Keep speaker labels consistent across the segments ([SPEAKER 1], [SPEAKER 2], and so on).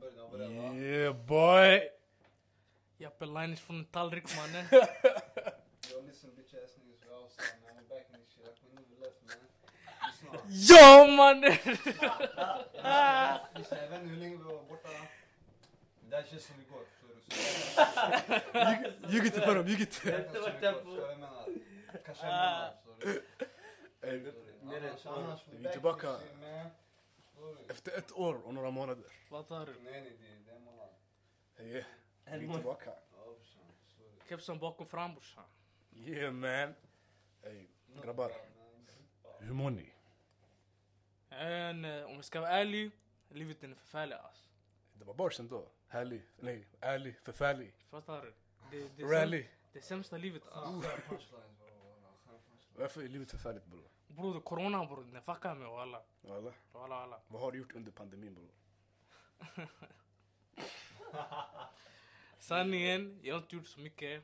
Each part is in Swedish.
[SPEAKER 1] putting over there. huh?
[SPEAKER 2] Yeah, boy.
[SPEAKER 3] Jeppe Linus från tallrik mannen.
[SPEAKER 1] Yo, listen, bitch ass niggas, we all saw, man. We're back in this shit. Like, we never left, man. Lyssna.
[SPEAKER 3] ja mannen!
[SPEAKER 1] Lyssna, jag vet inte hur länge vi var borta. Det där känns som igår, förstår du? Så-
[SPEAKER 2] Ljug inte för dem, ljug
[SPEAKER 1] Det
[SPEAKER 2] inte.
[SPEAKER 1] känns som igår, förstår du? Jag menar, kanske en månad, förstår du?
[SPEAKER 2] Ey,
[SPEAKER 1] Förstår du?
[SPEAKER 4] Mer än
[SPEAKER 1] Annars-
[SPEAKER 4] ett år.
[SPEAKER 1] annars, we're
[SPEAKER 2] Vi är
[SPEAKER 1] back in
[SPEAKER 2] tillbaka.
[SPEAKER 1] this shit, man. Förstår du?
[SPEAKER 2] Efter ett år och några månader.
[SPEAKER 3] Vad tar du?
[SPEAKER 1] Nej, nej, det- det är en månad.
[SPEAKER 2] Yeah,
[SPEAKER 4] En
[SPEAKER 2] vi är
[SPEAKER 4] månad.
[SPEAKER 2] tillbaka.
[SPEAKER 1] Ja, brorsan, förstår du?
[SPEAKER 3] Kepsen bakom fram brorsan.
[SPEAKER 2] Yeah man. Ey, grabbar. Hur mår ni?
[SPEAKER 3] Men eh, om jag ska vara ärlig, livet är förfärligt alltså.
[SPEAKER 2] Det var bars ändå. Härlig, nej, ärlig, förfärlig,
[SPEAKER 3] Fattar du? Det, det, är säm-
[SPEAKER 2] rally.
[SPEAKER 3] det är sämsta livet alltså.
[SPEAKER 1] Sköna punchlines, bro, wallah, sköna punchlines.
[SPEAKER 2] Varför är livet förfärligt bror?
[SPEAKER 3] Bror, det är corona bror. Den fuckar mig walla.
[SPEAKER 2] Alla.
[SPEAKER 3] Walla walla.
[SPEAKER 2] Vad har du gjort under pandemin bror?
[SPEAKER 3] Sanningen, jag har inte gjort så mycket.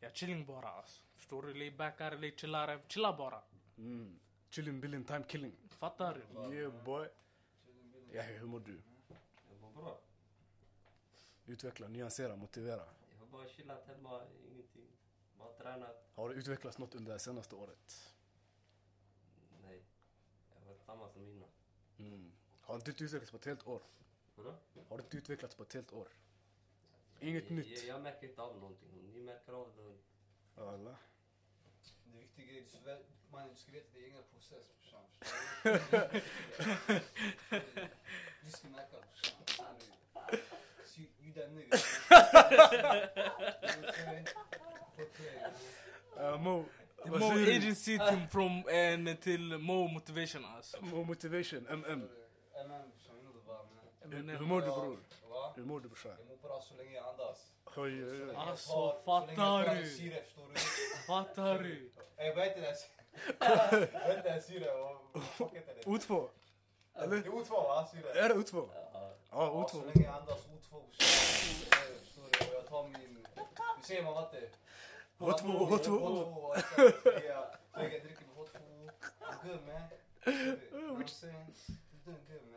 [SPEAKER 3] Jag är chilling bara alltså. Förstår du? Lay backar, lay chillare. Chilla bara.
[SPEAKER 2] Mm. Chilling, billing, time killing.
[SPEAKER 3] Fattar du?
[SPEAKER 2] Yeah boy. Ja, hur mår du?
[SPEAKER 4] Jag mår bra.
[SPEAKER 2] Utveckla, nyansera, motivera.
[SPEAKER 4] Jag har bara chillat hemma, ingenting. Bara tränat.
[SPEAKER 2] Har du utvecklats något under det senaste året?
[SPEAKER 4] Nej. Jag var samma som innan.
[SPEAKER 2] Mm. Har inte du utvecklats på ett helt år?
[SPEAKER 4] Vadå?
[SPEAKER 2] Har du inte utvecklats på ett helt år? Inget
[SPEAKER 4] jag,
[SPEAKER 2] nytt?
[SPEAKER 4] Jag, jag märker inte av någonting. Om ni märker av det,
[SPEAKER 2] Alla.
[SPEAKER 1] Det viktiga är att väl- man du ska veta din egen process brorsan. förstår du? Du ska märka brorsan. förstår Ah, du? So you- You that nigga. You know what I'm saying? Put play, you know?
[SPEAKER 2] Uh, Mo, vad
[SPEAKER 3] Mo
[SPEAKER 2] säger du?
[SPEAKER 3] agency till, from, en till Mo motivation alltså.
[SPEAKER 2] Mo motivation, MM.
[SPEAKER 1] Äh, men, brorsan, you know the vibe, man.
[SPEAKER 2] Eh,
[SPEAKER 3] eh,
[SPEAKER 2] Hur hur mår du
[SPEAKER 1] Ja,
[SPEAKER 2] bror?
[SPEAKER 1] va?
[SPEAKER 2] Hur mår du brorsan?
[SPEAKER 1] Jag mår bra så länge jag andas.
[SPEAKER 2] Oj, oj, oj.
[SPEAKER 3] Alltså,
[SPEAKER 1] Så länge jag tar- så länge jag
[SPEAKER 3] fattar
[SPEAKER 1] tar
[SPEAKER 3] du?
[SPEAKER 1] en syre, förstår du?
[SPEAKER 3] Fattar du?
[SPEAKER 1] Ey, vad heter den här syren? Vad heter den här syren? Vad- vad fuck heter den?
[SPEAKER 2] O2?
[SPEAKER 1] Det är O2 va? Syre?
[SPEAKER 2] Är det O2? Ja,
[SPEAKER 1] Ja, så
[SPEAKER 2] O2.
[SPEAKER 1] länge jag andas O2 förstår du? Och jag tar min... Hur säger man vatten?
[SPEAKER 2] H2O, H2O.
[SPEAKER 1] H2O. exakt. Så jag- så jag dricker med H2O. I'm good man. You
[SPEAKER 3] Oh,
[SPEAKER 1] know what I'm saying? I'm doing good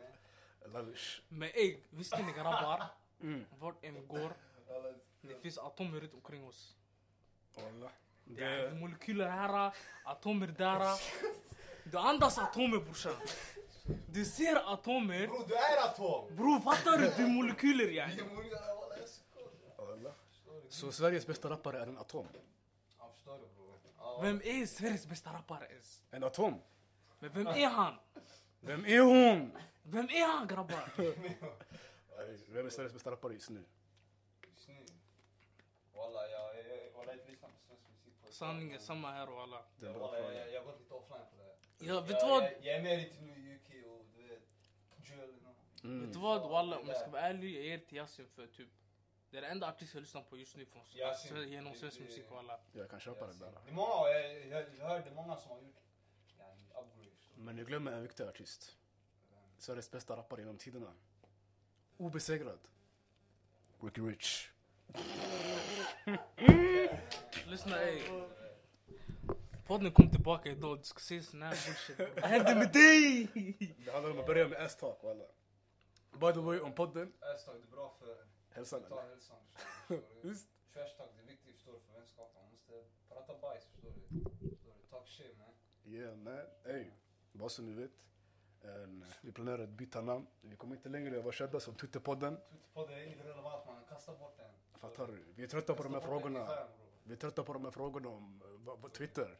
[SPEAKER 1] man.
[SPEAKER 2] Lavish.
[SPEAKER 3] Men ey, visste ni grabbar?
[SPEAKER 2] Mm.
[SPEAKER 3] Vart än vi går,
[SPEAKER 1] Alla-
[SPEAKER 3] det finns atomer runt omkring oss.
[SPEAKER 2] Wallah.
[SPEAKER 3] Det är
[SPEAKER 2] Det...
[SPEAKER 3] molekyler här, atomer där. Du andas atomer brorsan. Du ser atomer.
[SPEAKER 1] Bro, du är atom!
[SPEAKER 3] Bror fattar du? Du är molekyler
[SPEAKER 1] Det
[SPEAKER 3] yani.
[SPEAKER 1] är olika- alla är så cool.
[SPEAKER 2] Wallah.
[SPEAKER 1] Förstår du?
[SPEAKER 2] Så Sveriges bästa rappare är en atom?
[SPEAKER 1] Ja, förstår du bror? Ja.
[SPEAKER 3] Vem är Sveriges bästa rappare ens?
[SPEAKER 2] En atom?
[SPEAKER 3] Men vem är han?
[SPEAKER 2] Vem är hon?
[SPEAKER 3] Vem är han grabbar?
[SPEAKER 2] Vem är Sveriges bästa rappare just nu?
[SPEAKER 1] Just nu. Walla, jag jag- jag- walla, jag har inte lyssnat på svensk musik på ett tag,
[SPEAKER 3] Sanningen,
[SPEAKER 1] men-
[SPEAKER 3] samma här walla.
[SPEAKER 2] Det är en bra
[SPEAKER 1] Walla, jag-
[SPEAKER 2] fråga.
[SPEAKER 1] jag- Jag har gått lite offline på det här.
[SPEAKER 3] Ja, vet du vad?
[SPEAKER 1] Jag, jag är mer lite nu UK och du vet, drill och
[SPEAKER 3] Vet du
[SPEAKER 2] Mm.
[SPEAKER 3] vad walla, om jag ska vara ärlig, jag ger till Yasin för typ det är den enda artist jag lyssnar på just nu från
[SPEAKER 1] Yasin.
[SPEAKER 3] Sve- genom svensk
[SPEAKER 1] Det- det-
[SPEAKER 3] musik walla.
[SPEAKER 2] Jag kan köpa det där.
[SPEAKER 1] Det är många, jag, jag, jag hörde många som har gjort yani, upgrades.
[SPEAKER 2] Men du glömmer en viktig artist. Sveriges bästa rappare genom tiderna. Obesegrad. Ricky Rich.
[SPEAKER 3] Lyssna ey. Podden kom tillbaka idag, du ska se sån här bullshit bror. Vad hände med dig?
[SPEAKER 2] Det handlar om att börja med S-talk walla. By the way, om podden.
[SPEAKER 1] Hashtag, det är bra för
[SPEAKER 2] Hälsan
[SPEAKER 1] mental
[SPEAKER 2] eller?
[SPEAKER 1] hälsan. förstår du?
[SPEAKER 2] Visst?
[SPEAKER 1] Trashtalk, det är viktigt förstår du, för vänskapen. Man måste prata bajs, förstår du. Förstår du? Talk shit man.
[SPEAKER 2] Yeah man. Ey, bara så ni vet. En, vi planerar att byta namn. Vi kommer inte längre vara kända som Twitterpodden.
[SPEAKER 1] Twitterpodden är irrelevant man, kasta bort den.
[SPEAKER 2] Fattar du? Vi är trötta på de här
[SPEAKER 1] Kasta bort den i
[SPEAKER 2] frågorna.
[SPEAKER 1] skärm, bror.
[SPEAKER 2] Vi är trötta på de här frågorna om eh, vad- vad- Twitter.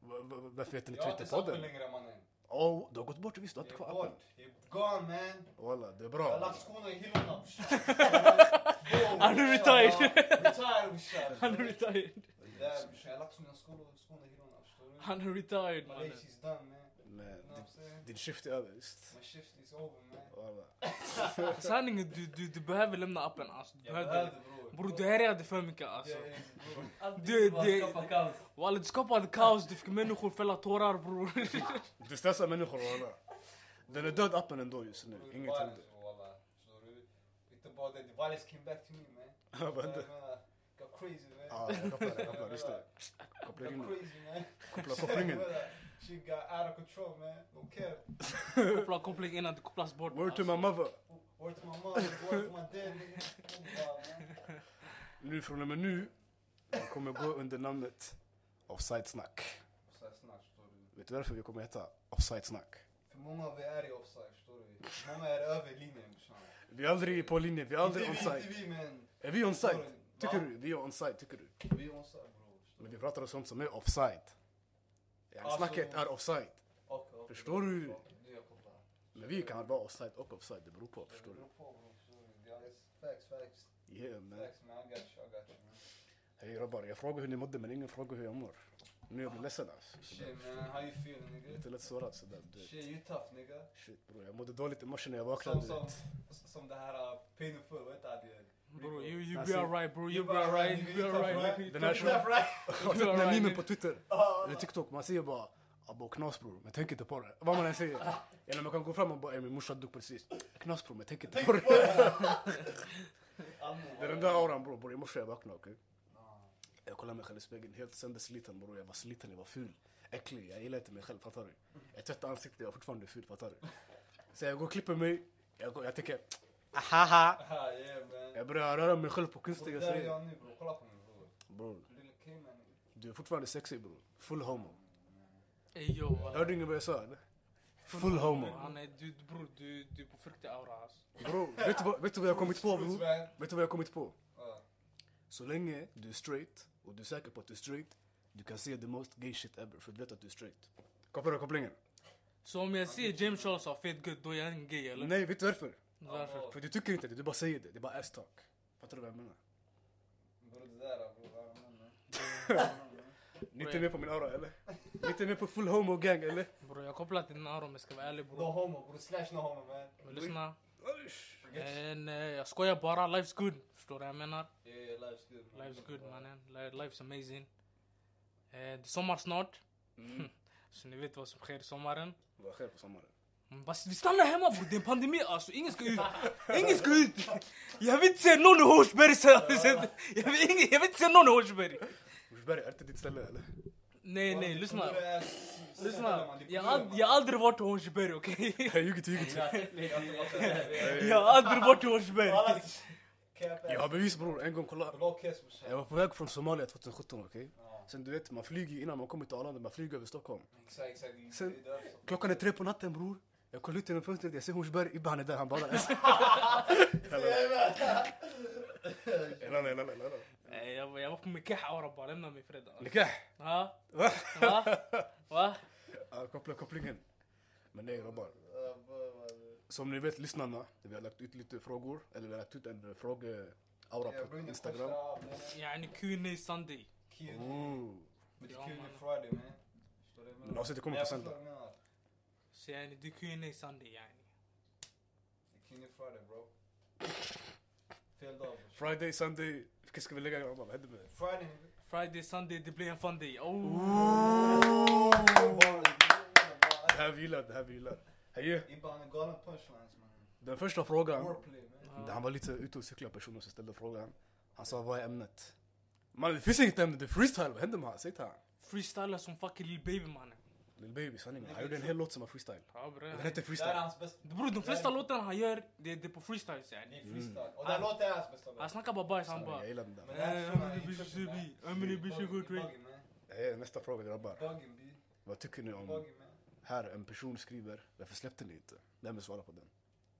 [SPEAKER 2] Va- va- Varför heter ni
[SPEAKER 1] Jag har inte satt den
[SPEAKER 2] Twitterpodden?
[SPEAKER 1] längre mannen.
[SPEAKER 2] Åh, du har gått bort visst, du har
[SPEAKER 1] Jag
[SPEAKER 2] inte
[SPEAKER 1] är
[SPEAKER 2] kvar
[SPEAKER 1] bort,
[SPEAKER 2] appen.
[SPEAKER 1] jag är gone man.
[SPEAKER 2] Walla, det
[SPEAKER 1] Jag
[SPEAKER 2] är
[SPEAKER 1] har
[SPEAKER 2] bra.
[SPEAKER 1] lagt skorna i hyllorna brorsan.
[SPEAKER 3] Han är retired.
[SPEAKER 1] Retired brorsan.
[SPEAKER 3] Han är retired.
[SPEAKER 1] Där brorsan, jag har lagt mina skorna skorna i hyllorna förstår du.
[SPEAKER 3] Han är retired
[SPEAKER 1] My
[SPEAKER 3] mannen.
[SPEAKER 1] legs is done man.
[SPEAKER 2] Men
[SPEAKER 1] You know what I'm saying?
[SPEAKER 2] din, din shift är över visst.
[SPEAKER 1] My shift is over man.
[SPEAKER 2] Walla.
[SPEAKER 3] Alltså, Sanningen, du, du, du behöver lämna appen alltså. Du
[SPEAKER 1] Jag
[SPEAKER 3] behöver.
[SPEAKER 1] behövde bror.
[SPEAKER 3] Bror du härjade för mycket alltså.
[SPEAKER 1] Jag är- bror.
[SPEAKER 4] Alltid
[SPEAKER 3] Det-
[SPEAKER 4] bara
[SPEAKER 3] det-
[SPEAKER 4] skapa kaos.
[SPEAKER 3] Walla du skapade kaos, du fick människor fälla tårar bror.
[SPEAKER 2] Du stressar människor walla. Den är död appen ändå just nu.
[SPEAKER 1] Bror,
[SPEAKER 2] Inget händer.
[SPEAKER 1] violence, wallah. Förstår du? Inte bara det, the violence came back to me man.
[SPEAKER 2] Vad hände?
[SPEAKER 1] Jag menar, Got crazy man.
[SPEAKER 2] Ja, Ah, jag kopplar det. Jag kopplar, just det. Koppla in
[SPEAKER 1] Got
[SPEAKER 2] den.
[SPEAKER 1] crazy man.
[SPEAKER 2] Koppla kopplingen.
[SPEAKER 1] Jag menar, She got out of control man. No cap.
[SPEAKER 3] Koppla koppling innan du kopplas bort.
[SPEAKER 2] Word to my mother.
[SPEAKER 1] Word Worth my mother, worth my dad. nigga. Wow, man.
[SPEAKER 2] Nu från och med nu, den kommer gå under namnet Offside Snack.
[SPEAKER 1] Offside snack, förstår du.
[SPEAKER 2] Vet du varför vi kommer heta Offside Snack?
[SPEAKER 1] För många av er är i offside, förstår du. Många är över linjen, brorsan.
[SPEAKER 2] Vi är aldrig på linjen, vi är aldrig
[SPEAKER 1] Inte vi,
[SPEAKER 2] onside.
[SPEAKER 1] Inte vi, men
[SPEAKER 2] Är vi onside? Tycker
[SPEAKER 1] Va?
[SPEAKER 2] du? Vi är onside, tycker du?
[SPEAKER 1] vi är onside, bror. förstår
[SPEAKER 2] Men
[SPEAKER 1] du.
[SPEAKER 2] vi pratar om sånt som är offside.
[SPEAKER 1] Alltså-
[SPEAKER 2] Ja, snacket är offside.
[SPEAKER 1] Okej, okej.
[SPEAKER 2] Förstår du?
[SPEAKER 1] Nu är jag kopplad.
[SPEAKER 2] Men vi kan vara offside och offside, det beror på. Förstår
[SPEAKER 1] Det
[SPEAKER 2] du?
[SPEAKER 1] beror på, bror. Förstår du? Ja, it's Facts, facts.
[SPEAKER 2] Yeah, man.
[SPEAKER 1] Facts, man. I got you, I got you, man.
[SPEAKER 2] Hej grabbar, jag frågar hur ni mådde men ingen frågar hur jag mår. Nu jag blir ledsen alltså.
[SPEAKER 1] Shit, man. How you feeling, nigga?
[SPEAKER 2] Lite lätt sårad sådär. du vet.
[SPEAKER 1] Shit, you tough, nigga.
[SPEAKER 2] Shit bror, jag mådde dåligt i morse när jag
[SPEAKER 1] Som,
[SPEAKER 2] vaknade. du
[SPEAKER 1] som,
[SPEAKER 2] vet.
[SPEAKER 1] som det här uh, painful, vad heter det?
[SPEAKER 3] Bro, you, you
[SPEAKER 2] Alltså,
[SPEAKER 3] be alright bro, you
[SPEAKER 1] you
[SPEAKER 3] be
[SPEAKER 1] be
[SPEAKER 3] alright,
[SPEAKER 1] alright,
[SPEAKER 3] you
[SPEAKER 1] you
[SPEAKER 3] be
[SPEAKER 1] tough,
[SPEAKER 3] alright.
[SPEAKER 1] right?
[SPEAKER 3] nigga.
[SPEAKER 2] Den här
[SPEAKER 1] Is that right?
[SPEAKER 2] Har du sett den här memen på Twitter?
[SPEAKER 1] Ja.
[SPEAKER 2] Eller TikTok? Man säger bara Abo knas bror, men tänk inte på det. Vad man än säger. Eller man kan gå fram och bara "Ey, min morsa dog precis. Knas bror, men tänk inte på det. Det är den där auran bror. Bror i morse jag vaknade okej. Jag kollade mig själv i spegeln, helt söndersliten bror. Jag var sliten, jag var ful. Äcklig, jag gillar inte mig själv fattar du. Jag tvättade ansiktet, jag var fortfarande ful fattar du. Så jag går och klipper mig. Jag, går, jag tänker ahaha.
[SPEAKER 1] Ah, yeah, man.
[SPEAKER 2] Jag börjar röra mig själv på
[SPEAKER 1] Och det
[SPEAKER 2] konstiga
[SPEAKER 1] där är
[SPEAKER 2] sätt.
[SPEAKER 1] jag nu bror, kolla på mig bror.
[SPEAKER 2] Bror,
[SPEAKER 1] Lille Cayman.
[SPEAKER 2] du är fortfarande sexig bror. Full homo.
[SPEAKER 3] Ey yo.
[SPEAKER 2] Hörde du inte vad jag sa eller? Full homo.
[SPEAKER 3] Han är, du, bror, du, du är på fruktig aura alltså.
[SPEAKER 2] Bro, vet du vad, vet du vad jag har kommit på
[SPEAKER 1] Bruce
[SPEAKER 2] bror?
[SPEAKER 1] Van.
[SPEAKER 2] Vet du vad jag har kommit på?
[SPEAKER 1] Ja.
[SPEAKER 2] Så länge du är straight och du är säker på att du är straight, du kan se the most gay shit ever för du vet att du är straight. Kopplar du kopplingen?
[SPEAKER 3] Så om jag ser James Charles har fet gud, då är jag en gay eller?
[SPEAKER 2] Nej, vet du varför?
[SPEAKER 3] Varför?
[SPEAKER 2] För du tycker inte det, du bara säger det. Det är bara ass talk. Fattar du vad jag menar?
[SPEAKER 1] Bror det där bror, I don't know, man. I don't know, man.
[SPEAKER 2] Ni är inte med på min aura eller? Ni är inte med på full homo gang eller?
[SPEAKER 3] Bror jag kopplar till din aura om jag ska vara ärlig
[SPEAKER 1] No
[SPEAKER 3] bror.
[SPEAKER 1] homo bror, slash no homo man.
[SPEAKER 3] Men lyssna.
[SPEAKER 2] Usch.
[SPEAKER 3] Men, eh, jag skojar bara, life's good. Förstår du vad jag menar?
[SPEAKER 1] Yeah, life's good. man.
[SPEAKER 3] Life's good mannen, Li- life's amazing. Eh, det är sommar snart. Så ni vet vad som sker i sommaren.
[SPEAKER 2] Vad sker på sommaren?
[SPEAKER 3] Men Bas, vi stannar hemma bror, det är en pandemi alltså. Ingen ska ut. Ingen ska ut. Jag vill inte se någon i Hårsberg. så- så- Jag vill, ingen, jag vill inte se någon i Hårsberg.
[SPEAKER 2] Årsberg, är det inte ditt ställe eller?
[SPEAKER 3] Nej, nej, lyssna.
[SPEAKER 1] Bror, det är s-
[SPEAKER 3] Lyssna.
[SPEAKER 1] man, det är
[SPEAKER 3] Jag
[SPEAKER 1] kul,
[SPEAKER 3] har ald-
[SPEAKER 1] man.
[SPEAKER 3] jag har aldrig varit i Hårsberg, okej?
[SPEAKER 2] Jag har ljugit, ljugit.
[SPEAKER 1] Jag har inte varit där.
[SPEAKER 3] Jag har aldrig varit i Hårsberg.
[SPEAKER 1] Alla- Cap
[SPEAKER 2] Jag
[SPEAKER 1] ass.
[SPEAKER 2] har bevis bror, en gång kolla.
[SPEAKER 1] Bra kiss brorsan.
[SPEAKER 2] Jag var på väg från Somalia 2017 okej?
[SPEAKER 1] Ja.
[SPEAKER 2] Sen du vet, man flyger ju innan man kommer till Arlanda, man flyger över Stockholm.
[SPEAKER 1] Exakt, exakt. Det-
[SPEAKER 2] Sen-
[SPEAKER 1] det är därför.
[SPEAKER 2] Klockan är tre på natten bror. Jag kollar ut genom fönstret, jag ser Hornsberg, Ibbe han är där, han badar. Lalla, lalla, lalla.
[SPEAKER 3] Nej, jag var- jag var på Mekah aura bara, lämna mig i fred. alltså.
[SPEAKER 2] Nikah!
[SPEAKER 3] Ja,
[SPEAKER 2] Va?
[SPEAKER 3] va? Va?
[SPEAKER 2] Ja, Koppla kopplingen. Men nej grabbar,
[SPEAKER 1] Ja, bror, mannen.
[SPEAKER 2] som ni vet lyssnarna, vi har lagt ut lite frågor, eller vi har lagt ut en eh, frågeaura
[SPEAKER 1] Jag
[SPEAKER 2] på
[SPEAKER 1] brinner
[SPEAKER 2] Instagram. Mm.
[SPEAKER 1] första av, man.
[SPEAKER 3] Yani Q&A Sunday.
[SPEAKER 1] Kul.
[SPEAKER 2] Ooh.
[SPEAKER 1] Men det
[SPEAKER 3] Ja,
[SPEAKER 1] är kul
[SPEAKER 3] man.
[SPEAKER 1] med Friday man. Förstår du vad jag menar?
[SPEAKER 2] Men avsnittet kommer
[SPEAKER 1] Men jag
[SPEAKER 2] på söndag.
[SPEAKER 1] förstår vad du menar.
[SPEAKER 3] Så yani, det är Q&A Sunday yani.
[SPEAKER 1] Det är kul med Friday bro. Fel dag brorsan.
[SPEAKER 2] Friday, Sunday, vilken ska vi lägga grabbar? Vad hände med det?
[SPEAKER 1] Friday nigga.
[SPEAKER 3] Friday, Sunday, det blir en fun day. Oh.
[SPEAKER 2] Det här vi gillar, det här vi gillar. Heje!
[SPEAKER 1] Ibba han är galen punchlines mannen.
[SPEAKER 2] Den första frågan,
[SPEAKER 1] Wordplay man.
[SPEAKER 2] han var lite ute och cyklade personen som ställde frågan. Han sa vad är ämnet? Man det finns inget ämne, det är freestyle, vad händer med han? Säg till han.
[SPEAKER 3] Freestylar som fucking Lil Baby mannen.
[SPEAKER 2] Lil Baby sanningen, han gjorde en hel låt som var freestyle.
[SPEAKER 3] Ja bre.
[SPEAKER 2] Den hette
[SPEAKER 1] Det här är
[SPEAKER 2] freestyle.
[SPEAKER 1] hans bästa.
[SPEAKER 3] Bror de flesta låtarna han gör, det det är på freestyles
[SPEAKER 1] Det
[SPEAKER 3] yani.
[SPEAKER 1] är freestyle. Och
[SPEAKER 3] Mm.
[SPEAKER 1] den låten är hans bästa
[SPEAKER 3] Han
[SPEAKER 1] låt.
[SPEAKER 3] snackar bara bajs, han bara.
[SPEAKER 2] Jag gillar den där.
[SPEAKER 1] Men den här
[SPEAKER 3] Eh,
[SPEAKER 1] shunon,
[SPEAKER 3] I'm in
[SPEAKER 1] he
[SPEAKER 3] a bitch,
[SPEAKER 1] tripping, man.
[SPEAKER 3] baby. I'm in a bitch, I go
[SPEAKER 1] Bugging,
[SPEAKER 3] crazy.
[SPEAKER 1] bugging, man.
[SPEAKER 2] Heje, nästa fråga grabbar.
[SPEAKER 1] Bugging, B.
[SPEAKER 2] Vad tycker ni om,
[SPEAKER 1] Bugging, man.
[SPEAKER 2] här en person skriver, varför släppte ni inte? Vem vill svara på den?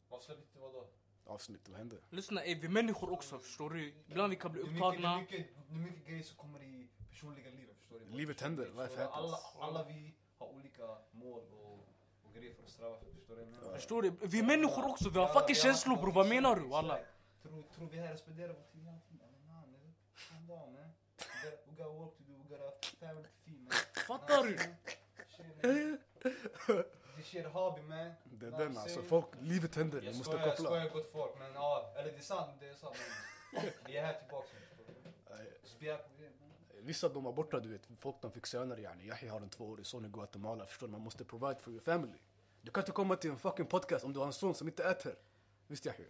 [SPEAKER 1] Varför släppte du vadå?
[SPEAKER 2] Avsnitt, vad hände?
[SPEAKER 3] Lyssna ey, eh, vi är människor också förstår du. Ibland vi kan bli
[SPEAKER 1] Det är mycket- det är
[SPEAKER 3] upptagna.
[SPEAKER 1] mycket- det är mycket grejer som kommer i personliga livet förstår du.
[SPEAKER 2] Livet händer, life
[SPEAKER 1] Förstår du? alla,
[SPEAKER 2] happens.
[SPEAKER 1] alla vi har olika mål och, och grejer för att sträva för, förstår du? vad jag menar?
[SPEAKER 3] Förstår du? Vi är människor också, vi har
[SPEAKER 1] Ja,
[SPEAKER 3] fucking
[SPEAKER 1] vi
[SPEAKER 3] känslor bror. Vad menar du?
[SPEAKER 1] Exakt.
[SPEAKER 3] Walla.
[SPEAKER 1] Tror, tror vi här responderar vår tid hela tiden? Men nah, nigga. Calm down man. We got- We got work to do, we got a family to feed man.
[SPEAKER 3] Fattar
[SPEAKER 1] Nah,
[SPEAKER 3] du?
[SPEAKER 1] shit, man. This shit hobby man.
[SPEAKER 2] Det är
[SPEAKER 1] Nah,
[SPEAKER 2] den
[SPEAKER 1] I'm
[SPEAKER 2] alltså,
[SPEAKER 1] saying.
[SPEAKER 2] folk, livet händer,
[SPEAKER 1] Jag
[SPEAKER 2] ni måste
[SPEAKER 1] skojar, jag
[SPEAKER 2] koppla.
[SPEAKER 1] skojar gott folk men ja, eller det är sant, det är sant. Men vi är här tillbaka. förstår du?
[SPEAKER 2] Heje.
[SPEAKER 1] Spjär på grejer man.
[SPEAKER 2] Vissa de var borta, du vet, folk de fick söner yani. Yahya har en tvåårig son i Guatemala, förstår du? Man måste provide for your family. Du kan inte komma till en fucking podcast om du har en son som inte äter. Visst Yahya?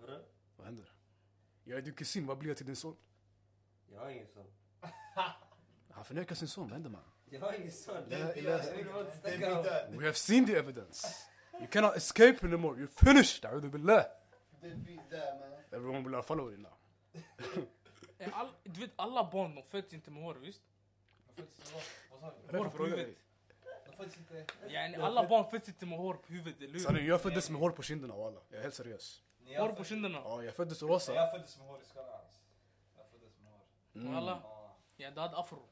[SPEAKER 4] Vadå?
[SPEAKER 2] Vad händer? Jag är din kusin, vad blir jag till din son?
[SPEAKER 4] Jag har ingen son.
[SPEAKER 2] Han förnekar sin son, vad händer man?
[SPEAKER 4] Jag har ingen son.
[SPEAKER 2] Det är-
[SPEAKER 4] Jag vill bara inte
[SPEAKER 1] Det
[SPEAKER 4] snacka
[SPEAKER 1] är
[SPEAKER 4] om
[SPEAKER 1] min
[SPEAKER 4] det.
[SPEAKER 1] död.
[SPEAKER 2] We have seen the evidence. You cannot escape anymore, you're finished! أعوذ بالله.
[SPEAKER 1] Dead beat där man.
[SPEAKER 2] Everyone vill ha follow now.
[SPEAKER 3] Eh, All, du vet alla barn de föds inte med hår visst?
[SPEAKER 1] De föds inte vara- Vad sa du?
[SPEAKER 3] Hår
[SPEAKER 2] Därför
[SPEAKER 3] på
[SPEAKER 2] frågar jag
[SPEAKER 3] huvudet.
[SPEAKER 1] De föds inte...
[SPEAKER 3] Yani, alla barn föds inte med hår på huvudet, eller
[SPEAKER 2] dig.
[SPEAKER 3] hur?
[SPEAKER 2] Sanning, jag föddes med hår på kinderna walla. Jag är helt seriös.
[SPEAKER 1] När jag
[SPEAKER 3] Hår på
[SPEAKER 1] föddes-
[SPEAKER 3] kinderna.
[SPEAKER 2] Ja, jag föddes
[SPEAKER 1] när
[SPEAKER 2] rosa.
[SPEAKER 1] Jag föddes med hår i skallen alltså. Jag föddes med hår.
[SPEAKER 2] Mm.
[SPEAKER 3] Alla.
[SPEAKER 1] Ja.
[SPEAKER 3] Ja, du hade afro.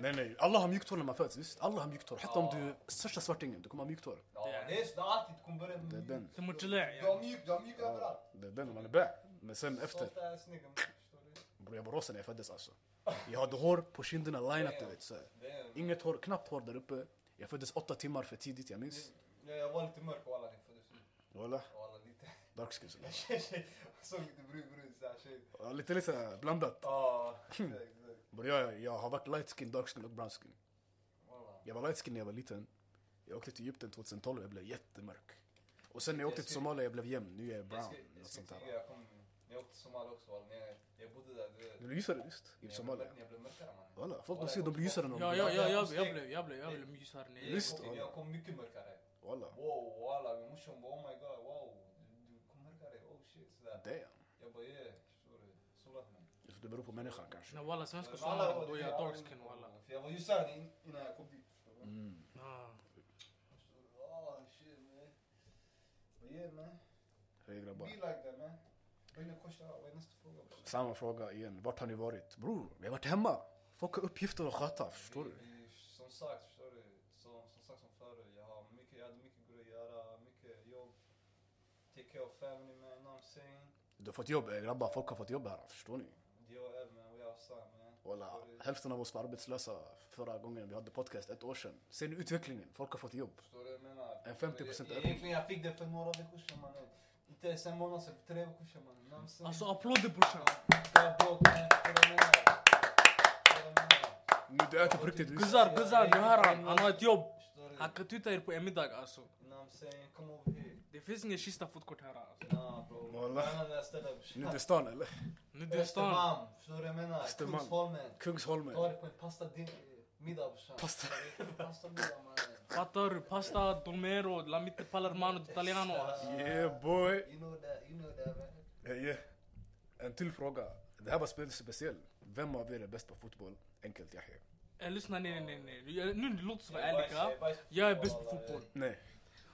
[SPEAKER 2] Nej nej, alla har mjukt hår när man föds visst? Alla har mjukt hår. Hatta
[SPEAKER 1] Ja.
[SPEAKER 2] om du är största svartingen, du kommer ha mjukt hår.
[SPEAKER 1] Ja, det är så. Det är alltid. Du kommer börja med
[SPEAKER 2] Det är den.
[SPEAKER 1] mjuk.
[SPEAKER 3] Som en gelé,
[SPEAKER 1] Du har
[SPEAKER 3] yani.
[SPEAKER 1] mjuk. Du har mjuk överallt.
[SPEAKER 2] Det är den när man är bä. Men sen efter,
[SPEAKER 1] Sånt där är snygga män, förstår du?
[SPEAKER 2] bror jag var rosa när jag föddes alltså. Jag hade hår på kinderna line-up du vet. Så. här.
[SPEAKER 1] Det är...
[SPEAKER 2] Inget hår, knappt hår där uppe. Jag föddes åtta timmar för tidigt, jag minns.
[SPEAKER 1] Ja, Jag var lite mörk walla när jag föddes.
[SPEAKER 2] Walla,
[SPEAKER 1] Walla lite.
[SPEAKER 2] dark skin. sådär.
[SPEAKER 1] Şey, Såg lite brun brun såhär tjej.
[SPEAKER 2] Ja, Lite lite blandat.
[SPEAKER 1] Ja, exakt, exakt.
[SPEAKER 2] Bror jag, jag har varit light skin, dark skin och brown skin.
[SPEAKER 1] Walla.
[SPEAKER 2] Jag var light skin när jag var liten. Jag åkte till Egypten 2012 jag blev jättemörk. Och sen när jag åkte till Somalia jag blev jämn, nu är jag
[SPEAKER 1] Jag
[SPEAKER 2] brown.
[SPEAKER 1] ska- jag ska
[SPEAKER 2] Något sånt
[SPEAKER 1] inte
[SPEAKER 2] där.
[SPEAKER 1] ljuga, jag kom... När jag åkte till Somalia också walla. När jag- Jag bodde där. Du vet.
[SPEAKER 2] Du blev ljusare visst, i
[SPEAKER 1] Jag
[SPEAKER 2] Somalia.
[SPEAKER 1] blev- Jag blev mörkare mannen.
[SPEAKER 2] Walla, folk de ser de blir ljusare när de
[SPEAKER 3] Ja,
[SPEAKER 2] blir
[SPEAKER 3] ja,
[SPEAKER 2] äldre.
[SPEAKER 3] ja, jag blev, jag blev, jag blev, jag blev mys här nere.
[SPEAKER 2] Visst,
[SPEAKER 1] Jag kom- Jag kom mycket mörkare.
[SPEAKER 2] Walla,
[SPEAKER 1] Wow, walla, min morsa hon bara oh my god, wow. Du, du kom mörkare, oh shit. Sådär.
[SPEAKER 2] damn.
[SPEAKER 1] Jag bara yeah, förstår du. Solat mig.
[SPEAKER 2] Det beror på människan kanske.
[SPEAKER 3] Nej walla, svenska
[SPEAKER 1] Men alla
[SPEAKER 3] somrar
[SPEAKER 1] var
[SPEAKER 3] då
[SPEAKER 1] det,
[SPEAKER 3] är jag
[SPEAKER 1] alla
[SPEAKER 3] dark
[SPEAKER 1] var-
[SPEAKER 3] skin walla.
[SPEAKER 1] För jag var ljusare in- innan jag kom dit. Förstår du?
[SPEAKER 2] Mm.
[SPEAKER 3] Ah.
[SPEAKER 1] Förstår du? Oh shit man. But yeah man.
[SPEAKER 2] Hej grabbar.
[SPEAKER 1] Be like that man. Vad är din korsa? Vad är nästa fråga? bror?
[SPEAKER 2] Samma fråga igen, vart har ni varit? Bror, vi har varit hemma. Folk har uppgifter att sköta, förstår du?
[SPEAKER 1] Vi- vi- Eh, Som sagt, förstår du. Som, som sagt som förut. Jag, har mycket, jag hade mycket grejer att göra, mycket jobb. Take care of family man, you know what I'm saying?
[SPEAKER 2] Du har fått jobb, eh, grabbar. Folk har fått jobb här, förstår ni?
[SPEAKER 1] Jag är man, we outside man.
[SPEAKER 2] Walla, hälften av oss var arbetslösa förra gången vi hade podcast, ett år sedan. Ser ni utvecklingen? Folk har fått jobb.
[SPEAKER 1] Förstår du vad jag menar?
[SPEAKER 2] En 50%
[SPEAKER 1] Jag- jag-
[SPEAKER 2] ökning.
[SPEAKER 1] Egentligen jag fick den för några veckor sedan mannen. Inte ens en månad sedan, för tre veckor sedan mannen. Namsen.
[SPEAKER 3] Alltså applåder brorsan.
[SPEAKER 1] Jag bråk man, förstår du vad jag menar? Förstår du vad jag menar?
[SPEAKER 2] Nu, du äter på riktigt. visst?
[SPEAKER 3] Guzzar, guzzar, ni hör han. Han har ett jobb.
[SPEAKER 1] Förstår du?
[SPEAKER 3] Han kan tuta er på en middag alltså.
[SPEAKER 1] You know what I'm saying? Come over here.
[SPEAKER 3] Det finns ingen kista fotkort här alltså.
[SPEAKER 1] Nah bro.
[SPEAKER 2] Wallah.
[SPEAKER 1] Jag menar det här stället.
[SPEAKER 2] Nu är det stan eller?
[SPEAKER 3] Nu det är stan.
[SPEAKER 1] Östermalm, förstår du vad jag menar?
[SPEAKER 2] Östermalm.
[SPEAKER 1] Kungsholmen. Ta
[SPEAKER 2] Kungsholmen.
[SPEAKER 1] det på en pasta din, middag brorsan.
[SPEAKER 2] Pasta.
[SPEAKER 1] Pasta middag mannen.
[SPEAKER 3] Fattar du? Pasta, dolmero, la mitte palermano, italiano alltså.
[SPEAKER 2] Yeah boy.
[SPEAKER 1] You know that, you know that man.
[SPEAKER 2] Hej. eh. En till fråga. Det här var spelet speciell. Vem av er är bäst på fotboll? Enkelt Yahya.
[SPEAKER 3] Eh, Lyssna, nej, nej, nej, nej. Jag- Nu låter som
[SPEAKER 1] Jag är bajs- jag
[SPEAKER 3] ärliga.
[SPEAKER 1] är bajs på
[SPEAKER 3] Jag är
[SPEAKER 1] fotboll,
[SPEAKER 3] bäst på
[SPEAKER 1] alla.
[SPEAKER 3] fotboll.
[SPEAKER 2] Nej.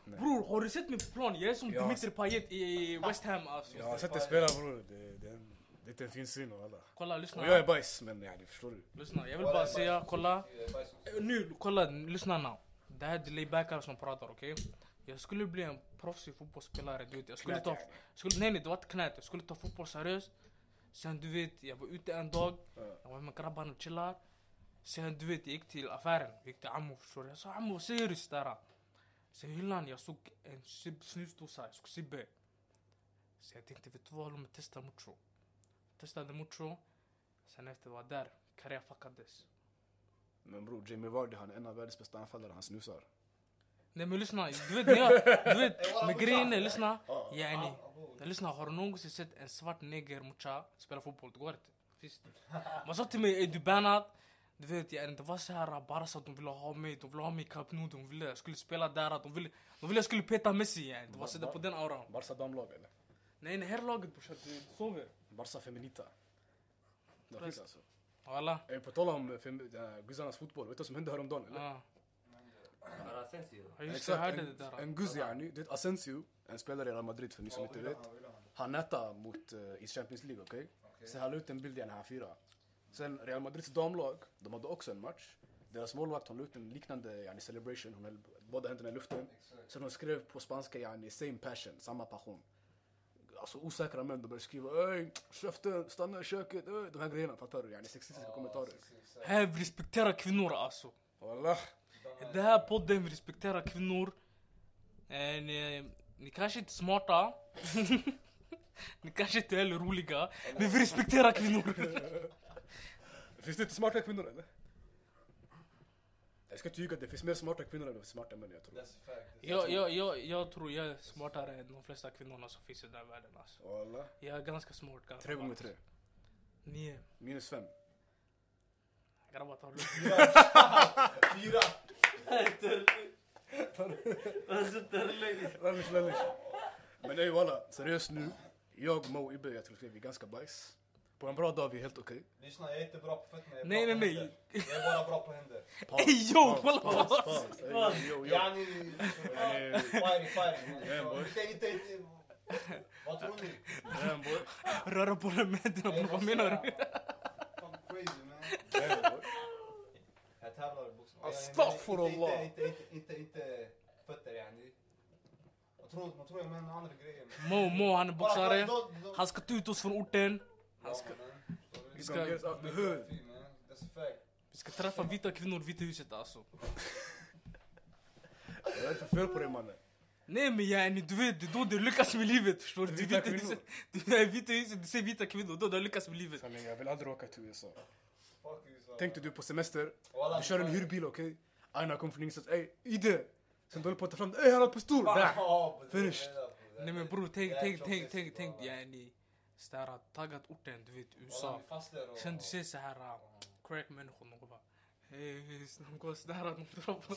[SPEAKER 3] Bror, har du sett mig på plan? Jag är som
[SPEAKER 2] Ja.
[SPEAKER 3] Dimitri Payet i West Ham alltså.
[SPEAKER 2] Jag har sett dig spela bror. Det, det, är en- det är inte en fin syn och alla.
[SPEAKER 3] Kolla,
[SPEAKER 2] Och jag
[SPEAKER 3] lyssna.
[SPEAKER 2] är bajs men yani förstår du?
[SPEAKER 3] Lyssna, jag vill
[SPEAKER 1] Kolla,
[SPEAKER 3] bara
[SPEAKER 1] jag är
[SPEAKER 3] säga, kolla.
[SPEAKER 1] Jag är bajs-
[SPEAKER 3] Eh, Nu, kolla, lyssna nu. Det här är delaybackar som pratar, okej? Jag skulle bli en proffsig fotbollsspelare, du vet. Jag skulle
[SPEAKER 2] Knät,
[SPEAKER 3] ta...
[SPEAKER 2] yani.
[SPEAKER 3] Skulle, nej, nej, det var inte knät. Jag skulle ta fotboll seriöst. Sen du vet, jag var ute en dag. Jag var med grabbarna och chillar. Sen du vet, jag gick till affären. Jag gick till Ammo, förstår du? Jag sa Ammo, seriöst där. Sen i hyllan, jag såg en sib- snusdosa. Jag såg Sibbe. Så jag tänkte, vet du vad? Låt mig testa Mucho. Testade Mucho. Sen efter jag var där, Karea fuckades.
[SPEAKER 2] Men bror, Jamie Vardy han är en av världens bästa anfallare. Han snusar.
[SPEAKER 3] Nej men lyssna, du vet när jag, du vet,
[SPEAKER 1] walla,
[SPEAKER 3] med grejen är lyssna,
[SPEAKER 2] Oh.
[SPEAKER 3] yani.
[SPEAKER 1] Ah, bror.
[SPEAKER 3] Lyssna, har du någonsin sett en svart neger mucha spela fotboll? Det går inte. Finns det. Man sa till mig, är eh, du bannad? Du vet yani, det var så här Barca, de ville ha mig, de ville ha mig i Camp Nou, eh, de ville jag skulle spela där, de ville, de ville jag skulle eh, peta Messi yani. Det var så där på den auran.
[SPEAKER 2] Barca damlag eller?
[SPEAKER 3] Nej nej, här laget brorsan, du sover.
[SPEAKER 2] Barca Feminita. Det finns alltså.
[SPEAKER 3] Walla.
[SPEAKER 2] Eh, På tal om eh, fem- eh, guzzarnas fotboll, vet du vad som hände häromdagen eller?
[SPEAKER 3] Ja,
[SPEAKER 4] Bara Asensio.
[SPEAKER 3] Ja, just det,
[SPEAKER 2] Exakt,
[SPEAKER 3] jag hörde det
[SPEAKER 2] en,
[SPEAKER 3] där.
[SPEAKER 2] en guzz yani, det är Asensio, en spelare i Real Madrid för ni som
[SPEAKER 1] Ja,
[SPEAKER 2] inte
[SPEAKER 1] vill
[SPEAKER 2] vet.
[SPEAKER 1] han, vill han.
[SPEAKER 2] Han nätade mot, eh, i Champions League, okej?
[SPEAKER 1] Okej.
[SPEAKER 2] Sen han la ut en bild i när han firade. Sen Real Madrids damlag, de hade också en match. Deras målvakt, hon la ut en liknande yani, celebration, hon höll båda händerna i luften.
[SPEAKER 1] Exakt.
[SPEAKER 2] Sen hon skrev på spanska, yani, same passion, samma passion. Alltså osäkra män, de började skriva Öj, käften, stanna i köket, öj, de här grejerna, fattar du? Yani sexistiska kommentarer.
[SPEAKER 3] Här vi respekterar kvinnor alltså.
[SPEAKER 2] Wallah.
[SPEAKER 3] Det här podden respekterar kvinnor. Eh, ni, ni kanske inte är smarta. ni kanske inte heller roliga. Men vi respekterar kvinnor.
[SPEAKER 2] Finns det inte smarta kvinnor eller? Jag ska inte ljuga, det finns mer smarta kvinnor än det finns smarta män jag tror.
[SPEAKER 1] That's a fact.
[SPEAKER 3] jag, jag, jag, jag tror jag är smartare än de flesta kvinnorna som finns i den här världen. Alltså.
[SPEAKER 2] Wallah.
[SPEAKER 3] Jag är ganska smart. Ganska
[SPEAKER 2] Tre gånger
[SPEAKER 3] vass.
[SPEAKER 2] tre.
[SPEAKER 3] Nio.
[SPEAKER 2] Minus fem.
[SPEAKER 3] Grabbar ta lugnt.
[SPEAKER 1] Fyra!
[SPEAKER 4] Alltså Terlöj.
[SPEAKER 2] Lallish, lallish. Men ey walla, seriöst nu. Jag, Mo och Ibbe, jag tror att vi är ganska bajs. På en bra dag vi är helt okej.
[SPEAKER 1] Lyssna, jag är inte e bra på fötterna. jag är bra
[SPEAKER 3] Nej, nej,
[SPEAKER 1] på
[SPEAKER 3] nej.
[SPEAKER 1] händer. Jag är bara bra på händer.
[SPEAKER 2] Paus,
[SPEAKER 3] Ey, yo,
[SPEAKER 2] paus,
[SPEAKER 3] walla,
[SPEAKER 2] paus,
[SPEAKER 3] paus.
[SPEAKER 2] paus. Ey,
[SPEAKER 4] Paus.
[SPEAKER 2] yo, yo.
[SPEAKER 1] يعني
[SPEAKER 2] يعني-
[SPEAKER 1] فايري فايري
[SPEAKER 2] Yeah, boy.
[SPEAKER 1] انت انت انت vad tror ni?
[SPEAKER 2] Damn, boy.
[SPEAKER 3] Röra bollen med händerna bror, vad menar du?
[SPEAKER 1] Fan, E, crazy man.
[SPEAKER 2] Damn, boy.
[SPEAKER 1] Jag tävlar i boxning.
[SPEAKER 2] Astaghfirullah.
[SPEAKER 1] Inte, inte, inte, inte fötter yani. Man tror, man tror jag menar andra grejer. men-
[SPEAKER 3] Mo, Mo han är boxare.
[SPEAKER 1] Kolla, kolla, då- då-
[SPEAKER 3] Han ska ta ut oss från orten.
[SPEAKER 1] Ja,
[SPEAKER 3] ska-
[SPEAKER 1] man. Sorry.
[SPEAKER 2] You
[SPEAKER 3] Ska-
[SPEAKER 2] gonna get us out the hood.
[SPEAKER 1] Fy, man. That's a fact.
[SPEAKER 3] Vi ska träffa vita kvinnor, Vita huset alltså.
[SPEAKER 2] Vad är det för fel på dig mannen?
[SPEAKER 3] Nej men yani du vet, det är då du lyckas med livet förstår du? Du
[SPEAKER 2] Vita
[SPEAKER 3] vita huset, du är vita huset, du ser vita kvinnor, då du har lyckats med livet.
[SPEAKER 2] Sanningen, jag vill aldrig åka till USA.
[SPEAKER 1] Fuck you, son.
[SPEAKER 2] Tänkte du på semester,
[SPEAKER 1] Walla,
[SPEAKER 2] du kör en
[SPEAKER 1] fan.
[SPEAKER 2] hyrbil okej? Aina kom från ingenstans, ey Ide! Sen du håller på att ta fram, ey han har pistol!
[SPEAKER 3] Ah.
[SPEAKER 2] Där!
[SPEAKER 1] Ja, bror,
[SPEAKER 2] Finished.
[SPEAKER 1] reda på det.
[SPEAKER 3] Nej men bror tänk,
[SPEAKER 1] Det är
[SPEAKER 3] tänk,
[SPEAKER 1] klart
[SPEAKER 3] tänk,
[SPEAKER 1] det
[SPEAKER 3] tänk,
[SPEAKER 1] ska
[SPEAKER 3] tänk
[SPEAKER 1] vara.
[SPEAKER 3] yani. Sådär taggat orten, du vet
[SPEAKER 1] Walla,
[SPEAKER 3] USA.
[SPEAKER 1] vi fastnar och-
[SPEAKER 3] Sen du ser såhär, äh, crack människor, de bara Hej, de går sådär, de drar på...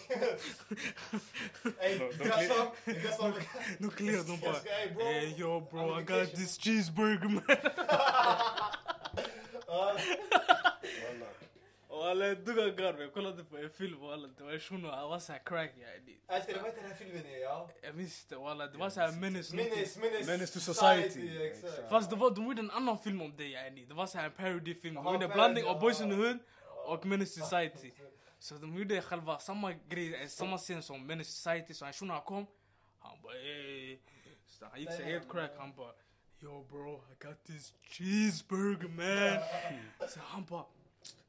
[SPEAKER 1] Ey,
[SPEAKER 2] De- de
[SPEAKER 1] jag
[SPEAKER 2] klipp-
[SPEAKER 1] sa- jag sa-
[SPEAKER 3] De klirrar, de
[SPEAKER 1] Jag ska- ey, bro.
[SPEAKER 3] bara Hey yo bro, I got
[SPEAKER 1] Amerikansk-
[SPEAKER 3] this cheeseburger man.
[SPEAKER 1] Ja,
[SPEAKER 2] Walla.
[SPEAKER 3] Walla duga garv, jag kollade på en film walla, det var en shuno, han var såhär crack yani.
[SPEAKER 1] Alltså, vad heter den här filmen är, ja?
[SPEAKER 3] Jag minns inte walla, det var såhär menace. någonting.
[SPEAKER 1] Menace, menace,
[SPEAKER 2] Menace to society.
[SPEAKER 1] Exakt.
[SPEAKER 2] Exakt.
[SPEAKER 3] Fast det var, de gjorde en annan film om det yani. Det var såhär en parodyfilm. De
[SPEAKER 1] Jaha,
[SPEAKER 3] gjorde en
[SPEAKER 1] parody,
[SPEAKER 3] blandning av
[SPEAKER 1] ja.
[SPEAKER 3] Boys in the Hood och Menace Society. Så de gjorde själva samma grej, eh, samma scen som Menace Society. Så han shunon kom, han bara ey. Så han gick så
[SPEAKER 1] Damn,
[SPEAKER 3] helt crack, han bara Yo bro, I got this cheeseburger man. Så han bara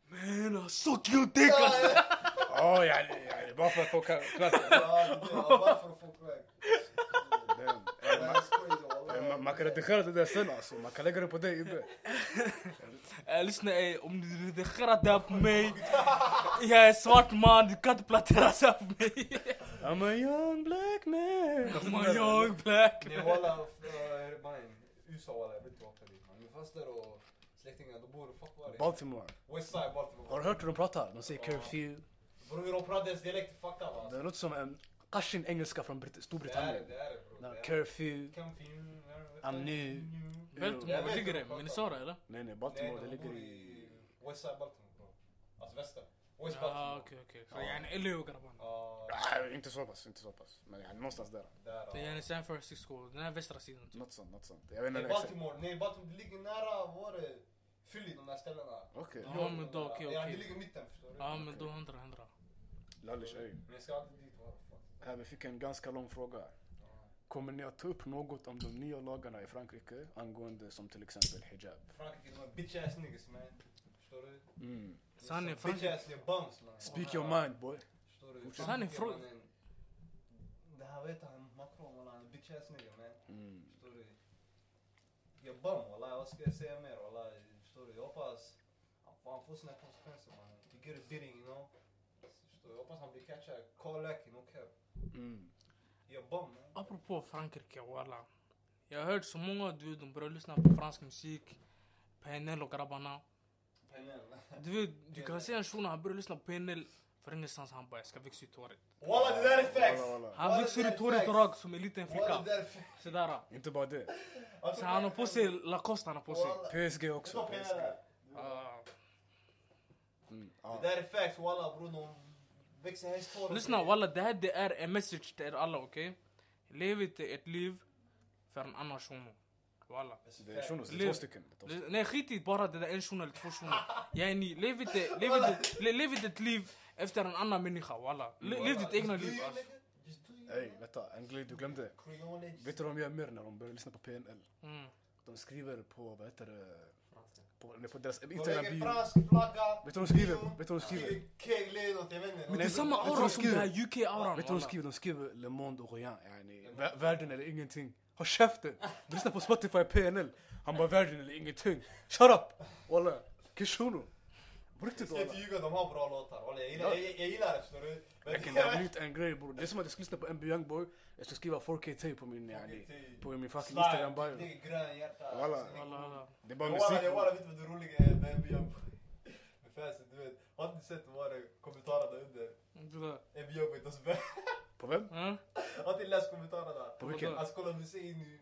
[SPEAKER 3] Man I suck your dick ah. asså."
[SPEAKER 2] Ja, yani, yani, bara för att åka knarka.
[SPEAKER 1] Ja, det är- ja, varför får crack?
[SPEAKER 2] Damn.
[SPEAKER 1] Det här är crazy,
[SPEAKER 2] Ey,
[SPEAKER 1] wallah.
[SPEAKER 2] man- Man kan redigera det där sen alltså, man kan lägga det på dig Ibbe.
[SPEAKER 3] Eh, lyssna ey, om du redigerar det här på mig. Jag är svart man, du kan inte plantera så här på mig.
[SPEAKER 2] I'm a young black man. Alltså,
[SPEAKER 3] I'm a young black
[SPEAKER 1] Nej,
[SPEAKER 3] man.
[SPEAKER 1] wallah, eh, mannen, USA wallah, jag vet inte varför det är, man. Min faster och släktingar, de bor fuck var det?
[SPEAKER 2] Baltimore.
[SPEAKER 1] Westside, Baltimore.
[SPEAKER 2] Har du hört hur de pratar? De säger curfew.
[SPEAKER 1] Bror, hur de pratar deras dialekt är fucked up alltså.
[SPEAKER 2] Det låter som en kashin engelska från Brit-
[SPEAKER 1] Det är det,
[SPEAKER 2] Storbritannien.
[SPEAKER 1] det är det, bror.
[SPEAKER 2] No,
[SPEAKER 1] Det är-
[SPEAKER 2] curfew.
[SPEAKER 1] Kan fin-
[SPEAKER 2] I'm new.
[SPEAKER 3] Baltimore, var ligger det? Minnesota eller?
[SPEAKER 2] Nej nej,
[SPEAKER 1] Nej,
[SPEAKER 2] Baltimore det
[SPEAKER 1] de
[SPEAKER 2] ligger
[SPEAKER 1] bor
[SPEAKER 2] i...
[SPEAKER 1] i Westside Baltimore, bror. Alltså väster. West
[SPEAKER 3] Ja
[SPEAKER 1] Baltimore.
[SPEAKER 3] okej okej. Så yani LA grabbarna.
[SPEAKER 1] Ja,
[SPEAKER 2] Ah, inte så pass, inte så pass. Men yani, någonstans där.
[SPEAKER 1] där,
[SPEAKER 3] Det är
[SPEAKER 1] ja.
[SPEAKER 3] yani San Francisco, den här västra sidan. typ.
[SPEAKER 2] Något sånt, något sånt. Jag vet
[SPEAKER 1] Nej,
[SPEAKER 2] inte exakt.
[SPEAKER 1] Baltimore, nej Baltimore, det ligger nära vår eh, Philly, de där ställena.
[SPEAKER 2] Okej.
[SPEAKER 3] Ja, men då,
[SPEAKER 1] Ja,
[SPEAKER 3] okej,
[SPEAKER 1] Ja,
[SPEAKER 3] okej.
[SPEAKER 1] det ligger i mitten förstår du.
[SPEAKER 3] Ja men då hundra hundra.
[SPEAKER 2] Lallish öj.
[SPEAKER 1] Men jag ska aldrig dit. vad fan.
[SPEAKER 2] Här Äh, vi fick en ganska lång fråga. Kommer ni att ta upp något om de nya lagarna i Frankrike angående som till exempel hijab?
[SPEAKER 1] Frankrike, de är bitch ass niggas man. Förstår du?
[SPEAKER 2] Mm.
[SPEAKER 3] Sanne,
[SPEAKER 1] Bitch
[SPEAKER 3] Frankrike.
[SPEAKER 1] ass, det är bums man.
[SPEAKER 2] Speak your mind boy.
[SPEAKER 1] Förstår du?
[SPEAKER 2] Fortsätt.
[SPEAKER 1] Frankrike,
[SPEAKER 3] Sanne, från-
[SPEAKER 1] mannen. Det här vet han, Macron, wallah, han är bitch ass nigga man.
[SPEAKER 2] Mm.
[SPEAKER 1] Förstår du? Jag är bum wallah, vad ska jag säga mer wallah? Förstår du? Jag hoppas han får- han får sina konsekvenser man. He get a bidding you know. Förstår du? Jag hoppas han blir catchad. Call lack, no cap.
[SPEAKER 2] Mm.
[SPEAKER 1] Jag är bum man.
[SPEAKER 3] Apropå Frankrike walla. Jag har hört så många du vet, de börjar lyssna på fransk musik. PNL och grabbarna.
[SPEAKER 1] Penel.
[SPEAKER 3] Du vet, du kan se en shuno han börjar lyssna på PNL. För ingenstans han bara jag ska växa ut håret.
[SPEAKER 1] Walla det där är facts!
[SPEAKER 2] Walla, walla.
[SPEAKER 3] Han
[SPEAKER 1] Walla,
[SPEAKER 3] växer
[SPEAKER 1] det där
[SPEAKER 3] ut
[SPEAKER 1] är
[SPEAKER 3] håret
[SPEAKER 1] facts.
[SPEAKER 3] rakt som en liten
[SPEAKER 1] Walla det
[SPEAKER 3] flicka.
[SPEAKER 1] där är facts!
[SPEAKER 3] Sådär.
[SPEAKER 2] Inte bara det.
[SPEAKER 3] Så han har på sig Lacoste han har på sig.
[SPEAKER 1] Walla.
[SPEAKER 2] PSG
[SPEAKER 1] Jag
[SPEAKER 2] också.
[SPEAKER 1] tar pengar
[SPEAKER 2] PSG.
[SPEAKER 1] där.
[SPEAKER 3] Ah.
[SPEAKER 2] Mm.
[SPEAKER 1] Det
[SPEAKER 2] Ja.
[SPEAKER 1] där är facts walla bror, de växer hästhår. och
[SPEAKER 3] Lyssna
[SPEAKER 1] grejer.
[SPEAKER 3] walla, det här det är en message till er alla okej? Lev inte ett liv för en annan shuno. Walla.
[SPEAKER 2] Alltså, Det är shunos, det är
[SPEAKER 3] Liv.
[SPEAKER 2] två stycken. Det är två stycken.
[SPEAKER 3] Det- Nej skit i bara det där en shuno eller två shuno. Yani lev inte, lev inte, le- lev inte ett liv efter en annan människa walla. Le, lev ditt egna
[SPEAKER 1] Just do
[SPEAKER 3] liv
[SPEAKER 1] you,
[SPEAKER 3] alltså.
[SPEAKER 1] nigga. Just do you,
[SPEAKER 2] Ey,
[SPEAKER 1] man.
[SPEAKER 2] vänta. En grej du glömde.
[SPEAKER 1] Creole legend.
[SPEAKER 2] Vet du vad de gör mer när de börjar lyssna på PNL?
[SPEAKER 3] Mm.
[SPEAKER 2] De skriver på, vad heter det?
[SPEAKER 4] Franska.
[SPEAKER 2] På, nej, på deras
[SPEAKER 1] De
[SPEAKER 2] Instagram
[SPEAKER 1] lägger
[SPEAKER 2] bio.
[SPEAKER 1] fransk flagga.
[SPEAKER 2] Vet du vad de skriver?
[SPEAKER 1] bio,
[SPEAKER 2] Vet du vad de skriver?
[SPEAKER 1] Kegled och jag vet inte.
[SPEAKER 3] Men
[SPEAKER 1] De-
[SPEAKER 3] det är samma
[SPEAKER 2] vet du vad
[SPEAKER 3] aura
[SPEAKER 2] de
[SPEAKER 3] som den här
[SPEAKER 2] skriver? Vet
[SPEAKER 3] UK-auran
[SPEAKER 2] du vad de
[SPEAKER 3] walla.
[SPEAKER 2] skriver? De skriver Le Monde och Rien. Yani, vä- världen eller ingenting. Håll käften! Du lyssnar på Spotify PNL. Han bara världen eller ingenting. Shut up! Walla, kishuno. På
[SPEAKER 1] Jag typ-
[SPEAKER 2] riktigt
[SPEAKER 1] ska
[SPEAKER 2] walla.
[SPEAKER 1] inte ljuga, de har bra låtar. Walla, jag gillar-
[SPEAKER 2] Ja.
[SPEAKER 1] jag- jag gillar det förstår du. Men-
[SPEAKER 2] Verkligen, Det har blivit en grej bror. Det är som att jag ska lyssna på NBA Youngboy. Jag ska skriva 4KT på min, yani,
[SPEAKER 1] 4KT.
[SPEAKER 2] på min fucking
[SPEAKER 1] Slide,
[SPEAKER 2] Instagram bio.
[SPEAKER 1] Det är grön hjärta.
[SPEAKER 2] Walla.
[SPEAKER 1] Alltså, det är-
[SPEAKER 3] Walla, walla.
[SPEAKER 2] Det är bara
[SPEAKER 1] Walla, jag
[SPEAKER 2] musik.
[SPEAKER 1] walla vet du vad det roliga är med NBA? Med fansen, du vet. Har inte sett vad det är kommentarerna under?
[SPEAKER 3] Det där.
[SPEAKER 1] NBA vet oss bäst.
[SPEAKER 2] På vem?
[SPEAKER 3] Ja?
[SPEAKER 1] Har inte läst kommentarerna?
[SPEAKER 2] På vilken?
[SPEAKER 1] Alltså kolla Hussein nu.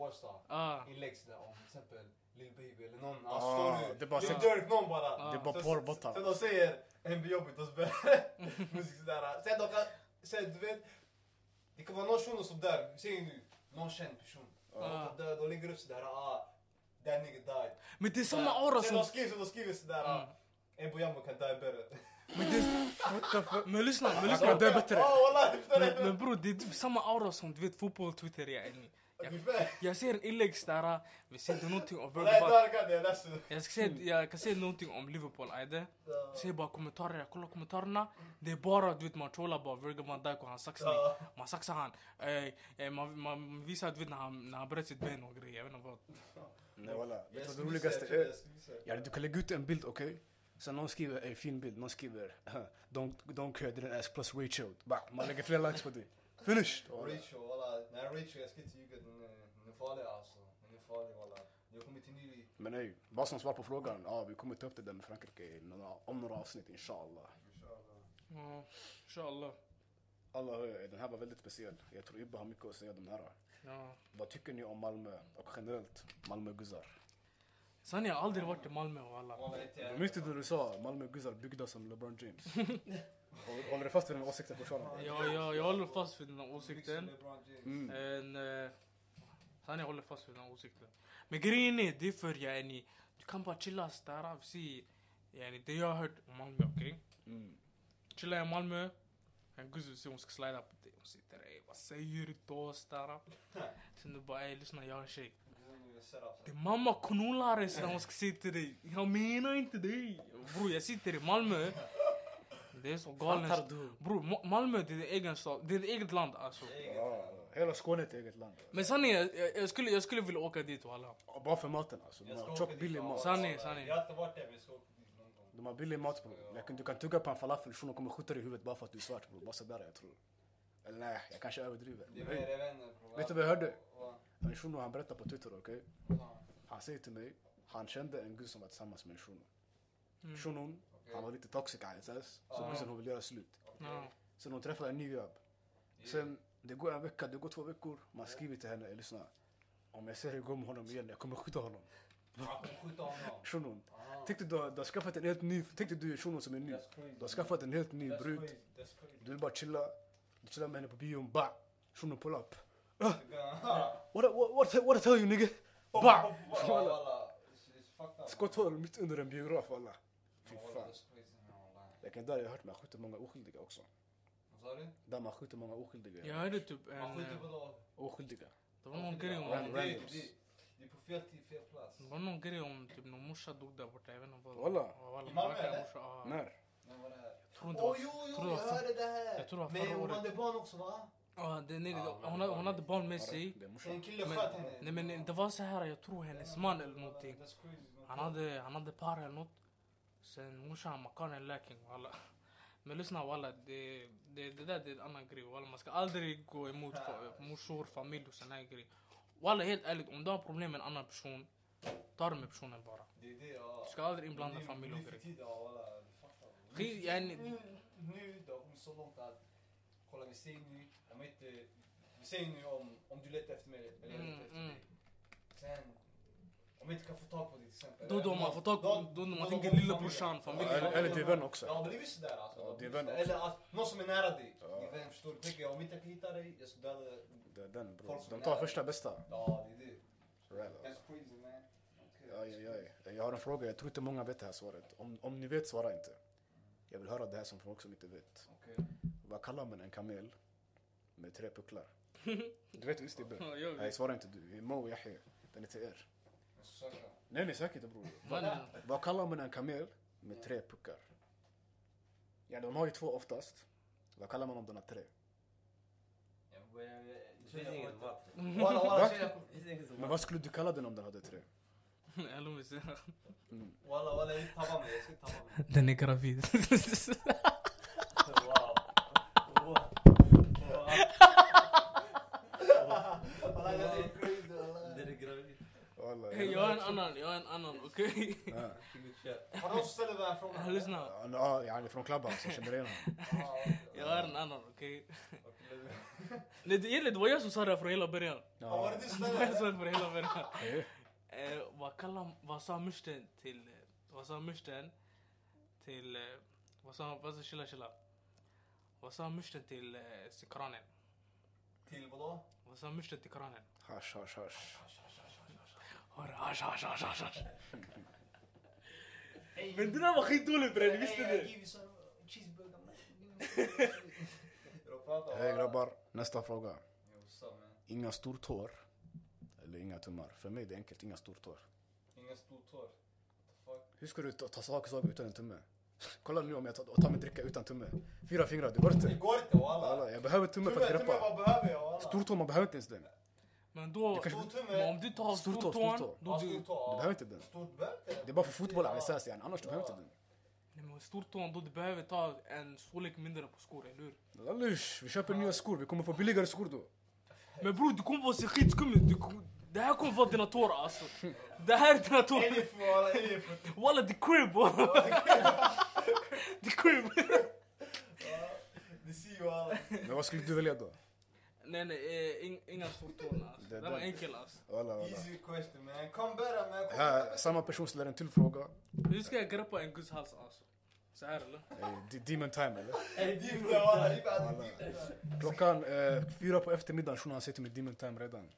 [SPEAKER 1] All-Star.
[SPEAKER 3] Ah.
[SPEAKER 1] Inlägg sådär om till exempel Lil Baby eller någon.
[SPEAKER 2] Ah,
[SPEAKER 1] Han står nu.
[SPEAKER 2] det är bara
[SPEAKER 1] Lil
[SPEAKER 3] så-
[SPEAKER 1] Durk, någon bara.
[SPEAKER 3] Ah.
[SPEAKER 2] Det är bara
[SPEAKER 1] Sen-
[SPEAKER 2] porrbottar.
[SPEAKER 1] Sen de säger en blir jobbigt och så börjar musik sådär. Sen de kan, sen du vet. Det kan vara någon shuno som dör. Säg nu, någon känd person.
[SPEAKER 3] Ah.
[SPEAKER 1] De dör, de lägger upp sådär. Ah, that nigga died.
[SPEAKER 3] Men det är samma
[SPEAKER 1] Sådär.
[SPEAKER 3] aura
[SPEAKER 1] Sen
[SPEAKER 3] som...
[SPEAKER 1] de skriver, de skriver sådär.
[SPEAKER 3] Mm.
[SPEAKER 1] ah, En Boyamo kan die better.
[SPEAKER 3] Men, det är,
[SPEAKER 2] What the fuck?
[SPEAKER 3] men lyssna, men
[SPEAKER 2] kan
[SPEAKER 3] lyssna.
[SPEAKER 2] dö bättre. Mm.
[SPEAKER 1] Ja, wallah, förstår
[SPEAKER 3] Men,
[SPEAKER 1] du?
[SPEAKER 3] men bror, det är typ samma aura som du vet fotboll, Twitter, ja, yani. Jag-
[SPEAKER 1] Ungefär.
[SPEAKER 3] Jag ser en inlägg där, vi säger någonting om
[SPEAKER 1] Nej,
[SPEAKER 3] Vergobot.
[SPEAKER 1] där kan det. Jag läste.
[SPEAKER 3] Jag, ska säga, jag kan säga någonting om Liverpool, ajde.
[SPEAKER 1] Ja.
[SPEAKER 3] Säg bara kommentarer, jag kollar kommentarerna. Det är bara, du vet, man trollar bara Virgil van Dijk och hans saxning.
[SPEAKER 1] Ja.
[SPEAKER 3] Man saxar han. Eh, eh, man, man visar, du vet, när han, när han bröt sitt ben och grejer. Jag vet inte vad.
[SPEAKER 2] Nej walla, vet du vad det
[SPEAKER 1] skulle
[SPEAKER 2] roligaste
[SPEAKER 1] säga, typ
[SPEAKER 2] är?
[SPEAKER 1] jag skulle säga.
[SPEAKER 2] Ja, du kan lägga ut en bild, okej? Sen någon skriver en fin bild, någon skriver don't, don't care, didn't ask plus ratio. Bah, man lägger flera likes på det. Finished! walla.
[SPEAKER 1] Rachel, walla. Nej, Rachel, jag ska inte ljuga. Den är, den är farlig alltså. Den är farlig, walla. Jag kommer till ny...
[SPEAKER 2] Men nej, vad som svar på frågan, ja vi kommer ta upp det där med Frankrike i några, om några avsnitt inshallah.
[SPEAKER 3] Ja, Inshallah.
[SPEAKER 2] Alla hör jag, den här var väldigt speciell. Jag tror Ibba har mycket att säga om den här.
[SPEAKER 3] Ja.
[SPEAKER 2] Vad tycker ni om Malmö och generellt Malmö guzzar?
[SPEAKER 3] Sen jag har aldrig varit i Malmö och alla.
[SPEAKER 1] Walla, inte jag.
[SPEAKER 2] Minns du det du sa? Malmö guzzar byggda som LeBron James. Håller- Håller du fast vid den åsikten fortfarande?
[SPEAKER 3] Ja, ja, jag håller fast vid den här
[SPEAKER 1] Liksom
[SPEAKER 3] åsikten.
[SPEAKER 1] LeBron James.
[SPEAKER 2] Mm.
[SPEAKER 3] En, eh, sen jag håller fast vid den här åsikten. Men grejen är, det är för yani, du kan bara chilla där och se. Yani, det jag har hört om Malmö, okej?
[SPEAKER 2] Mm.
[SPEAKER 3] Chilla i Malmö. En guzzo säger hon ska slida på dig. Hon sitter ey vad säger du då stara? Sen du bara ey lyssna jag har en tjej.
[SPEAKER 1] Liksom i setup.
[SPEAKER 2] Typ-
[SPEAKER 3] Din mamma knullar ens när hon ska säga till dig. Jag menar inte dig. Bror jag sitter i Malmö. Det är så
[SPEAKER 2] Fattar
[SPEAKER 3] galen.
[SPEAKER 2] du?
[SPEAKER 3] Bror Ma- Malmö det är din egen stad. Det är ditt eget land alltså.
[SPEAKER 2] Ja, hela Skåne är ett eget land.
[SPEAKER 3] Men sanningen jag, jag, jag, skulle, jag skulle vilja åka dit walla.
[SPEAKER 2] Ja, Bara för maten alltså. De
[SPEAKER 1] Jag ska
[SPEAKER 2] har
[SPEAKER 1] åka
[SPEAKER 2] tjock
[SPEAKER 1] dit,
[SPEAKER 2] billig
[SPEAKER 1] walla.
[SPEAKER 2] mat.
[SPEAKER 3] Sanning, sanning.
[SPEAKER 1] Jag har inte varit där, men jag ska åka dit någon gång.
[SPEAKER 2] De har billig mat bror. Jag kan- Du kan tugga på en falafel shunon kommer skjuta dig i huvudet bara för att du är svart bror. Bara sådär jag tror. Eller nej, jag kanske överdriver.
[SPEAKER 1] Det är
[SPEAKER 2] Men,
[SPEAKER 1] med
[SPEAKER 2] hej,
[SPEAKER 1] era vänner, bror.
[SPEAKER 2] Vet du vad jag hörde?
[SPEAKER 1] Walla.
[SPEAKER 2] Men shunon han berättar på Twitter okej?
[SPEAKER 1] Ja.
[SPEAKER 2] Han säger till mig, han kände en gud som var tillsammans med en shuno. Shunon, han var lite toxic han SS. Så
[SPEAKER 1] Ja.
[SPEAKER 2] brorsan hon vill göra slut.
[SPEAKER 3] Ja.
[SPEAKER 2] Sen hon träffar en ny grabb. Sen det går en vecka, det går två veckor. Man skriver till henne, lyssna. Om jag ser dig gå med honom igen, jag kommer skjuta honom.
[SPEAKER 1] Han kommer skjuta honom.
[SPEAKER 2] Shunon.
[SPEAKER 1] Aha.
[SPEAKER 2] Tänk dig du, har- du har skaffat en helt ny, tänk dig du är shunon som är ny.
[SPEAKER 1] That's crazy.
[SPEAKER 2] Du har skaffat en helt ny
[SPEAKER 1] That's
[SPEAKER 2] brud.
[SPEAKER 1] crazy, that's crazy.
[SPEAKER 2] Du vill bara chilla. Du chillar med henne på bion, ba! Shunon pull up. Ah,
[SPEAKER 1] Walla,
[SPEAKER 2] What, I- what, what, I- what I tell you nigga? Ba!
[SPEAKER 1] walla. It's- it's fucked up.
[SPEAKER 2] Skotthål mitt under en biograf alla. Fy
[SPEAKER 1] Walla,
[SPEAKER 2] fan.
[SPEAKER 1] that's crazy, man, walla.
[SPEAKER 2] Jag kan där jag har hört man skjuter många oskyldiga också.
[SPEAKER 1] Vad sa du?
[SPEAKER 2] Där man skjuter många oskyldiga.
[SPEAKER 3] Jag hörde typ
[SPEAKER 1] Man
[SPEAKER 3] en...
[SPEAKER 1] skjuter
[SPEAKER 3] eh,
[SPEAKER 1] på dem.
[SPEAKER 2] Oskyldiga.
[SPEAKER 3] Det var någon grej
[SPEAKER 1] Ja,
[SPEAKER 3] om...
[SPEAKER 1] det är-
[SPEAKER 2] randoms.
[SPEAKER 1] det är- Det är på fel tid, fel plats.
[SPEAKER 3] Det var någon grej om typ någon morsa dog där borta. Jag vet inte vad.
[SPEAKER 2] Walla.
[SPEAKER 3] Ja, walla.
[SPEAKER 1] I Malmö,
[SPEAKER 3] verkar
[SPEAKER 1] eller?
[SPEAKER 3] morsa, ja.
[SPEAKER 2] När?
[SPEAKER 1] När var det här?
[SPEAKER 3] Jag tror inte det
[SPEAKER 1] Åh
[SPEAKER 3] var...
[SPEAKER 1] jo, jo,
[SPEAKER 3] tror det
[SPEAKER 1] jag
[SPEAKER 3] var för-
[SPEAKER 1] hörde det här!
[SPEAKER 3] jag tror det var
[SPEAKER 1] Med
[SPEAKER 3] förra
[SPEAKER 1] hon
[SPEAKER 3] året.
[SPEAKER 1] hade barn också va?
[SPEAKER 3] Ja, det, nej,
[SPEAKER 1] Ja,
[SPEAKER 3] hon, hade, hon hade barn med sig.
[SPEAKER 2] Det är morsan.
[SPEAKER 1] En kille
[SPEAKER 3] Men,
[SPEAKER 1] sköt henne.
[SPEAKER 3] nej men det var så här, jag tror hennes man eller någonting.
[SPEAKER 1] That's crazy.
[SPEAKER 3] Han hade, han hade par eller något. Sen morsan, makanen, läking walla. Men lyssna walla, det, det, det där det är en annan grej walla. Man ska aldrig gå emot fa- morsor, familj och såna här grejer. Walla helt ärligt, om du har problem med en annan person, ta det med personen bara.
[SPEAKER 1] Det är det ja.
[SPEAKER 3] Du ska aldrig inblanda
[SPEAKER 1] Nu-
[SPEAKER 3] familj och
[SPEAKER 1] Nu för
[SPEAKER 3] grejer.
[SPEAKER 1] tiden ja, walla, du fattar.
[SPEAKER 3] Skit,
[SPEAKER 1] Nu-
[SPEAKER 3] yani-
[SPEAKER 1] nu- Nu det har kommit så långt att, kolla vi säger nu, om inte, vi säger nu om, om du letar efter mig eller jag
[SPEAKER 3] Mm,
[SPEAKER 1] letar efter
[SPEAKER 3] mm.
[SPEAKER 1] dig. Sen, om jag inte kan få tag på dig till exempel.
[SPEAKER 3] Då- då man får tag på- då- då man tänker
[SPEAKER 1] kommer
[SPEAKER 3] lilla
[SPEAKER 1] familjen.
[SPEAKER 3] brorsan, familjen.
[SPEAKER 2] Eller- eller det är vän också.
[SPEAKER 1] Ja, men det är ju sådär alltså.
[SPEAKER 2] Ja,
[SPEAKER 1] Det har
[SPEAKER 2] det är
[SPEAKER 1] blivit
[SPEAKER 2] vän
[SPEAKER 1] sådär.
[SPEAKER 2] också.
[SPEAKER 1] Eller att någon som är nära dig.
[SPEAKER 2] Ja.
[SPEAKER 1] Din vän förstår du. Tänker jag om inte jag kan hitta dig, jag ska döda dig.
[SPEAKER 2] Det är den bror.
[SPEAKER 1] Folk som
[SPEAKER 2] De tar
[SPEAKER 1] är-
[SPEAKER 2] första bästa.
[SPEAKER 1] Ja, det är det.
[SPEAKER 2] Rally.
[SPEAKER 1] That's crazy man. Okay.
[SPEAKER 2] Aj, aj, aj. Jag har en fråga, jag tror inte många vet det här svaret. Om, om ni vet, svara inte. Jag vill höra det här som folk som inte vet.
[SPEAKER 1] Okej.
[SPEAKER 2] Vad kallar man en kamel med tre pucklar? Du vet visst det
[SPEAKER 3] Ja, jag
[SPEAKER 2] är
[SPEAKER 3] vet.
[SPEAKER 2] Nej, svara inte du. Mo och Yahya. Den är till er.
[SPEAKER 1] Jag ska söka.
[SPEAKER 2] Nej, nej, säkert bror.
[SPEAKER 3] Walla.
[SPEAKER 2] Vad kallar man en kamel med tre puckar? Ja, de har ju två oftast. Vad kallar man om den har tre?
[SPEAKER 1] Jag börjar- jag-
[SPEAKER 4] Det finns inget mat.
[SPEAKER 1] Walla walla
[SPEAKER 2] Va?
[SPEAKER 1] tjejer.
[SPEAKER 4] Det finns inget
[SPEAKER 2] Men
[SPEAKER 4] mat.
[SPEAKER 2] vad skulle du kalla den om den hade tre?
[SPEAKER 3] Jag lovar, så-
[SPEAKER 1] Walla walla jag tappar mig. Jag ska tappa mig.
[SPEAKER 3] Den är gravid.
[SPEAKER 1] Wow. Wow. Walla jag är crazy walla.
[SPEAKER 4] Det är gravid.
[SPEAKER 2] Wallah,
[SPEAKER 3] Hey, jag har en annan, jag har en annan, okej?
[SPEAKER 2] Ja.
[SPEAKER 4] Gud, kör.
[SPEAKER 1] Har någon som ställer den här
[SPEAKER 3] Ja,
[SPEAKER 1] frågan?
[SPEAKER 3] Lyssna.
[SPEAKER 2] Ja, ja, jag är från Clubhouse, jag känner igen honom.
[SPEAKER 1] Ja, okej.
[SPEAKER 3] Jag har en annan, okej?
[SPEAKER 1] Okej,
[SPEAKER 3] Nej, det, egentligen det var jag som sa det här från hela början.
[SPEAKER 1] Ja, var det
[SPEAKER 2] Ja.
[SPEAKER 1] du som
[SPEAKER 3] Det var jag som
[SPEAKER 1] sa
[SPEAKER 3] sa
[SPEAKER 1] det?
[SPEAKER 3] det från hela början.
[SPEAKER 2] Eh,
[SPEAKER 3] Eh, vad kallar, vad sa musten till, eh, vad sa musten till, eh, vad sa, vad sa, chilla chilla. Vad sa musten till eh, till kranen?
[SPEAKER 1] Till vadå?
[SPEAKER 3] Vad sa musten till kranen?
[SPEAKER 2] Hasch, hasch, hasch.
[SPEAKER 3] Hörru, hasch, hasch, hasch, hasch, hasch. Men den här var skitdålig bre, ni visste
[SPEAKER 1] Hey, I
[SPEAKER 3] det?
[SPEAKER 1] give you some cheeseburger, man. Give me some cheeseburger. Jag pratar
[SPEAKER 2] Hej
[SPEAKER 1] bara-
[SPEAKER 2] grabbar, nästa fråga.
[SPEAKER 1] Jo, what's up, man?
[SPEAKER 2] Inga stortår. Eller inga tummar. För mig är det enkelt, inga stortår.
[SPEAKER 1] Inga stortår. What the fuck?
[SPEAKER 2] Hur ska du ta, ta saker, saker utan en tumme? Kolla nu om jag tar, tar min dricka utan tumme. Fyra fingrar, det går
[SPEAKER 1] Det
[SPEAKER 2] inte.
[SPEAKER 1] går inte walla.
[SPEAKER 2] Alla, jag behöver tumme för
[SPEAKER 1] Tumme,
[SPEAKER 2] att
[SPEAKER 1] tumme,
[SPEAKER 2] greppa.
[SPEAKER 1] vad behöver jag walla?
[SPEAKER 2] Stortå, man behöver inte ens den.
[SPEAKER 3] Men då,
[SPEAKER 2] kanske-
[SPEAKER 1] Stortumme.
[SPEAKER 3] men om du tar
[SPEAKER 2] Stortå,
[SPEAKER 3] stortån,
[SPEAKER 2] stortå.
[SPEAKER 3] då
[SPEAKER 1] Ja,
[SPEAKER 3] du,
[SPEAKER 1] stortå, ja.
[SPEAKER 2] Du behöver inte den.
[SPEAKER 1] Stort bälte?
[SPEAKER 2] Det är bara för fotboll, ja. Alisas, yani. annars du behöver inte den.
[SPEAKER 3] nej men stortån då du behöver ta en storlek mindre på skor, eller hur?
[SPEAKER 2] Lallush, vi köper nya skor, vi kommer få billigare skor då.
[SPEAKER 3] Men bror du kommer vara så skitskum ut, du kom- det här kommer vara dina tårar alltså. Det här är dina tårar.
[SPEAKER 1] Elif walla, Elif.
[SPEAKER 3] Walla the crib walla! the crib!
[SPEAKER 1] Det ser ju alla.
[SPEAKER 2] Men vad skulle du välja då?
[SPEAKER 3] nej nej, eh, ing- inga stortån alltså.
[SPEAKER 2] Det
[SPEAKER 3] Det,
[SPEAKER 2] är
[SPEAKER 3] var
[SPEAKER 2] den.
[SPEAKER 3] enkel alltså.
[SPEAKER 2] Walla, walla.
[SPEAKER 1] Easy question man. Kom bättre man. Kom
[SPEAKER 2] Här, samma person ställer en till fråga.
[SPEAKER 3] Hur ska jag greppa en guds hals alltså? Så här eller?
[SPEAKER 2] Eh, D- Demon time eller?
[SPEAKER 1] Ey, deep där walla. Deep där, deep där.
[SPEAKER 2] Klockan eh, fyra på eftermiddagen shunon han sitter med demon time redan.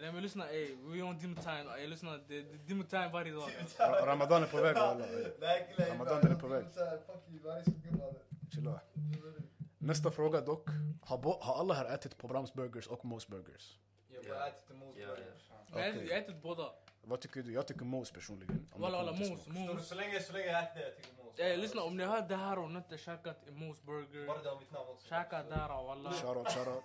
[SPEAKER 3] Nej men lyssna ey, we on dim time. Ey lyssna, det det är dim time varje dag. alltså.
[SPEAKER 2] Ra- Ramadan är på väg walla.
[SPEAKER 1] Nej, killar.
[SPEAKER 2] Ramadan är på väg.
[SPEAKER 1] Fuck you, varje sekund walla.
[SPEAKER 2] Chilla. Nästa fråga dock. Har, bo- har alla här ätit på Brahms Burgers och Mos Burgers?
[SPEAKER 1] Jag
[SPEAKER 4] Ja.
[SPEAKER 1] bara ätit mos
[SPEAKER 4] Ja,
[SPEAKER 1] burgare.
[SPEAKER 4] ja.
[SPEAKER 1] brorsan.
[SPEAKER 3] Men jag ätit-
[SPEAKER 2] Okej.
[SPEAKER 3] jag har ätit båda.
[SPEAKER 2] Vad tycker du? Jag tycker Mos personligen. om
[SPEAKER 3] Walla
[SPEAKER 2] det
[SPEAKER 3] walla
[SPEAKER 2] kommer till
[SPEAKER 3] mos,
[SPEAKER 2] smak.
[SPEAKER 1] Förstår du,
[SPEAKER 3] mos.
[SPEAKER 1] Så länge så länge jag äter det, jag tycker mos.
[SPEAKER 3] Ey lyssna, om ni hör det här och ni inte käkat i Mos
[SPEAKER 1] Bara
[SPEAKER 3] burger.
[SPEAKER 1] det har mitt namn också.
[SPEAKER 3] Käka där walla.
[SPEAKER 2] Shoutout, shoutout.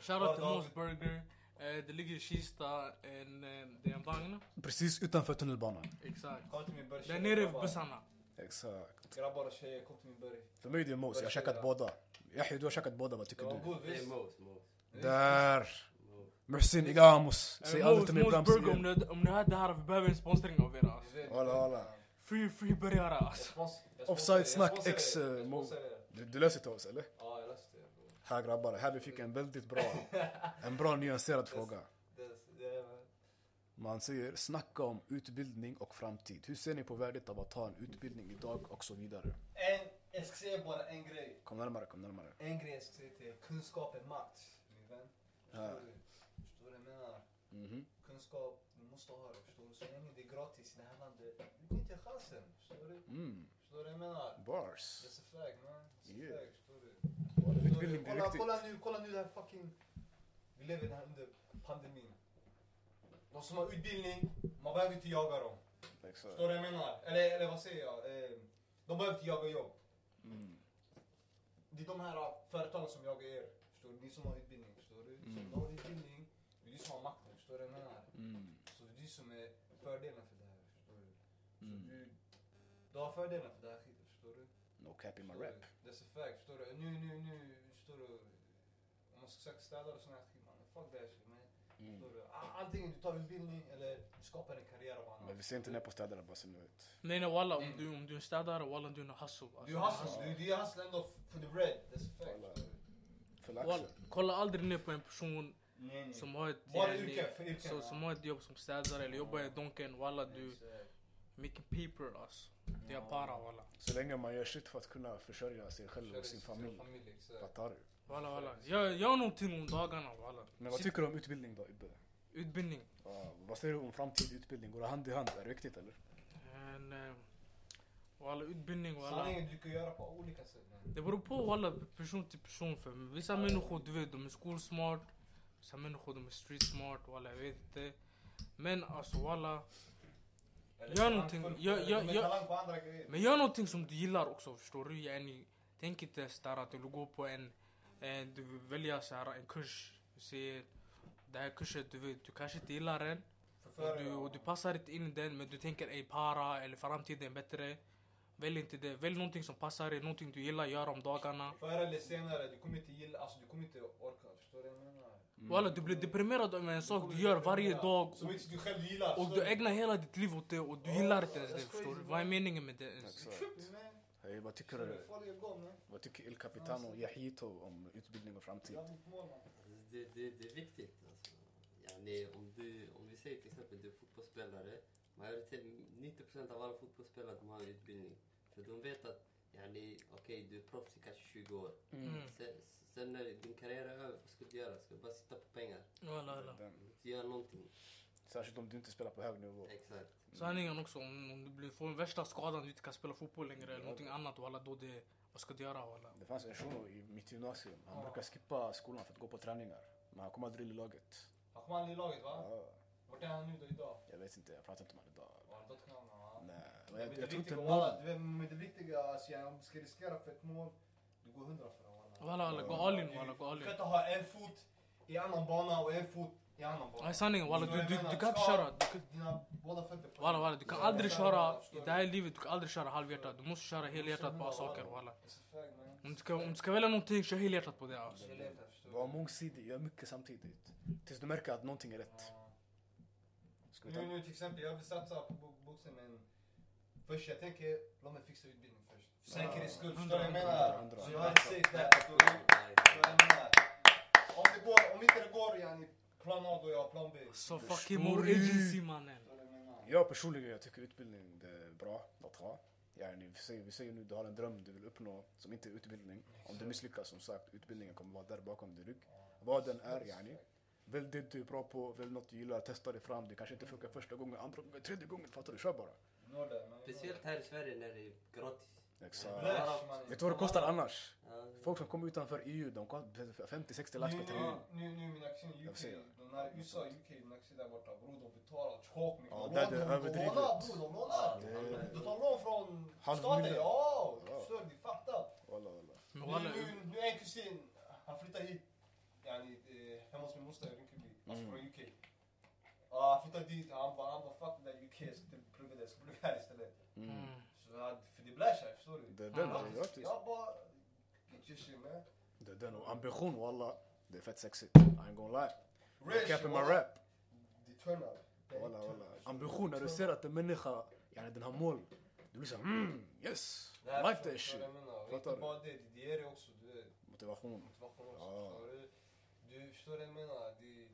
[SPEAKER 3] Shoutout till
[SPEAKER 1] Bara
[SPEAKER 3] Mos burger. Eh, Det ligger i Kista, en, eh, det är en vagn.
[SPEAKER 2] Precis utanför tunnelbanan.
[SPEAKER 3] Exakt.
[SPEAKER 1] Kom till min berg.
[SPEAKER 3] Där
[SPEAKER 1] tjejer,
[SPEAKER 3] nere vid
[SPEAKER 1] grabbar.
[SPEAKER 3] bussarna.
[SPEAKER 2] Exakt.
[SPEAKER 1] Grabbar och tjejer, kom till min berg.
[SPEAKER 2] För mig är det Mos. Jag har käkat båda. Yahya, du har käkat båda. Vad
[SPEAKER 1] Det
[SPEAKER 2] tycker
[SPEAKER 1] var
[SPEAKER 2] du?
[SPEAKER 1] god
[SPEAKER 4] Det är
[SPEAKER 1] visst.
[SPEAKER 4] mos, mos.
[SPEAKER 2] Där!
[SPEAKER 4] mos.
[SPEAKER 2] Muhsin Igamos.
[SPEAKER 3] Eh,
[SPEAKER 2] Säg
[SPEAKER 3] Mos-
[SPEAKER 2] aldrig till mig
[SPEAKER 3] Mos
[SPEAKER 2] Brahms
[SPEAKER 3] Burger,
[SPEAKER 2] igen.
[SPEAKER 3] om ni- om ni hör det här, vi behöver en sponsring av er alltså.
[SPEAKER 1] Du vet,
[SPEAKER 2] Walla,
[SPEAKER 1] du vet.
[SPEAKER 2] walla.
[SPEAKER 3] Free, free burgare alltså.
[SPEAKER 2] Offside snack ex, eh, mo-
[SPEAKER 1] mos.
[SPEAKER 2] Du, du läser till oss eller?
[SPEAKER 1] Ja, jag läste det. bror.
[SPEAKER 2] Här grabbar, här vi fick en väldigt bra, en bra nyanserad fråga.
[SPEAKER 1] Det- det är-
[SPEAKER 2] Man säger snacka om utbildning och framtid. Hur ser ni på värdet av att ha en utbildning idag och så vidare?
[SPEAKER 1] En, jag ska säga bara en grej.
[SPEAKER 2] Kom närmare, kom närmare.
[SPEAKER 1] En grej jag ska säga till er. Kunskap är makt, min vän.
[SPEAKER 2] Ja.
[SPEAKER 1] Förstår du? Förstår du vad jag menar?
[SPEAKER 2] Mhm.
[SPEAKER 1] Kunskap, du måste ha det. Förstår du? Så länge det är gratis i det här landet, utnyttja chansen. Förstår du?
[SPEAKER 2] Mm.
[SPEAKER 1] Förstår du vad jag menar?
[SPEAKER 2] Bars.
[SPEAKER 1] That's a fact man. That's a
[SPEAKER 2] Yeah.
[SPEAKER 1] fact, förstår du?
[SPEAKER 2] Utbildning det är
[SPEAKER 1] kolla,
[SPEAKER 2] viktigt.
[SPEAKER 1] kolla nu, kolla nu det här fucking... Vi lever det här under pandemin. De som har utbildning, man behöver inte jaga dem.
[SPEAKER 2] Exakt.
[SPEAKER 1] Förstår du vad jag menar? Eller, eller vad säger jag? Eh, De behöver inte jaga jobb.
[SPEAKER 2] Mm.
[SPEAKER 1] Det är de här ah, företagen som jagar er. Förstår du? Ni som har utbildning. Förstår du? Så om
[SPEAKER 2] Mm.
[SPEAKER 1] du har utbildning, det är du som har makten. Förstår du vad jag menar?
[SPEAKER 2] Mm.
[SPEAKER 1] Så det är du som är fördelen för det här. Förstår du? Så
[SPEAKER 2] Mm.
[SPEAKER 1] du, du har fördelen för det här skiten. Förstår du?
[SPEAKER 2] No cap in my
[SPEAKER 1] Förstår du?
[SPEAKER 2] rap.
[SPEAKER 1] That's a fact. Förstår du? Nu, nu, nu. Förstår du? Om man ska söka städare och sån här skit. Man, fuck det här shit man.
[SPEAKER 2] Mm.
[SPEAKER 1] Förstår du? A- Antingen du tar utbildning eller du skapar en karriär av annat.
[SPEAKER 2] Men vi ser inte ner på städerna bara som ut.
[SPEAKER 3] Nej nej walla, om
[SPEAKER 1] Mm.
[SPEAKER 3] du, om du är städare walla du är en hustle. Alltså.
[SPEAKER 1] Du hustlar, du, du är hustlar ändå f- for the bread. That's a fact.
[SPEAKER 2] Kolla.
[SPEAKER 1] Förstår du?
[SPEAKER 2] För
[SPEAKER 3] Walla,
[SPEAKER 2] laxen.
[SPEAKER 3] kolla aldrig ner på en person
[SPEAKER 1] Nej, nej.
[SPEAKER 3] som har ett,
[SPEAKER 1] Bara
[SPEAKER 3] yani,
[SPEAKER 1] yrke, för yrke.
[SPEAKER 3] så, som har ett jobb som städare eller jobbar i Donken. Walla du,
[SPEAKER 1] Exakt.
[SPEAKER 3] making paper alltså. Det är para walla.
[SPEAKER 2] Så länge man gör shit för att kunna försörja sig själv och sin familj.
[SPEAKER 1] familj exakt.
[SPEAKER 2] Fattar du?
[SPEAKER 3] Walla walla, gör, gör någonting om dagarna walla.
[SPEAKER 2] Men vad
[SPEAKER 3] Sitt-
[SPEAKER 2] tycker du om utbildning då Ibbe?
[SPEAKER 3] Utbildning.
[SPEAKER 2] Ja, vad säger du om framtid, utbildning? Går det hand i hand? Är det viktigt eller?
[SPEAKER 3] En, eh, Walla utbildning walla.
[SPEAKER 1] Sanningen du kan göra på olika sätt. man.
[SPEAKER 3] Det beror på alla person till person för mig. Vissa människor du vet, de är skolsmart. Vissa människor de är street smart. Walla jag vet inte. Men alltså walla.
[SPEAKER 1] Eller
[SPEAKER 3] Gör
[SPEAKER 1] talang
[SPEAKER 3] någonting.
[SPEAKER 1] för-
[SPEAKER 3] Gör-
[SPEAKER 1] eller
[SPEAKER 3] gör-
[SPEAKER 1] med
[SPEAKER 3] gör-
[SPEAKER 1] talang på andra grejer.
[SPEAKER 3] Men gör någonting som du gillar också förstår du. Yani, tänk inte sådär att du går på en, en du vill välja såhär en kurs. Du säger den här kursen du vet, du kanske inte gillar den. Och
[SPEAKER 1] Förföra
[SPEAKER 3] du,
[SPEAKER 1] dem.
[SPEAKER 3] och du passar inte in i den men du tänker ej para eller framtiden är bättre. Välj inte det. Välj någonting som passar dig, någonting du gillar att göra om dagarna.
[SPEAKER 1] Förr eller senare, du kommer inte gilla, alltså du kommer inte orka. Förstår du vad jag menar?
[SPEAKER 3] Mm. Walla du blir deprimerad över en sak du gör varje dag.
[SPEAKER 1] Som inte du själv gillar.
[SPEAKER 3] Och
[SPEAKER 1] förstår
[SPEAKER 3] du ägnar hela ditt liv åt det och du gillar inte ens det.
[SPEAKER 1] That's
[SPEAKER 3] Förstår du?
[SPEAKER 1] crazy,
[SPEAKER 3] Vad är
[SPEAKER 1] man.
[SPEAKER 3] meningen med det ens?
[SPEAKER 2] Exakt.
[SPEAKER 1] du? Man,
[SPEAKER 2] Hej, vad tycker
[SPEAKER 1] förstår du?
[SPEAKER 2] du?
[SPEAKER 1] Farliga gång man.
[SPEAKER 2] Vad tycker El Capitano Yahito om utbildning och framtid?
[SPEAKER 1] Jag har mitt mål man.
[SPEAKER 4] Alltså, det, det, det är viktigt. Alltså. Yani, om, du, om vi säger till exempel du är fotbollsspelare. Majoritet, 90% av alla fotbollsspelare de har utbildning. För de vet att yani, okej du är proffs i kanske 20 år.
[SPEAKER 3] Mm.
[SPEAKER 4] Sen, sen när din karriär är över, vad ska du göra? Ska du bara sitta på pengar?
[SPEAKER 3] Walla, walla.
[SPEAKER 2] Den.
[SPEAKER 4] Inte göra någonting.
[SPEAKER 2] Särskilt om du inte spelar på hög nivå.
[SPEAKER 4] Exakt.
[SPEAKER 3] Sanningen också, om, om du blir, får den värsta skadan du inte kan spela fotboll längre eller någonting annat walla, då det, vad ska du göra walla?
[SPEAKER 2] Det fanns en shuno i mitt gymnasium. Han brukar skippa skolan för att gå på träningar. Men han kom aldrig in i laget.
[SPEAKER 1] Han kom aldrig i laget va?
[SPEAKER 2] Ja,
[SPEAKER 1] Vart är han nu då idag?
[SPEAKER 2] jag vet inte, jag pratar inte med honom idag.
[SPEAKER 1] Har han dött knallarna va?
[SPEAKER 2] Nej, och
[SPEAKER 1] Men
[SPEAKER 2] jag,
[SPEAKER 1] det
[SPEAKER 2] jag tror inte
[SPEAKER 1] viktiga, walla,
[SPEAKER 2] någon...
[SPEAKER 1] du vet, Men det viktiga, alltså, ja, om du ska riskera för ett mål, du går hundra för det. walla.
[SPEAKER 3] Walla walla, gå all in walla, gå all
[SPEAKER 1] Du kan
[SPEAKER 3] in.
[SPEAKER 1] inte ha en fot i annan bana och en fot i annan bana.
[SPEAKER 3] Nej sanningen walla, du, du, du kan inte köra. Du kan,
[SPEAKER 1] Dina båda fötter på
[SPEAKER 3] walla walla, du kan
[SPEAKER 1] Ja,
[SPEAKER 3] aldrig
[SPEAKER 1] jag förstår
[SPEAKER 3] köra,
[SPEAKER 1] det, jag
[SPEAKER 3] i
[SPEAKER 1] förstår
[SPEAKER 3] det här livet, du kan aldrig köra halvhjärtat. Du måste köra helhjärtat på saker walla.
[SPEAKER 1] It's a fact, man.
[SPEAKER 3] Om du ska, om du ska välja någonting, kör helhjärtat på det alltså.
[SPEAKER 1] Jag letar, förstår du?
[SPEAKER 2] Var mångsidig, gör mycket samtidigt. Tills du märker att någonting är rätt.
[SPEAKER 1] Ja.
[SPEAKER 2] Ska vi ta
[SPEAKER 1] Nu, nu till exempel, jag vill satsa på bo- boxning men först jag tänker, låt mig fixa utbildning först. För säkerhets skull, förstår du vad jag
[SPEAKER 2] Hundra,
[SPEAKER 1] menar?
[SPEAKER 2] hundra,
[SPEAKER 1] Så jag
[SPEAKER 2] hundra.
[SPEAKER 1] har ett safe där, förstår du? Förstår du vad jag menar? Om det går, om inte det går, yani plan A då jag har plan B.
[SPEAKER 3] Så
[SPEAKER 2] Förstår
[SPEAKER 3] fucking more
[SPEAKER 2] du?
[SPEAKER 3] agency mannen.
[SPEAKER 1] Förstår du vad jag menar?
[SPEAKER 2] Jag personligen jag tycker utbildning det är bra att ha. Yani, vi, säger, vi säger nu du har en dröm du vill uppnå som inte är utbildning. Om du misslyckas som sagt, utbildningen kommer vara där bakom din rygg. Vad den är yani. Välj det du är bra på, välj något du gillar, testa dig fram. Det kanske inte funkar första gången, andra gången, tredje gången. Fattar du? Kör bara.
[SPEAKER 1] Du når där, man.
[SPEAKER 4] Speciellt här i Sverige när det är gratis.
[SPEAKER 2] Exakt.
[SPEAKER 1] Läs, man.
[SPEAKER 2] Vet du vad det kostar annars?
[SPEAKER 4] Ja,
[SPEAKER 2] Folk som kommer utanför EU, de kostar 50-60 lax
[SPEAKER 1] Nu, nu,
[SPEAKER 2] per termin.
[SPEAKER 1] nu, nu mina kusiner i
[SPEAKER 2] Jag
[SPEAKER 1] UK,
[SPEAKER 2] ser.
[SPEAKER 1] de här USA, UK, mina kusiner där borta, bror de betalar tjockt mycket.
[SPEAKER 2] Ja,
[SPEAKER 1] De
[SPEAKER 2] där
[SPEAKER 1] lånar,
[SPEAKER 2] det är
[SPEAKER 1] de
[SPEAKER 2] överdrivet.
[SPEAKER 1] lånar, bror, de lånar.
[SPEAKER 2] Det-
[SPEAKER 1] De tar lån från
[SPEAKER 2] Halv
[SPEAKER 1] staten,
[SPEAKER 2] miljon.
[SPEAKER 1] ja!
[SPEAKER 2] Ja.
[SPEAKER 1] Förstår du? Fattar.
[SPEAKER 2] Walla, walla.
[SPEAKER 3] Men
[SPEAKER 1] Nu,
[SPEAKER 3] walla,
[SPEAKER 1] nu, nu är en kusin, han flyttar hit, yani, eh, hemma hos min moster i Rinkeby, alltså
[SPEAKER 2] Mm.
[SPEAKER 1] från UK. Ja, han flyttar dit, han bara, han bara fuck det där UK, jag ska inte plugga där, jag ska plugga här istället.
[SPEAKER 2] Mm.
[SPEAKER 3] mm.
[SPEAKER 1] Så, han- för det blir sig, förstår du?
[SPEAKER 2] Det är den, det är
[SPEAKER 1] Gratis.
[SPEAKER 2] gratis.
[SPEAKER 1] Jag bara, get your shit man.
[SPEAKER 2] Det är den. Och ambition walla, det är fett sexigt. I ain't gonna lie.
[SPEAKER 1] Rich,
[SPEAKER 2] Jag capping my
[SPEAKER 1] walla.
[SPEAKER 2] rap.
[SPEAKER 1] Det är turn up. Det är
[SPEAKER 2] Walla,
[SPEAKER 1] turn
[SPEAKER 2] walla.
[SPEAKER 1] up.
[SPEAKER 2] Ambition, när du ser att en människa, yani den har mål. Du blir såhär mm, yes,
[SPEAKER 1] Det här
[SPEAKER 2] like
[SPEAKER 1] förstår
[SPEAKER 2] that shit.
[SPEAKER 1] jag vad jag menar. Och
[SPEAKER 2] Fattar
[SPEAKER 1] Inte
[SPEAKER 2] du?
[SPEAKER 1] bara det, det ger dig också du vet,
[SPEAKER 2] Motivation.
[SPEAKER 1] motivation också.
[SPEAKER 2] Ja.
[SPEAKER 1] Förstår du? Du förstår vad jag menar? Det,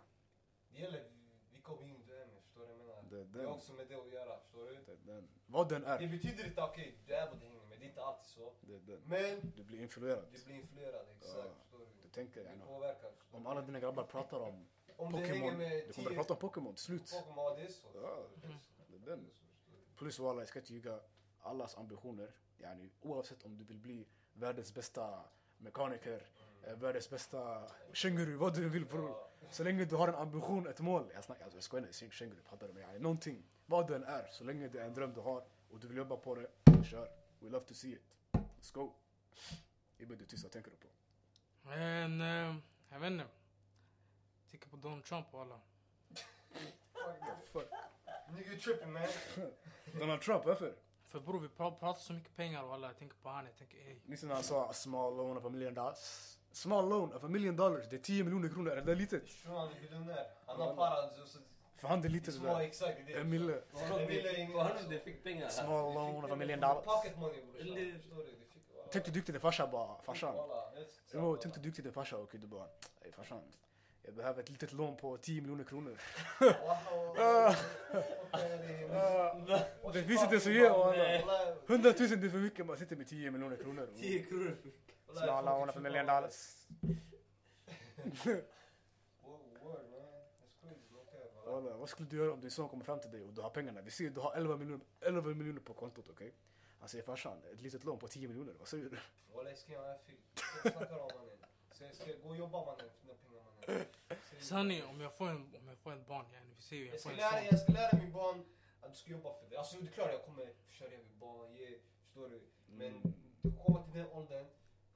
[SPEAKER 1] det gäller vilka omgivning du är med, förstår du vad jag menar?
[SPEAKER 2] Det är
[SPEAKER 1] Det har
[SPEAKER 2] den.
[SPEAKER 1] också med det att göra, förstår du?
[SPEAKER 2] Det är den. Vad den
[SPEAKER 1] Det
[SPEAKER 2] är,
[SPEAKER 1] betyder inte okej, du är vad du hänger med, det är inte alltid så.
[SPEAKER 2] det är den.
[SPEAKER 1] Men
[SPEAKER 2] Du blir influerad.
[SPEAKER 1] du blir influerad, exakt,
[SPEAKER 2] Ja.
[SPEAKER 1] förstår du?
[SPEAKER 2] Du tänker
[SPEAKER 1] Du
[SPEAKER 2] yani.
[SPEAKER 1] påverkar, förstår
[SPEAKER 2] Om
[SPEAKER 1] du?
[SPEAKER 2] alla dina grabbar pratar om
[SPEAKER 1] Om du hänger
[SPEAKER 2] Pokémon,
[SPEAKER 1] med
[SPEAKER 2] du
[SPEAKER 1] tio
[SPEAKER 2] kommer börja prata om Pokémon till slut.
[SPEAKER 1] Pokémon, ja, det är så.
[SPEAKER 2] Ja.
[SPEAKER 1] förstår du? Det är så,
[SPEAKER 2] Det är
[SPEAKER 1] det är
[SPEAKER 2] den.
[SPEAKER 1] så, förstår du?
[SPEAKER 2] Plus walla, jag ska inte ljuga. Allas ambitioner, yani oavsett om du vill bli världens bästa mekaniker, eh, världens bästa känguru, vad du vill bror.
[SPEAKER 1] Ja.
[SPEAKER 2] Så länge du har en ambition, ett mål. Jag snackar, alltså, jag skojar inte, Shing- Shingri pratar om yani, någonting. Vad den är, så länge det är en dröm du har och du vill jobba på det, kör. We love to see it. Let's go. Ibbe, du är tyst, vad tänker du på?
[SPEAKER 3] Men, eh, jag vet inte. Tänker på Donald Trump walla.
[SPEAKER 1] Fuck that.
[SPEAKER 2] Fuck.
[SPEAKER 1] Nigga you tripping man.
[SPEAKER 2] Donald Trump, varför?
[SPEAKER 3] För bror vi pra- pratar så mycket pengar walla, jag tänker på han, jag tänker ey.
[SPEAKER 2] Ni ser när han sa small loan of a million dollars. Small loan of a million dollars, det är 10 miljoner kronor, är det litet?
[SPEAKER 1] Shunon är miljonär. Han har para, så- så-
[SPEAKER 2] För han det är
[SPEAKER 1] Det
[SPEAKER 2] litet
[SPEAKER 1] är
[SPEAKER 2] det
[SPEAKER 1] små,
[SPEAKER 2] där.
[SPEAKER 1] exakt. det är det.
[SPEAKER 2] En mille.
[SPEAKER 1] En mille är
[SPEAKER 4] Vad har du?
[SPEAKER 1] inget.
[SPEAKER 4] Du fick pengar här.
[SPEAKER 2] Small loan of a million dollars.
[SPEAKER 1] Pocket money
[SPEAKER 4] Eller-
[SPEAKER 1] brorsan. Förstår du? Det fick- walla.
[SPEAKER 2] Tänk du gick till din farsa bara, farsan.
[SPEAKER 1] Walla, helt sant,
[SPEAKER 2] Jo,
[SPEAKER 1] walla.
[SPEAKER 2] tänk du gick till din farsa och du bara, ey farsan. Jag behöver ett litet lån på 10 miljoner kronor.
[SPEAKER 1] Walla, okej, det är- Och
[SPEAKER 2] Ah. Det
[SPEAKER 1] så
[SPEAKER 2] finns inte
[SPEAKER 1] fucking
[SPEAKER 2] så ge,
[SPEAKER 1] bara,
[SPEAKER 2] walla.
[SPEAKER 1] nej, walla.
[SPEAKER 2] 100 000 det är för mycket, man sitter med 10 miljoner kronor.
[SPEAKER 4] 10 kronor.
[SPEAKER 1] Walla,
[SPEAKER 2] Small
[SPEAKER 1] jag
[SPEAKER 2] loan
[SPEAKER 1] får
[SPEAKER 2] of a
[SPEAKER 1] inte
[SPEAKER 2] million
[SPEAKER 1] köpa-
[SPEAKER 2] dollars.
[SPEAKER 1] Whoa, word, man. That's crazy, okej, walla.
[SPEAKER 2] Walla, vad skulle du göra om din son kommer fram till dig och du har pengarna? Vi ser du har 11 miljoner, 11 miljoner på kontot, okej? Han säger farsan, ett litet lån på 10 miljoner, vad säger du?
[SPEAKER 1] Walla, jag ska göra en film. Vad snackar du om, mannen? Ska jag- ska jag gå och jobba mannen för dina pengar mannen? Seriöst.
[SPEAKER 3] Sanningen, om jag får en, om jag får en barn, yani, vi säger ju,
[SPEAKER 1] Jag
[SPEAKER 3] jag
[SPEAKER 1] ska
[SPEAKER 3] får en
[SPEAKER 1] lära,
[SPEAKER 3] son.
[SPEAKER 1] jag ska lära min barn att du ska jobba för det. Alltså det är klart jag kommer försörja min barn, ge, förstår du? Men du kommer till den åldern,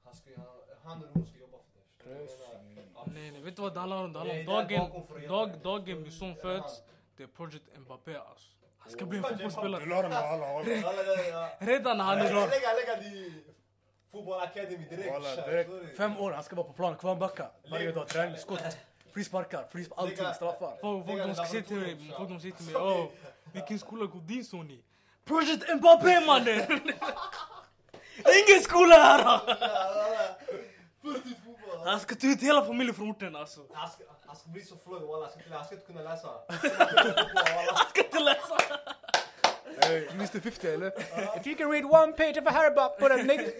[SPEAKER 1] han, ska, han, han eller hon ska jobba för det. Förstår du vad jag menar? Ja,
[SPEAKER 3] Nej nej, vet du vad det handlar om? Det handlar om
[SPEAKER 1] Jag är där bakom
[SPEAKER 3] dagen,
[SPEAKER 1] för att hjälpa dig.
[SPEAKER 3] dag, dagen min son
[SPEAKER 1] Eller han.
[SPEAKER 3] föds, det är Project Mbappé alltså. Han ska
[SPEAKER 1] Oh,
[SPEAKER 3] bli en
[SPEAKER 2] Du
[SPEAKER 3] fotbollsspelare.
[SPEAKER 2] la dem med alla, walla.
[SPEAKER 1] Alla där, ja.
[SPEAKER 3] Redan när han är
[SPEAKER 1] Lägga,
[SPEAKER 3] klar.
[SPEAKER 1] lägga, lägga din Football Academy direkt.
[SPEAKER 2] Walla,
[SPEAKER 1] kör,
[SPEAKER 2] direkt.
[SPEAKER 1] förstår du?
[SPEAKER 2] Fem år, han ska vara på plan, Kvarnbacka. Varje dag, träning, skott, frisparkar, frisparkar, allting, straffar.
[SPEAKER 3] Folk, folk
[SPEAKER 1] Lägga
[SPEAKER 3] de ska säga till mig,
[SPEAKER 1] laboratoriet,
[SPEAKER 3] folk de säger till mig,
[SPEAKER 1] brorsan.
[SPEAKER 3] åh, vilken skola går din son i? Project Mbappé mannen! Ingen skola här!
[SPEAKER 1] Ja, ja, ja. Fullt fotboll.
[SPEAKER 3] Han ska ta ut hela familjen från orten alltså.
[SPEAKER 1] Han ska, han ska bli så flög walla, han ska inte- han ska inte kunna läsa. Han ska inte kunna fotboll, walla.
[SPEAKER 3] Ska inte läsa!
[SPEAKER 2] Hey, Mr 50 eller? If you can read one page of a Harry Potter put a nigga...
[SPEAKER 1] Jag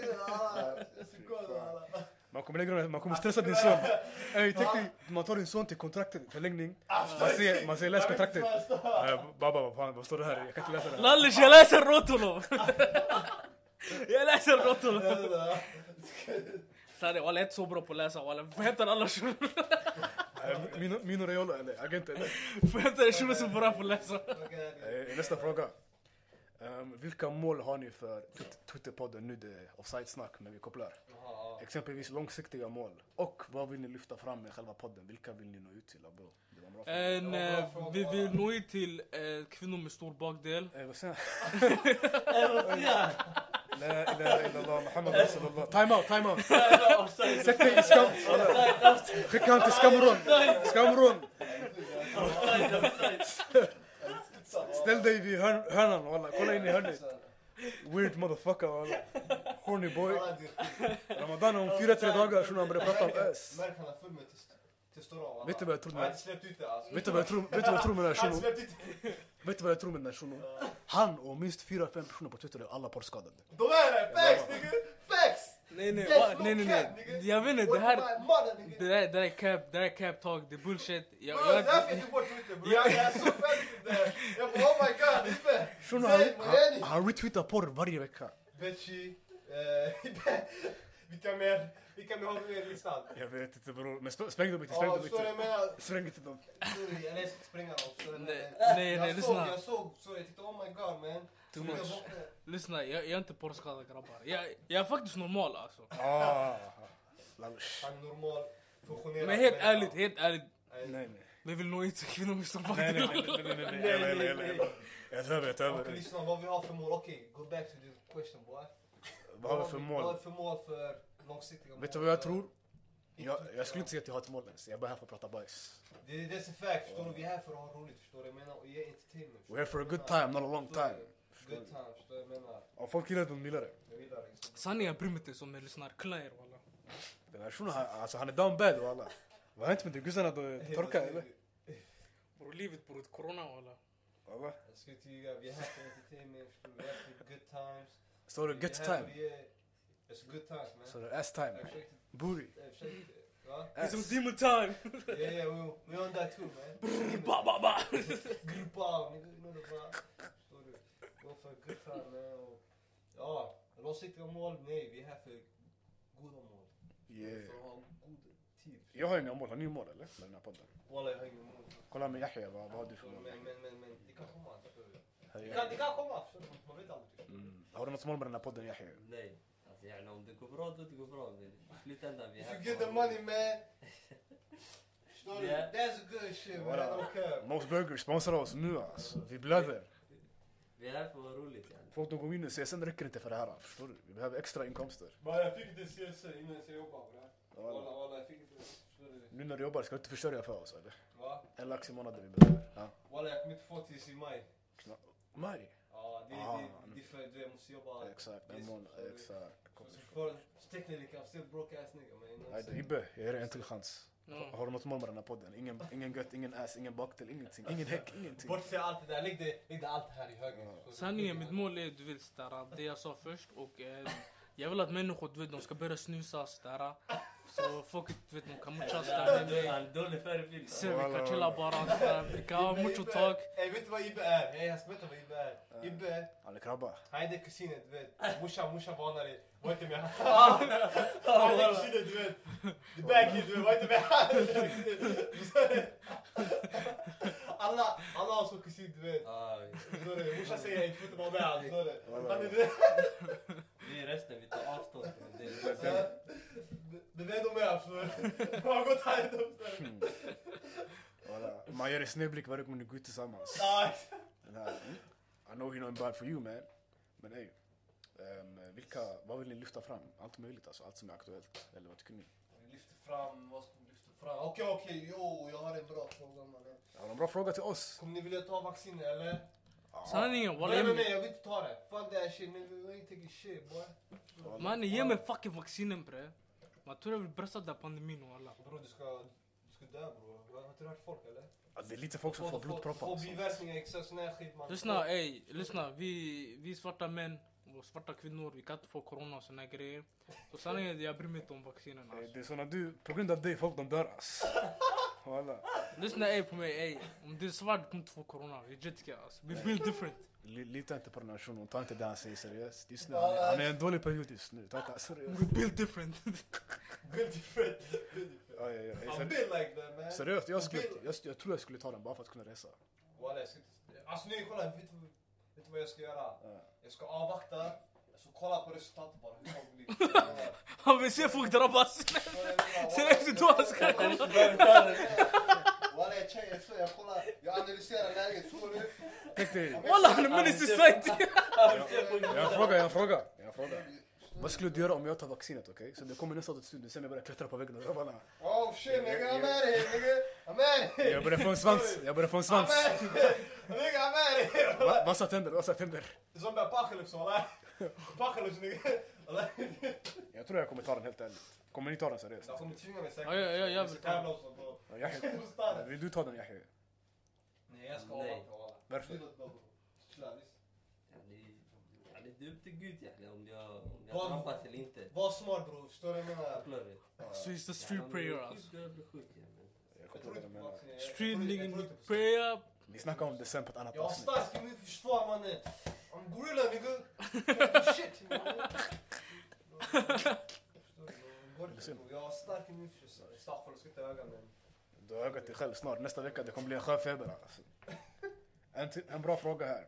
[SPEAKER 1] ska gå, walla.
[SPEAKER 2] Man kommer lägga man kommer stressa din son. Eh, Ey, tänk dig, man tar din son till kontraktet, förlängning.
[SPEAKER 1] Ah,
[SPEAKER 2] Man säger, man säger läs kontraktet. Eh, Baba, vad fan, vad står det här? Jag kan inte läsa det här.
[SPEAKER 3] Lallish jag läser Rotolo! Jag läser Rotolo! Sanne walla jag är inte så bra på att läsa walla. Förhämtar alla shuror.
[SPEAKER 2] Eh, Mino- Mino Raiola eller agent eller?
[SPEAKER 3] Förhämtar en shuro som är bra på att läsa.
[SPEAKER 2] Eh, Nästa fråga. Ehm, vilka mål har ni för Twit- Twitterpodden nu? Det är offside-snack, men vi kopplar.
[SPEAKER 1] Jaha,
[SPEAKER 2] Exempelvis långsiktiga mål. Och vad vill ni lyfta fram med själva podden? Vilka vill ni nå ut till? Abro? Det var en bra fråga.
[SPEAKER 3] En, eh, vi vill nå ut till eh, kvinnor med stor bakdel.
[SPEAKER 2] Eh, vad säger jag? La ilaha illallah, Muhammad rasulullah. Time out, time out! Sätt dig i skam... Skicka han till skamvrån! Skamvrån! Ställ dig vid hörn- hörnan walla, kolla in i hörnet. Weird motherfucker walla. Horny boy.
[SPEAKER 1] Walla, det är skit.
[SPEAKER 2] Ramadan om fyra, tre dagar shunon han börjar prata om ös.
[SPEAKER 1] Märk han är full med test- testosteron walla.
[SPEAKER 2] Vet du vad jag tror
[SPEAKER 1] Han har
[SPEAKER 2] med
[SPEAKER 1] inte släppt ut det alltså.
[SPEAKER 2] Vet du vad jag tror, vet du vad jag tror med den här
[SPEAKER 1] Han har
[SPEAKER 2] shunon?
[SPEAKER 1] inte släppt ut det.
[SPEAKER 2] Vet du vad jag tror med den här shunon? Han och minst fyra, fem personer på Twitter är alla porrskadade.
[SPEAKER 1] De är det! Facts nigga! Facts!
[SPEAKER 3] Nej nej,
[SPEAKER 1] Yes,
[SPEAKER 3] wa-
[SPEAKER 1] no
[SPEAKER 3] nej nej
[SPEAKER 1] cap, nigga.
[SPEAKER 3] nej. Jag vet inte, det
[SPEAKER 1] What
[SPEAKER 3] här...
[SPEAKER 1] my mother, nigga.
[SPEAKER 3] Det där, det där är cap, det där är cap talk, det är bullshit. Jag,
[SPEAKER 1] Bro,
[SPEAKER 3] jag,
[SPEAKER 1] därför jag tog bort Twitter bror. Jag är så färdig med det. Jag bara oh my god, det är fett.
[SPEAKER 2] Shunon han,
[SPEAKER 1] Zayn
[SPEAKER 2] han,
[SPEAKER 1] Morani.
[SPEAKER 2] han retweetar porr varje vecka.
[SPEAKER 1] Betchy. eh, Vilka mer? Vilka mer har du i listan?
[SPEAKER 2] Jag vet inte bror, men sp- spräng dem inte, spräng
[SPEAKER 1] Ja,
[SPEAKER 2] dem
[SPEAKER 1] förstår du vad
[SPEAKER 2] inte.
[SPEAKER 1] jag menar?
[SPEAKER 2] Spräng inte dem.
[SPEAKER 1] Sorry, eller jag ska spränga dem. förstår du vad jag
[SPEAKER 3] Nej,
[SPEAKER 1] menar?
[SPEAKER 3] nej, nej,
[SPEAKER 1] Jag såg,
[SPEAKER 3] lyssna.
[SPEAKER 1] jag såg, så jag tänkte oh my god man.
[SPEAKER 2] Too
[SPEAKER 1] Jag
[SPEAKER 2] much.
[SPEAKER 1] vaknade.
[SPEAKER 3] Lyssna, jag, jag är inte porrskadad grabbar. Jag, jag är faktiskt normal alltså.
[SPEAKER 2] Ah, Lallush.
[SPEAKER 1] Han är normal, funktionerad.
[SPEAKER 3] Men helt
[SPEAKER 1] människa.
[SPEAKER 3] ärligt, helt ärligt.
[SPEAKER 1] Nej.
[SPEAKER 2] Nej nej.
[SPEAKER 3] Vi vill nå ut till kvinnor med stor
[SPEAKER 2] Nej nej
[SPEAKER 3] bakdel.
[SPEAKER 2] nej nej nej. Jalla jalla jalla, jalla. Jag töver, jag
[SPEAKER 1] Okej,
[SPEAKER 2] töver.
[SPEAKER 1] lyssna vad vi har för mål. Okej, go back to the question boy.
[SPEAKER 2] Vad har vi för
[SPEAKER 1] Vad
[SPEAKER 2] mål?
[SPEAKER 1] har vi för mål för långsiktiga mål?
[SPEAKER 2] Vet du vad jag tror?
[SPEAKER 1] För-
[SPEAKER 2] Jag, jag skulle inte säga att jag har ett mål ens, jag är bara här för att prata bajs.
[SPEAKER 1] Det är det som är fact, förstår du? Vi är här för att ha roligt, förstår du? Jag menar, och ge entertainment.
[SPEAKER 2] We're here for a good time, not a long time.
[SPEAKER 1] Good time, förstår du? Jag menar,
[SPEAKER 2] Om folk gillar det, de gillar det.
[SPEAKER 1] jag gillar det. liksom.
[SPEAKER 3] Sanningen, jag bryr mig inte ens om er lyssnar. Killa er walla.
[SPEAKER 2] Den här shunon, han- alltså han är down bad walla. Vad har hänt med de gussarna? De torkar eller?
[SPEAKER 3] Bror livet bror, corona walla.
[SPEAKER 2] Walla.
[SPEAKER 1] Jag ska inte ljuga, vi är här för entertainment, förstår du? Vi är här för good times.
[SPEAKER 2] Står det
[SPEAKER 1] Vi är
[SPEAKER 2] good
[SPEAKER 1] här för att
[SPEAKER 2] time?
[SPEAKER 1] ge- It's good times man.
[SPEAKER 2] Står det ass
[SPEAKER 1] Jag
[SPEAKER 2] time?
[SPEAKER 1] försökte,
[SPEAKER 2] Booty?
[SPEAKER 1] jag försökte, va?
[SPEAKER 3] Det är
[SPEAKER 2] Ass?
[SPEAKER 3] som demon time.
[SPEAKER 1] Ja, ja, we- we on that too
[SPEAKER 3] Ba,
[SPEAKER 1] man.
[SPEAKER 3] ba, ba.
[SPEAKER 1] Grupa, nigga, you know the vibe. Förstår du? Go for a good time man. Oh, Och, ja, långsiktiga mål? Nej, vi är här för goda mål.
[SPEAKER 2] Yeah.
[SPEAKER 1] För att ha god tid.
[SPEAKER 2] Jag har inga mål, har ni mål eller? Med den här podden?
[SPEAKER 1] Walla, jag har inget mål.
[SPEAKER 2] Kolla med Yahya, vad, vad har du för
[SPEAKER 1] Men,
[SPEAKER 2] mål?
[SPEAKER 1] men, men, men, det kan komma. förstår du? Det kan, det
[SPEAKER 2] Yahya.
[SPEAKER 1] kan komma, förstår du? man vet aldrig.
[SPEAKER 2] Mm. Har du något mål med den här podden Yahya?
[SPEAKER 4] Nej, alltså gärna om det går bra då det går bra. Men i slutändan vi är
[SPEAKER 1] If
[SPEAKER 4] här
[SPEAKER 1] you
[SPEAKER 4] för
[SPEAKER 1] get the
[SPEAKER 4] att-
[SPEAKER 1] money man. Förstår du?
[SPEAKER 4] Yeah.
[SPEAKER 1] That's good shit man,
[SPEAKER 2] Voilà.
[SPEAKER 1] I don't care.
[SPEAKER 2] Mos Burger sponsrar oss nu alltså. Vi blöder.
[SPEAKER 4] Vi är här för att ha roligt yani.
[SPEAKER 2] Folk de går in och säger sen räcker det inte för det här. Förstår du? Vi behöver extra inkomster.
[SPEAKER 1] Bara jag fick inte se sig innan jag jobbade bre. Walla
[SPEAKER 2] Voilà.
[SPEAKER 1] walla jag fick inte förstår du?
[SPEAKER 2] Nu när du jobbar, ska du inte försörja för oss eller?
[SPEAKER 1] Va?
[SPEAKER 2] En lax i månaden vi behöver. Ja.
[SPEAKER 1] Walla jag kommer inte få tills i maj.
[SPEAKER 2] Maj?
[SPEAKER 1] Ja det
[SPEAKER 2] Ah,
[SPEAKER 1] är
[SPEAKER 2] nu-
[SPEAKER 1] det, det är för du jag måste jobba.
[SPEAKER 2] Exakt, en
[SPEAKER 1] Yes,
[SPEAKER 2] månad.
[SPEAKER 1] sorry.
[SPEAKER 2] Exakt. Kom.
[SPEAKER 1] Så för- så Tekniskt kan jag still broke ass nigga man. you know what I'm
[SPEAKER 2] Nej,
[SPEAKER 1] saying?
[SPEAKER 2] Ibbe, jag ger dig en till chans.
[SPEAKER 3] Mm.
[SPEAKER 2] Har du något mål med den här podden? Ingen, ingen gött, ingen ass, ingen bakdel, ingenting. Ingen häck, ingenting.
[SPEAKER 1] Bortse allt det där, lägg det, lägg det allt här i höger. förstår du?
[SPEAKER 3] Sanningen, mitt mål är du vet sådär, det jag sa först och eh, jag vill att människor du vet de ska börja snusa sådär. Så folk du vet de kan mucha sådär med
[SPEAKER 4] Han är
[SPEAKER 3] mig.
[SPEAKER 4] en dålig förebild.
[SPEAKER 3] Sen vi kan chilla bara sådär. Vi kan ha
[SPEAKER 1] Ibbe,
[SPEAKER 3] mucho
[SPEAKER 1] Ibbe.
[SPEAKER 3] talk.
[SPEAKER 1] Ey vet du vad Ibbe är? Ey jag ska berätta vad Ibbe är. Ibbe
[SPEAKER 2] Han är krabba.
[SPEAKER 1] Han är kusinen du vet, morsan morsan varnar dig, var inte med han. Han är kusinen du vet, the bad kid du vet, var inte med han. Alla, alla har så kusin du vet.
[SPEAKER 4] Ja, ja.
[SPEAKER 1] Förstår du? Morsan säger ej, du får inte vara med han. förstår du? Han är det.
[SPEAKER 4] Vi är resten, vi tar avstånd från det.
[SPEAKER 1] Det är ändå med förstår du? Man har gått här ändå förstår du?
[SPEAKER 2] Voilà. Man gör en snedblick varje gång ni går ut tillsammans.
[SPEAKER 1] Ja,
[SPEAKER 2] Den här, mm, I know you're not bad for you man. Men ey. ehm, vilka, vad vill ni lyfta fram? Allt möjligt alltså, allt som är aktuellt. Eller vad tycker ni?
[SPEAKER 1] Vi lyfter fram, vad ska vi lyfta fram? Okej okej, jo jag har en bra fråga mannen.
[SPEAKER 2] Har du en bra fråga till oss?
[SPEAKER 1] Kommer ni vilja ta vaccin eller?
[SPEAKER 3] Sanningen walla.
[SPEAKER 1] Nej
[SPEAKER 3] jag-
[SPEAKER 1] nej nej jag vill inte ta det. Fuck that shit nigga, we ain't taking shit boy.
[SPEAKER 3] Mannen ge mig fucking vaccinen bre. Man tror jag vill brösta pandemin walla.
[SPEAKER 1] Bror du ska, du ska dö bror. Har inte du hört folk eller?
[SPEAKER 2] Ja, Det är lite folk som får blodproppar. alltså.
[SPEAKER 1] Får
[SPEAKER 2] och sånt.
[SPEAKER 1] biverkningar, exakt sån här skit man.
[SPEAKER 3] Lyssna ey, lyssna. Vi, vi svarta män och svarta kvinnor, vi kan inte få corona och såna här grejer. Så sanningen är jag bryr mig inte om vaccinen
[SPEAKER 2] Eh,
[SPEAKER 3] alltså.
[SPEAKER 2] Det är såna du, på grund av dig, folk de dör ass. Walla.
[SPEAKER 3] Lyssna ey på mig ey. Om du är svart du kommer inte få corona. Legit alltså. We feel different.
[SPEAKER 2] Li- Lita inte på den här shunon, ta inte det han säger seriöst. Just nu, han är, han är i en dålig period just nu. Ta inte han seriöst.
[SPEAKER 3] We feel different.
[SPEAKER 1] Build different. Build different.
[SPEAKER 2] Ja, ja, ja. Eh,
[SPEAKER 1] I'm
[SPEAKER 2] seri-
[SPEAKER 1] built like that man.
[SPEAKER 2] Seriöst, jag, skulle,
[SPEAKER 1] Bill-
[SPEAKER 2] jag, jag tror jag skulle ta den bara för att kunna resa.
[SPEAKER 1] Walla jag ska inte... Alltså nu kolla, vet du, vet du vad jag ska göra?
[SPEAKER 2] Ja.
[SPEAKER 1] Jag ska avvakta. Alltså kolla på resultatet bara, hur folk blir. Kolla.
[SPEAKER 3] Han vill se folk drabbas. Sen efter då han ska komma.
[SPEAKER 1] Walla jag tjejer, så jag kollar, jag analyserar läget, tror du?
[SPEAKER 2] Tänk dig,
[SPEAKER 3] Walla han är med i society.
[SPEAKER 2] jag har en fråga, jag har en fråga. Jag har en fråga. Vad skulle du göra om jag tar vaccinet okej? Så det kommer nästa dag till studion, sen jag börjar klättra på väggen och grabbarna.
[SPEAKER 1] Oh shit nigga, I'm at it nigga! I'm at it!
[SPEAKER 2] Jag börjar få en svans, jag börjar få en
[SPEAKER 1] I'm
[SPEAKER 2] svans.
[SPEAKER 1] at it! Nigga I'm at it!
[SPEAKER 2] Va- Vassa tänder, vassa tänder.
[SPEAKER 1] Zombie apocalypse walla! Apocalypse nigga! Walla.
[SPEAKER 2] Jag tror jag kommer ta den helt ärligt. Kommer ni ta den seriöst?
[SPEAKER 1] De kommer tvinga mig säkert.
[SPEAKER 3] Ja, ja, ja, jag vill ta den.
[SPEAKER 2] Ja, Yahya. Vill du ta den Yahya?
[SPEAKER 1] Nej jag ska
[SPEAKER 4] Nej.
[SPEAKER 1] avvakta walla.
[SPEAKER 2] Varför?
[SPEAKER 1] Du låter bara, bro. Chilla, lyssna.
[SPEAKER 4] يعني يعني det är upp till Gud يعني om jag, om jag
[SPEAKER 1] Vad-
[SPEAKER 4] drabbas eller inte.
[SPEAKER 1] Var smart bror, förstår du vad jag menar?
[SPEAKER 4] Förstår du?
[SPEAKER 3] So it's the
[SPEAKER 4] Ja,
[SPEAKER 3] street
[SPEAKER 4] om
[SPEAKER 3] prayer
[SPEAKER 4] jag blir
[SPEAKER 3] alltså.
[SPEAKER 4] sjuk, då blir jag sjuk, ja, men-
[SPEAKER 2] Jag
[SPEAKER 1] Jag
[SPEAKER 2] kommer ta
[SPEAKER 1] tror
[SPEAKER 2] den,
[SPEAKER 1] inte på
[SPEAKER 2] men-
[SPEAKER 1] vaccin. jag- jag tror inte- jag tror
[SPEAKER 3] Streaming,
[SPEAKER 1] inte på sånt.
[SPEAKER 3] prayer.
[SPEAKER 2] Ni snackar om det sen på ett annat
[SPEAKER 1] Jag har
[SPEAKER 2] avsnitt.
[SPEAKER 1] starkt immunförsvar mannen. I'm gorilla nigga. Shit mannen. Jag har starkt immunförsvar. Staffan, jag ska inte öga men.
[SPEAKER 2] Du har ögat dig själv snart. Nästa vecka det kommer bli en sjöfeber. Alltså. En, till- en bra fråga här.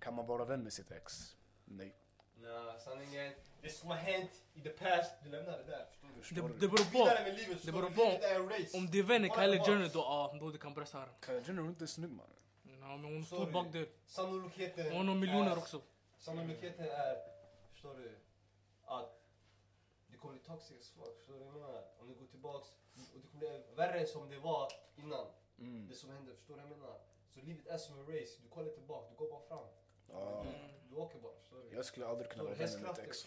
[SPEAKER 2] Kan man vara vän med sitt ex? Nej.
[SPEAKER 1] Nej, sanningen. Det som har hänt i the past, du lämnar det där. Förstår du?
[SPEAKER 3] Det
[SPEAKER 2] Förstår
[SPEAKER 3] det
[SPEAKER 2] du?
[SPEAKER 3] beror på.
[SPEAKER 1] Vidare med livet.
[SPEAKER 3] Det beror
[SPEAKER 1] förstår du? Livet
[SPEAKER 3] på.
[SPEAKER 1] är en race.
[SPEAKER 3] Om det är vänner,
[SPEAKER 1] Kolla
[SPEAKER 3] Kylie
[SPEAKER 1] tillbaka.
[SPEAKER 3] Jenner då, ja då du kan brösta här.
[SPEAKER 2] Kylie Jenner är inte snygg man.
[SPEAKER 3] Ja, men
[SPEAKER 1] Sorry.
[SPEAKER 3] hon står bak dig.
[SPEAKER 1] Sannolikheten.
[SPEAKER 3] Hon har
[SPEAKER 1] är-
[SPEAKER 3] miljoner också.
[SPEAKER 1] Sannolikheten är, förstår du, att det kommer bli toxic as fuck. Förstår du vad jag menar? Om det går tillbaks och det kommer bli värre som det var innan.
[SPEAKER 2] Mm.
[SPEAKER 1] Det som hände, förstår du vad jag menar? Så livet är som en race, du kollar tillbaka, du går bara fram.
[SPEAKER 2] Ja.
[SPEAKER 1] Du åker bara, förstår du?
[SPEAKER 2] Jag skulle aldrig kunna vara vän med mitt ex.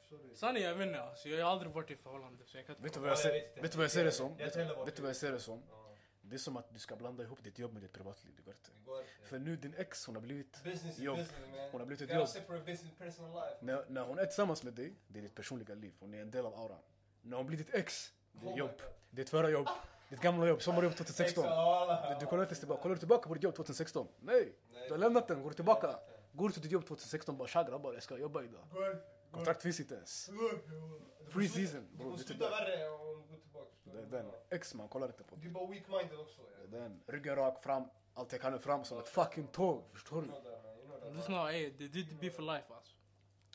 [SPEAKER 1] Förstår du?
[SPEAKER 3] Sanningen, jag vet inte. Alltså, jag har aldrig varit i förhållande. Så jag kan inte
[SPEAKER 2] Vet du vad jag, ser, vet du vad jag ser det som?
[SPEAKER 1] Jag
[SPEAKER 2] Vet,
[SPEAKER 1] tänder bort
[SPEAKER 2] vet du vad jag ser det som?
[SPEAKER 1] Ja,
[SPEAKER 2] Det är som att du ska blanda ihop ditt jobb med ditt privatliv. Det går inte.
[SPEAKER 1] det går inte.
[SPEAKER 2] För nu din ex hon har blivit...
[SPEAKER 1] Business is
[SPEAKER 2] jobb.
[SPEAKER 1] business man.
[SPEAKER 2] Hon har blivit ett
[SPEAKER 1] You gotta
[SPEAKER 2] jobb.
[SPEAKER 1] separate business personal life.
[SPEAKER 2] När, när hon är tillsammans med dig, det är ditt personliga liv. Hon är en del av auran. När hon blir ditt ex,
[SPEAKER 1] Oh
[SPEAKER 2] det är
[SPEAKER 1] my
[SPEAKER 2] jobb.
[SPEAKER 1] God.
[SPEAKER 2] Ditt förra jobb. Ditt gamla jobb, sommarjobb 2016.
[SPEAKER 1] Exhala.
[SPEAKER 2] Du, du kollar inte tillbaka. Kollar du tillbaka på ditt jobb 2016? Nej!
[SPEAKER 1] Nej.
[SPEAKER 2] Du har lämnat den, går du tillbaka. Går du till ditt jobb 2016 bara tja grabbar jag ska jobba idag.
[SPEAKER 1] Går- går-
[SPEAKER 2] Kontrakt finns inte ens.
[SPEAKER 1] Free
[SPEAKER 2] Free
[SPEAKER 1] season.
[SPEAKER 2] season,
[SPEAKER 1] Det
[SPEAKER 2] bro,
[SPEAKER 1] kommer
[SPEAKER 2] det är
[SPEAKER 1] sluta
[SPEAKER 2] typ-
[SPEAKER 1] värre om du går tillbaka. förstår
[SPEAKER 2] Det är
[SPEAKER 1] du?
[SPEAKER 2] den. Ex man kollar inte på
[SPEAKER 1] Du
[SPEAKER 2] det.
[SPEAKER 1] är bara weak minded också. ja.
[SPEAKER 2] Den. Ryggen rak fram, allt jag kan är fram som ett fucking tåg. Förstår
[SPEAKER 1] You
[SPEAKER 2] du?
[SPEAKER 1] know that man, you know that. man.
[SPEAKER 3] Lyssna, ey. Det är ditt beef for life alltså.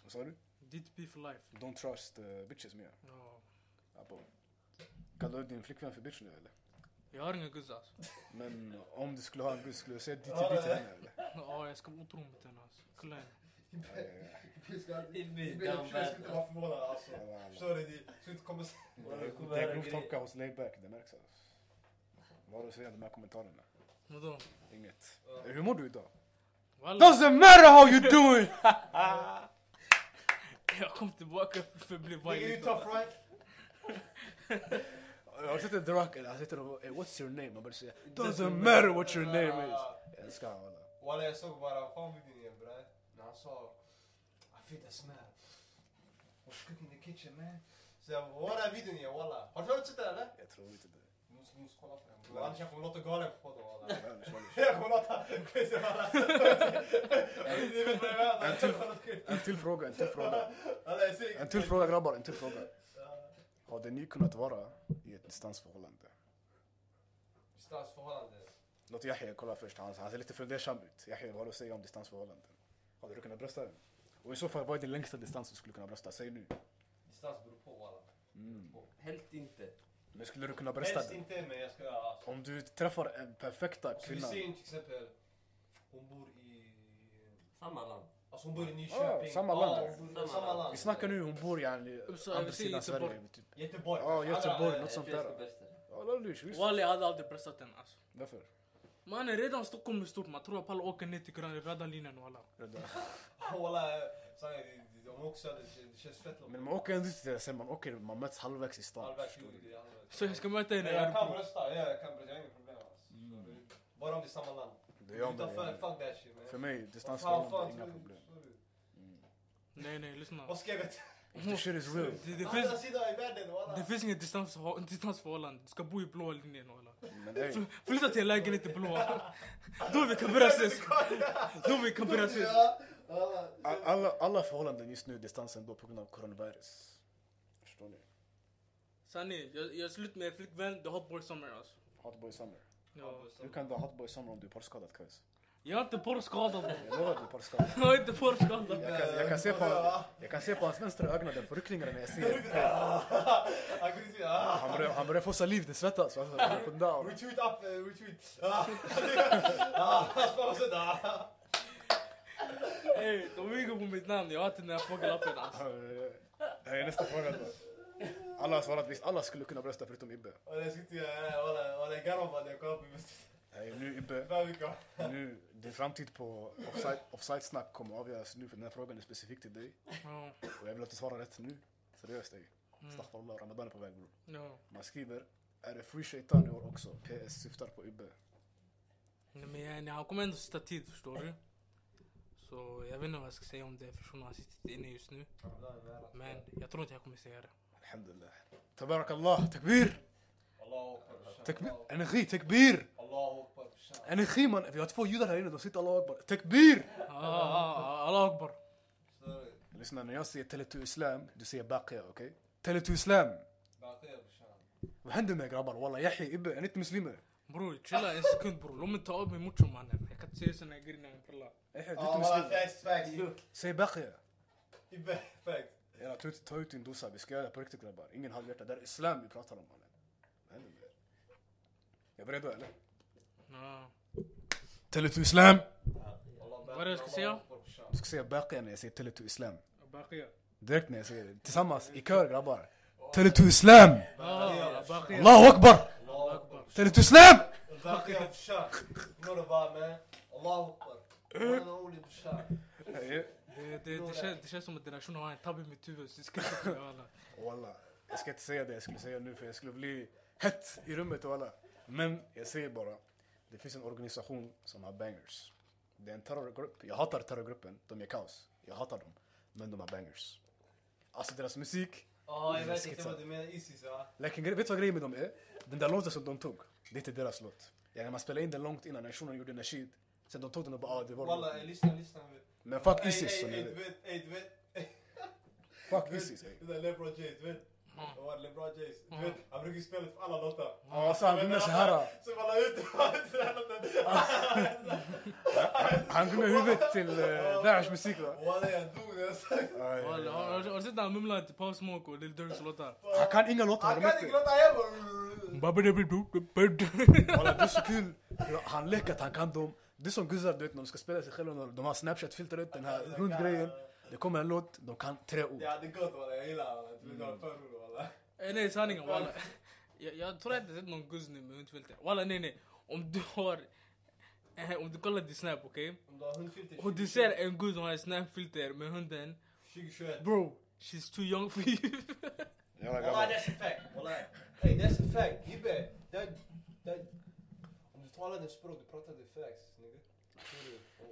[SPEAKER 2] Vad sa du?
[SPEAKER 3] Ditt beef for life.
[SPEAKER 2] Don't trust uh, bitches mer.
[SPEAKER 3] Ja.
[SPEAKER 2] Abo. Kallar du din flickvän för bitch nu eller?
[SPEAKER 3] Jag har inga guds alltså.
[SPEAKER 2] Men om du skulle ha en gud skulle du säga DTB till henne eller?
[SPEAKER 3] Ja, jag ska vara otrogen mot henne alltså. Kolla henne.
[SPEAKER 2] Ja, ja, ja.
[SPEAKER 1] Du ska inte-
[SPEAKER 4] Till mig,
[SPEAKER 1] du ska
[SPEAKER 4] down
[SPEAKER 1] inte- du ska
[SPEAKER 4] bad.
[SPEAKER 1] inte vara förvånad alltså.
[SPEAKER 2] Ja, ja, ja.
[SPEAKER 1] Förstår du? Det ska inte komma så-
[SPEAKER 2] Det är grov torka hos layback, det märks alltså. Vad har du att säga om de här kommentarerna?
[SPEAKER 3] Vadå?
[SPEAKER 2] Inget. Hur mår du idag?
[SPEAKER 3] Walla,
[SPEAKER 2] Doesn't matter how you doing!
[SPEAKER 3] jag kom tillbaka för att bli
[SPEAKER 1] Nigga, you
[SPEAKER 3] violent.
[SPEAKER 1] tough right?
[SPEAKER 2] Jag har sett en drak, eller han sitter och bara, "Hey, what's your name? Man börjar säga doesn't matter Ah. what your name is.
[SPEAKER 1] Uh,
[SPEAKER 2] Jag älskar honom walla.
[SPEAKER 1] Walla jag såg bara familjen igen bre. När han sa I feel the smell. I was cooking in the kitchen man. Så jag bara what är videon igen walla. Har du hört sett den eller?
[SPEAKER 2] Jag tror inte det.
[SPEAKER 1] Du måste du måste kolla på den. bro. Annars jag kommer låta galen på podden walla.
[SPEAKER 2] Annars, annars.
[SPEAKER 1] Jag kommer låta crazy walla. Ni vet vad jag menar.
[SPEAKER 2] En till- En till fråga, en till fråga.
[SPEAKER 1] Walla jag säger
[SPEAKER 2] En till fråga grabbar, en till fråga. Hade ni kunnat vara i ett distansförhållande?
[SPEAKER 1] Distansförhållande.
[SPEAKER 2] Låt Yahya kolla först, han, han ser lite fundersam ut. Yahya, vad har du att säga om distansförhållanden? Hade du kunnat brösta den? Och i så fall, vad är den längsta distans du skulle kunna brösta? Säg nu.
[SPEAKER 1] Distans beror på walla.
[SPEAKER 4] Helst inte.
[SPEAKER 2] Men skulle du kunna brösta
[SPEAKER 1] Helst
[SPEAKER 2] den?
[SPEAKER 1] inte men jag ska göra allt.
[SPEAKER 2] Om du träffar en perfekta
[SPEAKER 1] Alltså, vi ser
[SPEAKER 2] kvinna.
[SPEAKER 1] ju till exempel, hon bor i...
[SPEAKER 4] Samma land.
[SPEAKER 1] Alltså hon bor i Nyköping.
[SPEAKER 2] Ah, samma
[SPEAKER 1] Ja,
[SPEAKER 2] land.
[SPEAKER 1] hon bor i samma land.
[SPEAKER 2] Vi Alltså, snackar nu, hon bor yani
[SPEAKER 3] Uppsala,
[SPEAKER 2] andra
[SPEAKER 3] vi säger
[SPEAKER 2] sidan
[SPEAKER 3] Göteborg.
[SPEAKER 2] Sverige. Typ.
[SPEAKER 1] Göteborg.
[SPEAKER 2] Ja, Göteborg,
[SPEAKER 1] Alla-
[SPEAKER 2] något sånt
[SPEAKER 4] Jag
[SPEAKER 2] där.
[SPEAKER 4] älskar bästa.
[SPEAKER 2] Ja, lallus, visst.
[SPEAKER 3] Walla, jag hade aldrig bröstat henne alltså.
[SPEAKER 2] Varför?
[SPEAKER 3] Mannen, redan Stockholm är stort. Man tror att alla åker ner till grön- röda linjen walla.
[SPEAKER 2] Rädda.
[SPEAKER 1] والله صحيح de också hade, det känns fett långt.
[SPEAKER 2] Men man åker ändå till det sen, man åker, man möts halvvägs i stan.
[SPEAKER 1] Halvvägs
[SPEAKER 2] förstår du?
[SPEAKER 1] juli, halvvägs.
[SPEAKER 3] Så jag ska möta henne
[SPEAKER 1] Nej,
[SPEAKER 3] i
[SPEAKER 1] Jag kan
[SPEAKER 3] Örebro.
[SPEAKER 1] rösta, ja, jag kan rösta, jag har inga problem alltså. Bara om det är samma land.
[SPEAKER 2] Mm. Det gör man
[SPEAKER 1] Utanför,
[SPEAKER 2] ju.
[SPEAKER 1] fuck that shit man.
[SPEAKER 2] För mig,
[SPEAKER 1] Vad
[SPEAKER 2] distansförhållande
[SPEAKER 1] fan,
[SPEAKER 2] är inga
[SPEAKER 1] tror du-
[SPEAKER 2] problem.
[SPEAKER 1] tror du?
[SPEAKER 3] Nej, nej, lyssna.
[SPEAKER 1] Vad ska jag veta?
[SPEAKER 2] The shit is real.
[SPEAKER 3] Det, det,
[SPEAKER 1] Andra
[SPEAKER 3] finns,
[SPEAKER 1] sidan i världen
[SPEAKER 3] det
[SPEAKER 1] walla.
[SPEAKER 3] finns inget distansförhå- distansförhållande. Du ska bo i blå linjen walla.
[SPEAKER 2] Men ey,
[SPEAKER 3] Fl- Flytta till en lägenhet i blå. Då vi kan börja ses. Då vi kan börja ses.
[SPEAKER 1] Ja, walla.
[SPEAKER 2] a- alla, alla förhållanden just nu är distansen då på grund av coronavirus. Förstår ni?
[SPEAKER 3] Sanni, jag, jag är slut med flickvän. The hot boy summer alltså.
[SPEAKER 2] Hotboy summer.
[SPEAKER 3] Ja.
[SPEAKER 2] Hur kan du ha hotboy summer om du är porrskadad Kajs?
[SPEAKER 3] Jag är inte porrskadad. bro.
[SPEAKER 2] Jag lovar att du är porrskadad.
[SPEAKER 3] Jag är inte porrskadad.
[SPEAKER 2] Jag kan, jag,
[SPEAKER 1] Eh,
[SPEAKER 2] kan se på, jag kan se på hans vänstra ögon den förryckningarna när jag ser det.
[SPEAKER 1] Han kunde inte ah.
[SPEAKER 2] Han börjar, han börjar få saliv, det svettas. Alltså, up and down.
[SPEAKER 1] Retweet up, eh, retweet. Ah. Ah, spara sådär.
[SPEAKER 3] Ey, de viger på mitt namn. Jag har inte den här fågelappen alltså.
[SPEAKER 2] Det Eh, här är nästa fråga då. Alla har svarat visst, alla skulle kunna brösta förutom Ibbe.
[SPEAKER 1] Walla jag ska inte göra walla. Walla jag garvar bara när jag kollar på min
[SPEAKER 2] Nej, nu Ibbe,
[SPEAKER 1] Fem veckor.
[SPEAKER 2] nu, din framtid på offside- offside-snack kommer avgöras nu för den här frågan är specifik till dig.
[SPEAKER 3] Ja,
[SPEAKER 2] Och jag vill att du svarar rätt nu. Seriöst ey.
[SPEAKER 3] mm,
[SPEAKER 2] Astaghfirullah, Ramadan är på väg bror.
[SPEAKER 3] ja.
[SPEAKER 2] Man skriver, är det free shaitan i år också? PS syftar på Ibbe.
[SPEAKER 3] Nej, Men yani, han kommer ändå sitta tid förstår du. Så jag vet inte vad jag ska säga om det eftersom han sitter inne just nu. Men jag tror inte jag kommer säga det.
[SPEAKER 2] Alhamdulillah. Tabarakallah, takbir!
[SPEAKER 1] Allahu akbar. brorsan.
[SPEAKER 2] Takbir!
[SPEAKER 1] Allahu-
[SPEAKER 2] Energi, takbir!
[SPEAKER 1] Allahu akbar. brorsan.
[SPEAKER 2] Energi man, vi har två judar här inne, de sitter alla akbar. Takbir!
[SPEAKER 3] Ah, ah, ah, Allah akbar.
[SPEAKER 1] Förstår du?
[SPEAKER 2] Lyssna, när jag säger Teletu Islam, du säger Baqiya, okej? Teletu Islam!
[SPEAKER 1] Baqiya brorsan.
[SPEAKER 2] Vad händer med er grabbar? Walla, Yahi, Ibbe, är ni inte muslimer?
[SPEAKER 3] Bror chilla en sekund bror. Låt mig ta av mig mucho mannen. Jag kan inte säga såna här grejer när jag kollar.
[SPEAKER 2] Yahi, du är
[SPEAKER 1] Ja
[SPEAKER 2] inte
[SPEAKER 1] walla
[SPEAKER 2] muslimer.
[SPEAKER 1] Ah, facts, facts.
[SPEAKER 2] Säg Baqiya.
[SPEAKER 1] Ibbe, facts.
[SPEAKER 2] Jalla, ta ut- ta ut din dosa, vi ska göra det på riktigt grabbar. Ingen halvhjärta, det är Islam vi pratar om mannen. Vad händer med er? Jag är redo eller?
[SPEAKER 3] Ja.
[SPEAKER 2] Teletu Islam!
[SPEAKER 1] Wallah,
[SPEAKER 3] Vad är det jag ska säga?
[SPEAKER 1] Allahu akbar, brorsan.
[SPEAKER 2] Du ska säga Baqiya när jag säger Teletu Islam.
[SPEAKER 3] Baqiya.
[SPEAKER 2] Direkt när jag säger det. Tillsammans, i kör grabbar. Teletu Islam!
[SPEAKER 3] Ah, Baqiya.
[SPEAKER 2] Allahu Akbar!
[SPEAKER 1] Allahu akbar.
[SPEAKER 2] Teletu Islam!
[SPEAKER 1] Baqiya brorsan. Ignore vad man. Allahu akbar. One and only brorsan.
[SPEAKER 3] Det, det, det, känns, det känns som att den här shunon har en tabbe i mitt huvud. Så jag ska inte kunna alla.
[SPEAKER 2] Walla, jag ska inte säga det jag skulle säga nu för jag skulle bli hett i rummet walla. Men jag säger bara, det finns en organisation som har bangers. Det är en terrorgrupp, jag hatar terrorgruppen, de är kaos. Jag hatar dem, men de har bangers. Alltså deras musik,
[SPEAKER 1] Ja, jag
[SPEAKER 2] Det är
[SPEAKER 1] vet inte
[SPEAKER 2] skitsam.
[SPEAKER 1] vad du menar. Isis va?
[SPEAKER 2] like, vet du vad grejen med dem är? Den där låten som de tog, det är inte deras låt. Ja, man spelade in den långt innan när shunon gjorde Nasheed. Sen de tog den och bara ah, det var
[SPEAKER 1] Walla,
[SPEAKER 2] vår
[SPEAKER 1] eh,
[SPEAKER 2] låt.
[SPEAKER 1] lyssna, lyssna.
[SPEAKER 2] Men fuck
[SPEAKER 1] Ey,
[SPEAKER 2] Isis,
[SPEAKER 1] ey,
[SPEAKER 2] som ni
[SPEAKER 1] ey,
[SPEAKER 2] vet.
[SPEAKER 1] du vet, ey, du vet. eh,
[SPEAKER 2] Fuck Isis. eh. ey.
[SPEAKER 1] Det där LeBron James, du vet. Det var LeBron James. Du vet, han brukar ju spela för alla låtar.
[SPEAKER 2] Ja, så han vinner så här. ah. då.
[SPEAKER 1] Så man la ut den här låten.
[SPEAKER 2] Han gungar huvudet till uh, Daesh musik va?
[SPEAKER 1] Walla, jag dog när jag såg den.
[SPEAKER 2] Ja, ja,
[SPEAKER 3] Walla,
[SPEAKER 2] ja.
[SPEAKER 3] Har har du sett när han mumlar till Paul Smoke och Lil Durks låtar?
[SPEAKER 2] Han kan inga låtar,
[SPEAKER 1] Han
[SPEAKER 2] de
[SPEAKER 1] kan
[SPEAKER 2] vet
[SPEAKER 1] inte
[SPEAKER 2] inte.
[SPEAKER 1] gråta heller.
[SPEAKER 2] Walla, det är så kul. Han leker att han kan dem. Det är som guzzar, du vet när de ska spela sig själva. De har snapchat-filtret, den här hundgrejen. Det kommer en låt, de kan tre ord.
[SPEAKER 1] Ja, det är gott walla, jag gillar walla. Du vet, jag har för roligt walla.
[SPEAKER 3] Eh, nej sanningen walla. Jag, jag tror inte jag sett någon guzz nu med hundfilter. Walla nej nej. Om du har... Eh, om du kollar din snap okej?
[SPEAKER 1] Om du har hundfilter,
[SPEAKER 3] Och du ser en guzz som har en snapfilter med hunden.
[SPEAKER 1] 2021.
[SPEAKER 3] Bro, she's too young for you.
[SPEAKER 2] Jalla
[SPEAKER 1] Walla,
[SPEAKER 2] grabbar.
[SPEAKER 1] that's a fact. Walla, ey, that's a fact. Gibbe, that, that. Om du talar det språk, du pratar det facts, nigga.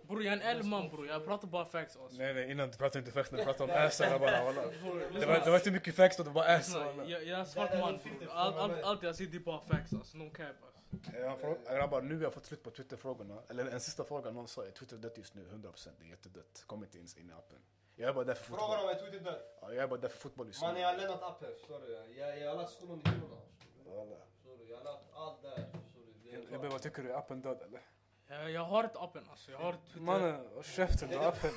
[SPEAKER 3] Bror jag är en ärlig man bror. Jag pratar bara facts alltså.
[SPEAKER 2] Nej nej, innan du pratade inte facts, när du pratade om assen grabbar. walla.
[SPEAKER 3] Bror,
[SPEAKER 2] Det var, det var inte mycket facts då, det var bara ass.
[SPEAKER 3] lyssna,
[SPEAKER 2] walla.
[SPEAKER 3] jag, jag är en svart
[SPEAKER 1] Där är
[SPEAKER 3] man
[SPEAKER 1] hundfilter
[SPEAKER 3] bror. Allt,
[SPEAKER 1] från
[SPEAKER 3] allt,
[SPEAKER 1] Amerika.
[SPEAKER 3] allt jag ser det är bara facts alltså. No cap alltså.
[SPEAKER 2] Ja, frå- Grabbar, nu har jag fått slut på Twitter-frågorna. Eller en sista fråga någon sa, är Twitter dött just nu? 100%, det är jättedött. Kom inte ens in i appen. Jag är bara där för
[SPEAKER 1] Frågan
[SPEAKER 2] fotboll.
[SPEAKER 1] om jag tog det där.
[SPEAKER 2] Ja, jag är bara där för fotboll just
[SPEAKER 1] Man
[SPEAKER 2] nu.
[SPEAKER 1] jag har lämnat appen, förstår du? Jag, jag har lagt skolan i Kiruna.
[SPEAKER 2] Walla.
[SPEAKER 1] Förstår du? Jag har lagt allt där. Förstår du? Det är
[SPEAKER 2] Ibbe, vad tycker du? Är appen död eller?
[SPEAKER 3] Jag, jag har ett appen alltså. Jag har ett Twitter.
[SPEAKER 2] Mannen, håll käften du appen.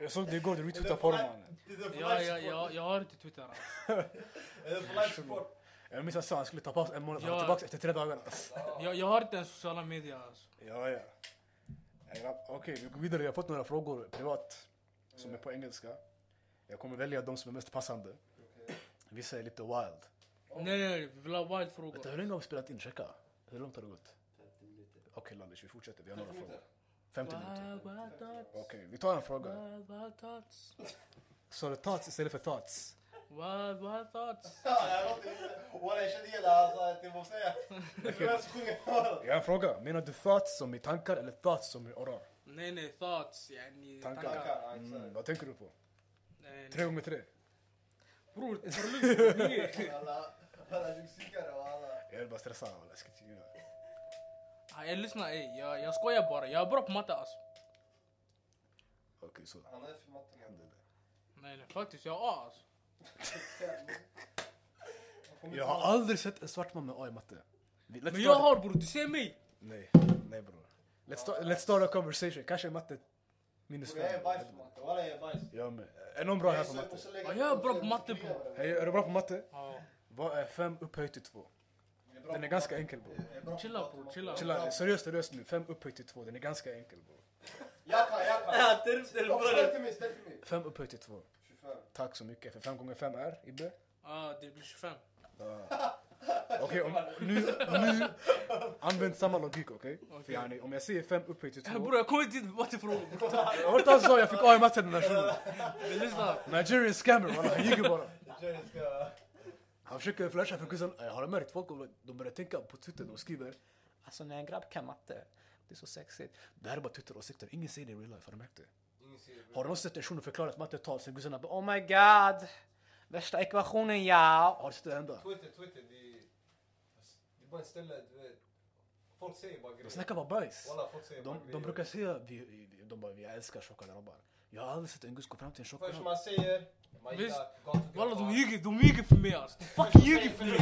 [SPEAKER 2] Jag såg dig igår, du retweetade
[SPEAKER 1] Eller
[SPEAKER 2] på
[SPEAKER 1] fly-
[SPEAKER 2] dem mannen.
[SPEAKER 1] Det är för
[SPEAKER 3] Jag, jag,
[SPEAKER 1] life
[SPEAKER 3] jag, jag har ett Twitter alltså.
[SPEAKER 1] support. Det är för life support.
[SPEAKER 2] Jag minns han sa han skulle ta paus en månad, han var
[SPEAKER 3] Ja.
[SPEAKER 2] tillbaka efter tre dagar. alltså.
[SPEAKER 3] Jag, jag har inte ens sociala medier alltså.
[SPEAKER 2] Ja, ja. Eh, grabb, Okej, vi går vidare. Jag har fått några frågor privat som är på engelska. Jag kommer välja de som är mest passande. Vissa är lite wild.
[SPEAKER 3] Nej nej nej, vi vill ha wild
[SPEAKER 2] Vänta,
[SPEAKER 3] frågor.
[SPEAKER 2] hur länge har vi spelat in? Checka. Hur långt har det gått?
[SPEAKER 4] 50 minuter.
[SPEAKER 2] Okej, Landish, vi fortsätter. Vi har några
[SPEAKER 1] 30
[SPEAKER 2] frågor.
[SPEAKER 1] minuter.
[SPEAKER 2] 50 minuter.
[SPEAKER 3] Wabatots.
[SPEAKER 2] Okej, vi tar en fråga.
[SPEAKER 3] Wabatots.
[SPEAKER 2] Sa du tots istället för tots?
[SPEAKER 3] Wabatots.
[SPEAKER 1] jag låter inte... Walla jag kände igen det han sa att jag måste säga. Jag tror jag ska sjunga.
[SPEAKER 2] Jag har en fråga. Menar du thoughts som i tankar eller thoughts som i orar?
[SPEAKER 3] Nej nej, thoughts yani.
[SPEAKER 2] Tankar.
[SPEAKER 3] tankar.
[SPEAKER 1] Tackar,
[SPEAKER 2] Mm,
[SPEAKER 1] exakt.
[SPEAKER 2] vad tänker du på?
[SPEAKER 3] Nej,
[SPEAKER 2] Tre
[SPEAKER 3] nej.
[SPEAKER 2] gånger tre?
[SPEAKER 3] Bror, förlåt. Nej.
[SPEAKER 1] Walla, walla du psykar walla.
[SPEAKER 2] Jag är bara stressad. walla, jag ska inte ljuga.
[SPEAKER 3] Ah, Jag lyssnar ey, jag, jag skojar bara. Jag är bra på matte alltså.
[SPEAKER 2] Okej, så.
[SPEAKER 1] Han är för matten.
[SPEAKER 3] Nej nej, faktiskt jag är A alltså.
[SPEAKER 2] Jag har aldrig sett en svart man med A i matte. Vi- let's
[SPEAKER 3] Men jag
[SPEAKER 2] start-
[SPEAKER 3] har bror, du ser mig.
[SPEAKER 2] Nej, nej bror. Let's start, let's start a conversation. Kanske matte minus
[SPEAKER 1] Jag är
[SPEAKER 2] fem.
[SPEAKER 1] bajs på matten. Walla jag är bajs.
[SPEAKER 2] Jag med. Är någon bra här på matte?
[SPEAKER 1] Ja,
[SPEAKER 3] jag är bra på matte, bro.
[SPEAKER 2] Hej, är du bra på matte?
[SPEAKER 3] Ja.
[SPEAKER 2] Vad är fem upphöjt till två?
[SPEAKER 1] Jag bra
[SPEAKER 2] Den är
[SPEAKER 1] på
[SPEAKER 2] ganska
[SPEAKER 1] matte.
[SPEAKER 2] enkel bror.
[SPEAKER 1] Jag är bra på
[SPEAKER 3] Chilla,
[SPEAKER 1] matte,
[SPEAKER 3] bro,
[SPEAKER 1] matte.
[SPEAKER 3] chilla.
[SPEAKER 2] Chilla, seriöst, seriöst nu. Fem upphöjt till två. Den är ganska enkel bror.
[SPEAKER 1] Jag kan, jag kan.
[SPEAKER 4] Terftel
[SPEAKER 1] Kom, Ställ till mig, ställ till mig.
[SPEAKER 2] Fem upphöjt till två.
[SPEAKER 1] 25.
[SPEAKER 2] Tack så mycket. För fem gånger fem är, Ibbe?
[SPEAKER 3] Ah, det blir 25.
[SPEAKER 2] Okej, om- nu, nu använd samma logik okej? För
[SPEAKER 3] Okej.
[SPEAKER 2] yani, om jag säger fem upphöjt till
[SPEAKER 3] Äh,
[SPEAKER 2] två.
[SPEAKER 3] Bror jag kommer inte dit med mattefrågor. bror.
[SPEAKER 2] Jag hörde han sa jag fick A i matte den där shunon.
[SPEAKER 3] Men lyssna.
[SPEAKER 2] Nigerian scammer walla, han ljuger bara.
[SPEAKER 1] Jerry ska...
[SPEAKER 2] Han försöker flasha för kusin. Jag har märkt folk, de börjar tänka på Twitter, de skriver Alltså när en grabb kan matte, det är så sexigt. Det här är bara Twitter-åsikter, ingen säger det i real life, har du märkt det?
[SPEAKER 1] Ingen ser det.
[SPEAKER 2] Har du någonsin sett en shuno förklara ett mattetal sen gussarna bara Oh my god, värsta ekvationen ja! Har du sett det hända?
[SPEAKER 1] Twitter, Twitter, det är... Det är bara ett ställe, du vet. Folk säger bara
[SPEAKER 2] De
[SPEAKER 1] grejer.
[SPEAKER 2] snackar bara bajs.
[SPEAKER 1] Walla, folk säger bara
[SPEAKER 2] De, de brukar säga, vi, vi- de bara, vi älskar tjocka grabbar. Jag har aldrig sett en guss gå fram till en tjock
[SPEAKER 1] Först
[SPEAKER 2] grabb.
[SPEAKER 1] man säger... Man
[SPEAKER 3] Visst.
[SPEAKER 1] gillar gatugrabb.
[SPEAKER 3] Walla de ljuger, de ljuger för mig alltså. De fucking ljuger för mig.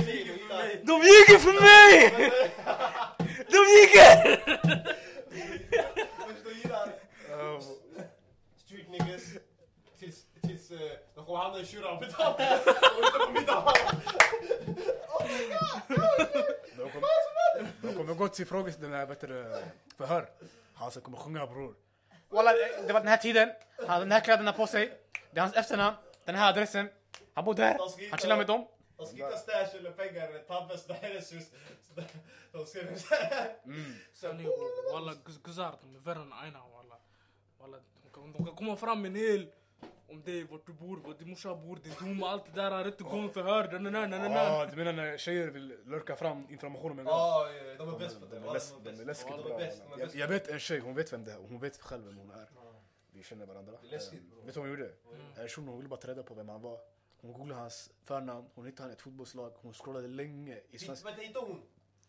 [SPEAKER 1] mig!
[SPEAKER 3] De ljuger för mig! De ljuger!
[SPEAKER 1] De gillar street niggas. Tills, tills eh, de kommer hamna i tjurar och betala. Och inte på middag.
[SPEAKER 2] De kommer, de kommer gå till frågor den här, vet du, förhör. Han som kommer sjunga bror.
[SPEAKER 5] Walla, det var den här tiden. Han hade den här kläderna på sig. Det är hans efternamn. Den här adressen. Han bodde här. Han chillade med dem.
[SPEAKER 1] De ska hitta stash eller pengar eller Tabbes Dairesus. De skriver såhär.
[SPEAKER 3] Sanning bror, walla guz- guzzar de är värre än aina walla. Walla de kan- de kan komma fram med en hel om dig, vart du bor, var din morsa bor, din dom, allt det där, rättegång, förhör, na na na na na.
[SPEAKER 2] Ah, du menar när tjejer vill lurka fram information om en grabb?
[SPEAKER 1] Ja, ja, de är bäst på det.
[SPEAKER 2] De
[SPEAKER 1] Walla,
[SPEAKER 2] är läsk- de är läskigt
[SPEAKER 1] De
[SPEAKER 2] bra.
[SPEAKER 1] är bäst. De är
[SPEAKER 2] Jag,
[SPEAKER 1] bäst.
[SPEAKER 2] jag vet en tjej, hon vet vem det är. Hon vet själv vem hon är. Vi känner varandra.
[SPEAKER 1] Det är läskigt, bra.
[SPEAKER 2] Eh, Vet du vad hon gjorde? En shuno, hon ville bara ta reda på vem han var. Hon googlade hans förnamn, hon hittade han i ett fotbollslag, hon scrollade länge i svensk...
[SPEAKER 1] Vänta, inte hon.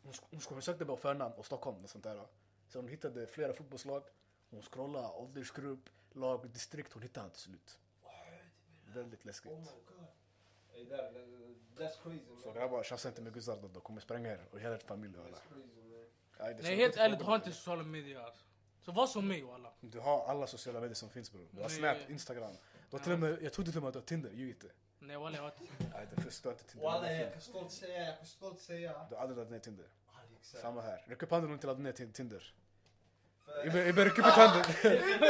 [SPEAKER 2] Hon, sk- hon, sk- hon sökte bara förnamn och Stockholm och sånt där. Så hon hittade flera fotbollslag. Hon scrollade åldersgrupp, lag, distrikt. Hon hittade han till slut. Väldigt läskigt.
[SPEAKER 1] Oh my god. Ey, där, där- That's crazy man.
[SPEAKER 2] Så grabbar, tjafsa inte med guzzar då. De kommer spränga er och hela ert familj. och alla.
[SPEAKER 1] That's crazy man.
[SPEAKER 2] Aj, det är
[SPEAKER 3] Nej
[SPEAKER 2] så-
[SPEAKER 3] helt ärligt, ha inte sociala medier alltså. Så var som mig walla.
[SPEAKER 2] Du har alla sociala medier som finns bror. Du har
[SPEAKER 3] Nej.
[SPEAKER 2] Snap, Instagram. Du har till och med, jag trodde till och med att du har Tinder, ljug inte.
[SPEAKER 3] Nej walla e jag har inte.
[SPEAKER 2] Nej det förstår inte Tinder.
[SPEAKER 1] Walla jag kan stolt säga, jag kan stolt säga.
[SPEAKER 2] Du har aldrig laddat ner Tinder.
[SPEAKER 1] Alex.
[SPEAKER 2] Samma här. Räck upp handen om du inte laddat ner Tin- Tinder.
[SPEAKER 1] För-
[SPEAKER 2] Ibbe, Ibbe, räck upp handen.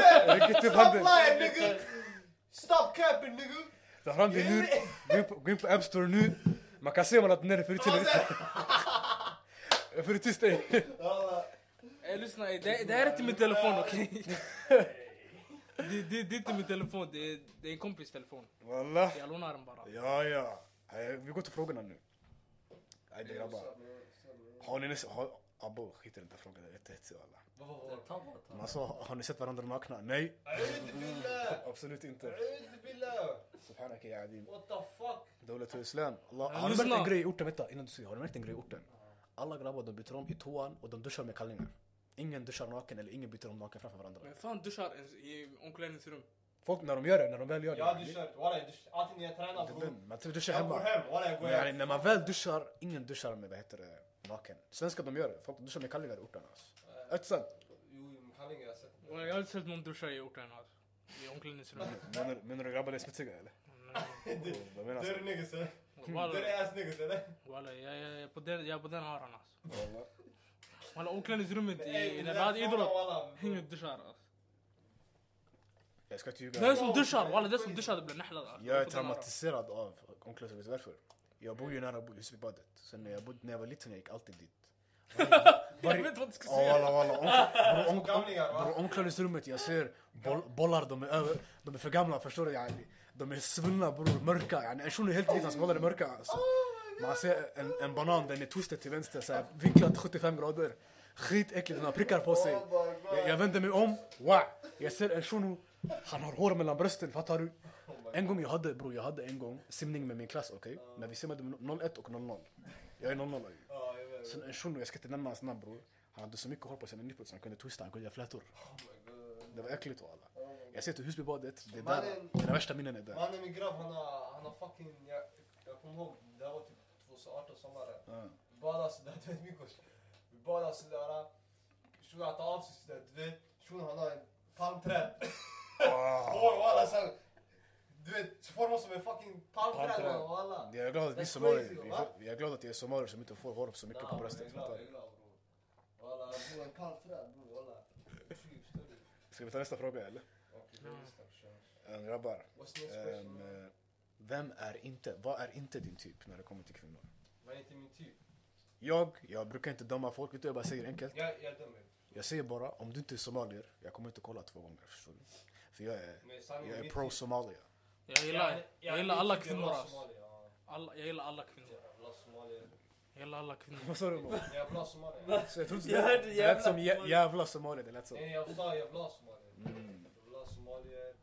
[SPEAKER 2] Räck upp
[SPEAKER 1] Stop
[SPEAKER 2] handen.
[SPEAKER 1] lying nigga! Stop capping nigga!
[SPEAKER 2] Ta fram din lur. Gå in på- Gå in på App Store nu. Man kan se om man laddat ner det förut eller inte. För det är tyst ej.
[SPEAKER 1] Walla.
[SPEAKER 3] Ey lyssna, ey, det, det här är inte min telefon okej? det, det, det är inte min telefon, det är, det är en kompis telefon.
[SPEAKER 2] Walla.
[SPEAKER 3] Jag lånar den bara.
[SPEAKER 2] Ja ja. Aj, Vi går till frågorna nu. Aj det grabbar.
[SPEAKER 1] Stop, man. Stop, man.
[SPEAKER 2] Har ni nästan... har- Abo, skit i den där frågan. Det är jättehetsig alla.
[SPEAKER 1] Vad var vad?
[SPEAKER 2] Man sa, har ni sett varandra nakna? Nej.
[SPEAKER 1] A'udhu billah!
[SPEAKER 2] Absolut inte.
[SPEAKER 1] A'udhu billah!
[SPEAKER 2] Subhanaka ya adim.
[SPEAKER 1] What the fuck?
[SPEAKER 2] Dawlatul Islam. Allah,
[SPEAKER 3] Ja,
[SPEAKER 2] har du märkt
[SPEAKER 3] lyssna.
[SPEAKER 2] en grej i orten? Vänta, innan du säger. Har du märkt en grej i orten? Alla grabbar de byter om i toan och de duschar med kallingar. Ingen duschar naken eller ingen byter om naken framför varandra.
[SPEAKER 3] Men fan duschar ens e, i omklädningsrum?
[SPEAKER 2] Folk när de gör det, när de väl gör det.
[SPEAKER 1] Jag har duschat, walla jag duschar. Alltid när jag tränar
[SPEAKER 2] det-
[SPEAKER 1] bror.
[SPEAKER 2] den- Man tror duschar
[SPEAKER 1] Jag går
[SPEAKER 2] hemma.
[SPEAKER 1] hem, walla jag går
[SPEAKER 2] Men yani,
[SPEAKER 1] hem.
[SPEAKER 2] när man väl duschar, ingen duschar med vad heter det, naken. Svenskar de gör det. Folk duschar med kallingar i orten alltså. Är det sant?
[SPEAKER 1] Jo, jo, men kallingar jag har sett.
[SPEAKER 3] Walla, Jag har inte sett någon duscha i orten alltså. I omklädningsrummet.
[SPEAKER 2] Menar, menar du grabbar är smutsiga eller? Vad menas?
[SPEAKER 1] Dirty niggas eller? Dirty
[SPEAKER 3] Walla,
[SPEAKER 1] ass niggas eller?
[SPEAKER 3] walla jag, jag, jag, är på den, jag är på den aran alltså.
[SPEAKER 2] Wallah.
[SPEAKER 3] Walla omklädningsrummet
[SPEAKER 1] Ey,
[SPEAKER 3] i,
[SPEAKER 1] men
[SPEAKER 3] när vi
[SPEAKER 1] den
[SPEAKER 3] hade
[SPEAKER 1] frågan,
[SPEAKER 3] idrott,
[SPEAKER 1] walla.
[SPEAKER 3] ingen duschar alltså.
[SPEAKER 2] Jag ska inte
[SPEAKER 3] Den
[SPEAKER 2] ljuga.
[SPEAKER 3] som duschar, walla den som duschar det blir nählad alltså.
[SPEAKER 2] Jag är
[SPEAKER 3] på den aran.
[SPEAKER 2] traumatiserad av omklädningsrummet, vet du varför? Jag bor ju nära bo- husbybadet, så när jag, bodde, när jag var liten jag gick alltid dit.
[SPEAKER 3] Jag vet vad du ska
[SPEAKER 2] Ja
[SPEAKER 3] säga.
[SPEAKER 2] walla walla. Om- om- om-
[SPEAKER 1] Gamlingar va?
[SPEAKER 2] Bror omklädningsrummet jag ser boll, bollar de är över, de är för gamla förstår du yani. De är svullna bror, mörka yani. En shuno är helt vit, hans bollar är mörka alltså. Man ser en, en banan, den är twisted till vänster såhär, vinklad 75 grader. Skitäckligt, den har prickar på sig. Jag, jag vänder mig om, wow. Jag ser en shuno, han har hår mellan brösten, fattar du? En gång jag hade bror, jag hade en gång simning med min klass okej? När vi simmade med 01 och 00. Jag är 00 ju.
[SPEAKER 1] Ja, jag vet.
[SPEAKER 2] Sen en shuno, jag ska inte nämna hans namn bror. Han hade så mycket hår på sina nipples, han kunde twista, han kunde göra flätor. Det var äckligt walla. Jag ser till Husbybadet, det är där.
[SPEAKER 1] Mannen-
[SPEAKER 2] Mina värsta minnen är där.
[SPEAKER 1] Mannen min grabb han har, han har fucking, jag, jag kommer ihåg, det här var typ 2018 sommaren.
[SPEAKER 2] Ja.
[SPEAKER 1] Vi badade sådär, du vet Mikos. Vi badade sådär. Shunon han tar av sig sådär, du vet. Shunon han har en palmträd. Hår walla sen. Du vet, så formar som en fucking palmträd
[SPEAKER 2] Palmträd.
[SPEAKER 1] walla.
[SPEAKER 2] Jag är glad att vi
[SPEAKER 1] That's
[SPEAKER 2] somalier,
[SPEAKER 1] crazy,
[SPEAKER 2] vi-
[SPEAKER 1] va?
[SPEAKER 2] jag är glad att jag är somalier som inte får hår så mycket på
[SPEAKER 1] Nah,
[SPEAKER 2] bröstet.
[SPEAKER 1] jag är glad,
[SPEAKER 2] fattar
[SPEAKER 1] jag är
[SPEAKER 2] du?
[SPEAKER 1] glad bror. Walla, bror en palmträd bror walla. Tjuv, större.
[SPEAKER 2] Ska vi ta nästa fråga eller?
[SPEAKER 1] Okej, det är nästa person.
[SPEAKER 2] Ehm, Grabbar.
[SPEAKER 1] What's next
[SPEAKER 2] ehm,
[SPEAKER 1] question?
[SPEAKER 2] eh, Vem är inte, vad är inte din typ när det kommer till kvinnor?
[SPEAKER 1] Vad är inte min typ?
[SPEAKER 2] Jag, jag brukar inte döma folk, vet du jag bara säger enkelt.
[SPEAKER 1] Jag, jag dömer.
[SPEAKER 2] Jag säger bara, om du inte är somalier, jag kommer inte kolla två gånger förstår du? För jag är,
[SPEAKER 1] Men sanningen,
[SPEAKER 2] jag är
[SPEAKER 1] min
[SPEAKER 2] pro
[SPEAKER 1] typ-
[SPEAKER 2] somalia.
[SPEAKER 3] Jag
[SPEAKER 1] يعني-
[SPEAKER 3] gillar, jag gillar alla kvinnor alltså.
[SPEAKER 1] Somalier, ja.
[SPEAKER 3] Alla, jag gillar alla kvinnor.
[SPEAKER 1] Jävla somalier.
[SPEAKER 3] Jag gillar alla kvinnor.
[SPEAKER 2] Vad sa du Mo?
[SPEAKER 1] Jävla somalier.
[SPEAKER 2] Så jag trodde
[SPEAKER 4] Jag hörde
[SPEAKER 2] det- Det lät som
[SPEAKER 4] jävla-
[SPEAKER 2] jä- jävla somalier, det lät så.
[SPEAKER 1] Nej, jag sa jävla somalier.
[SPEAKER 2] Mm.
[SPEAKER 1] Jävla somalier.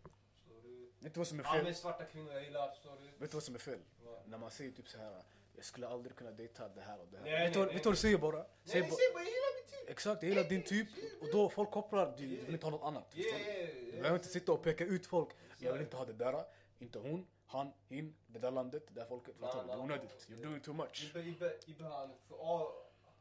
[SPEAKER 1] Förstår du?
[SPEAKER 2] Vet du vad som är fel?
[SPEAKER 1] Använd svarta kvinnor jag gillar, förstår du?
[SPEAKER 2] Vet du vad som är fel?
[SPEAKER 1] Vad?
[SPEAKER 2] När man säger typ så här, jag skulle aldrig kunna dejta det här och det här.
[SPEAKER 1] Nej,
[SPEAKER 2] vet du vad-
[SPEAKER 1] nej,
[SPEAKER 2] vet du vad du säger bara?
[SPEAKER 1] Nej,
[SPEAKER 2] Säg
[SPEAKER 1] nej,
[SPEAKER 2] bara-
[SPEAKER 1] säg bara jag gillar min typ.
[SPEAKER 2] Exakt, jag gillar din typ och då folk kopplar, du, du vill inte ha något annat.
[SPEAKER 1] Yeah,
[SPEAKER 2] förstår du?
[SPEAKER 1] yeah,
[SPEAKER 2] Du
[SPEAKER 1] yeah.
[SPEAKER 2] behöver inte sitta och peka ut folk. Jag vill inte ha det där, inte hon, han, hin, det där landet, det där folket. Fattar du? Det är onödigt. You're doing too much.
[SPEAKER 1] Ibbe, Ibbe, Ibbe han, för all,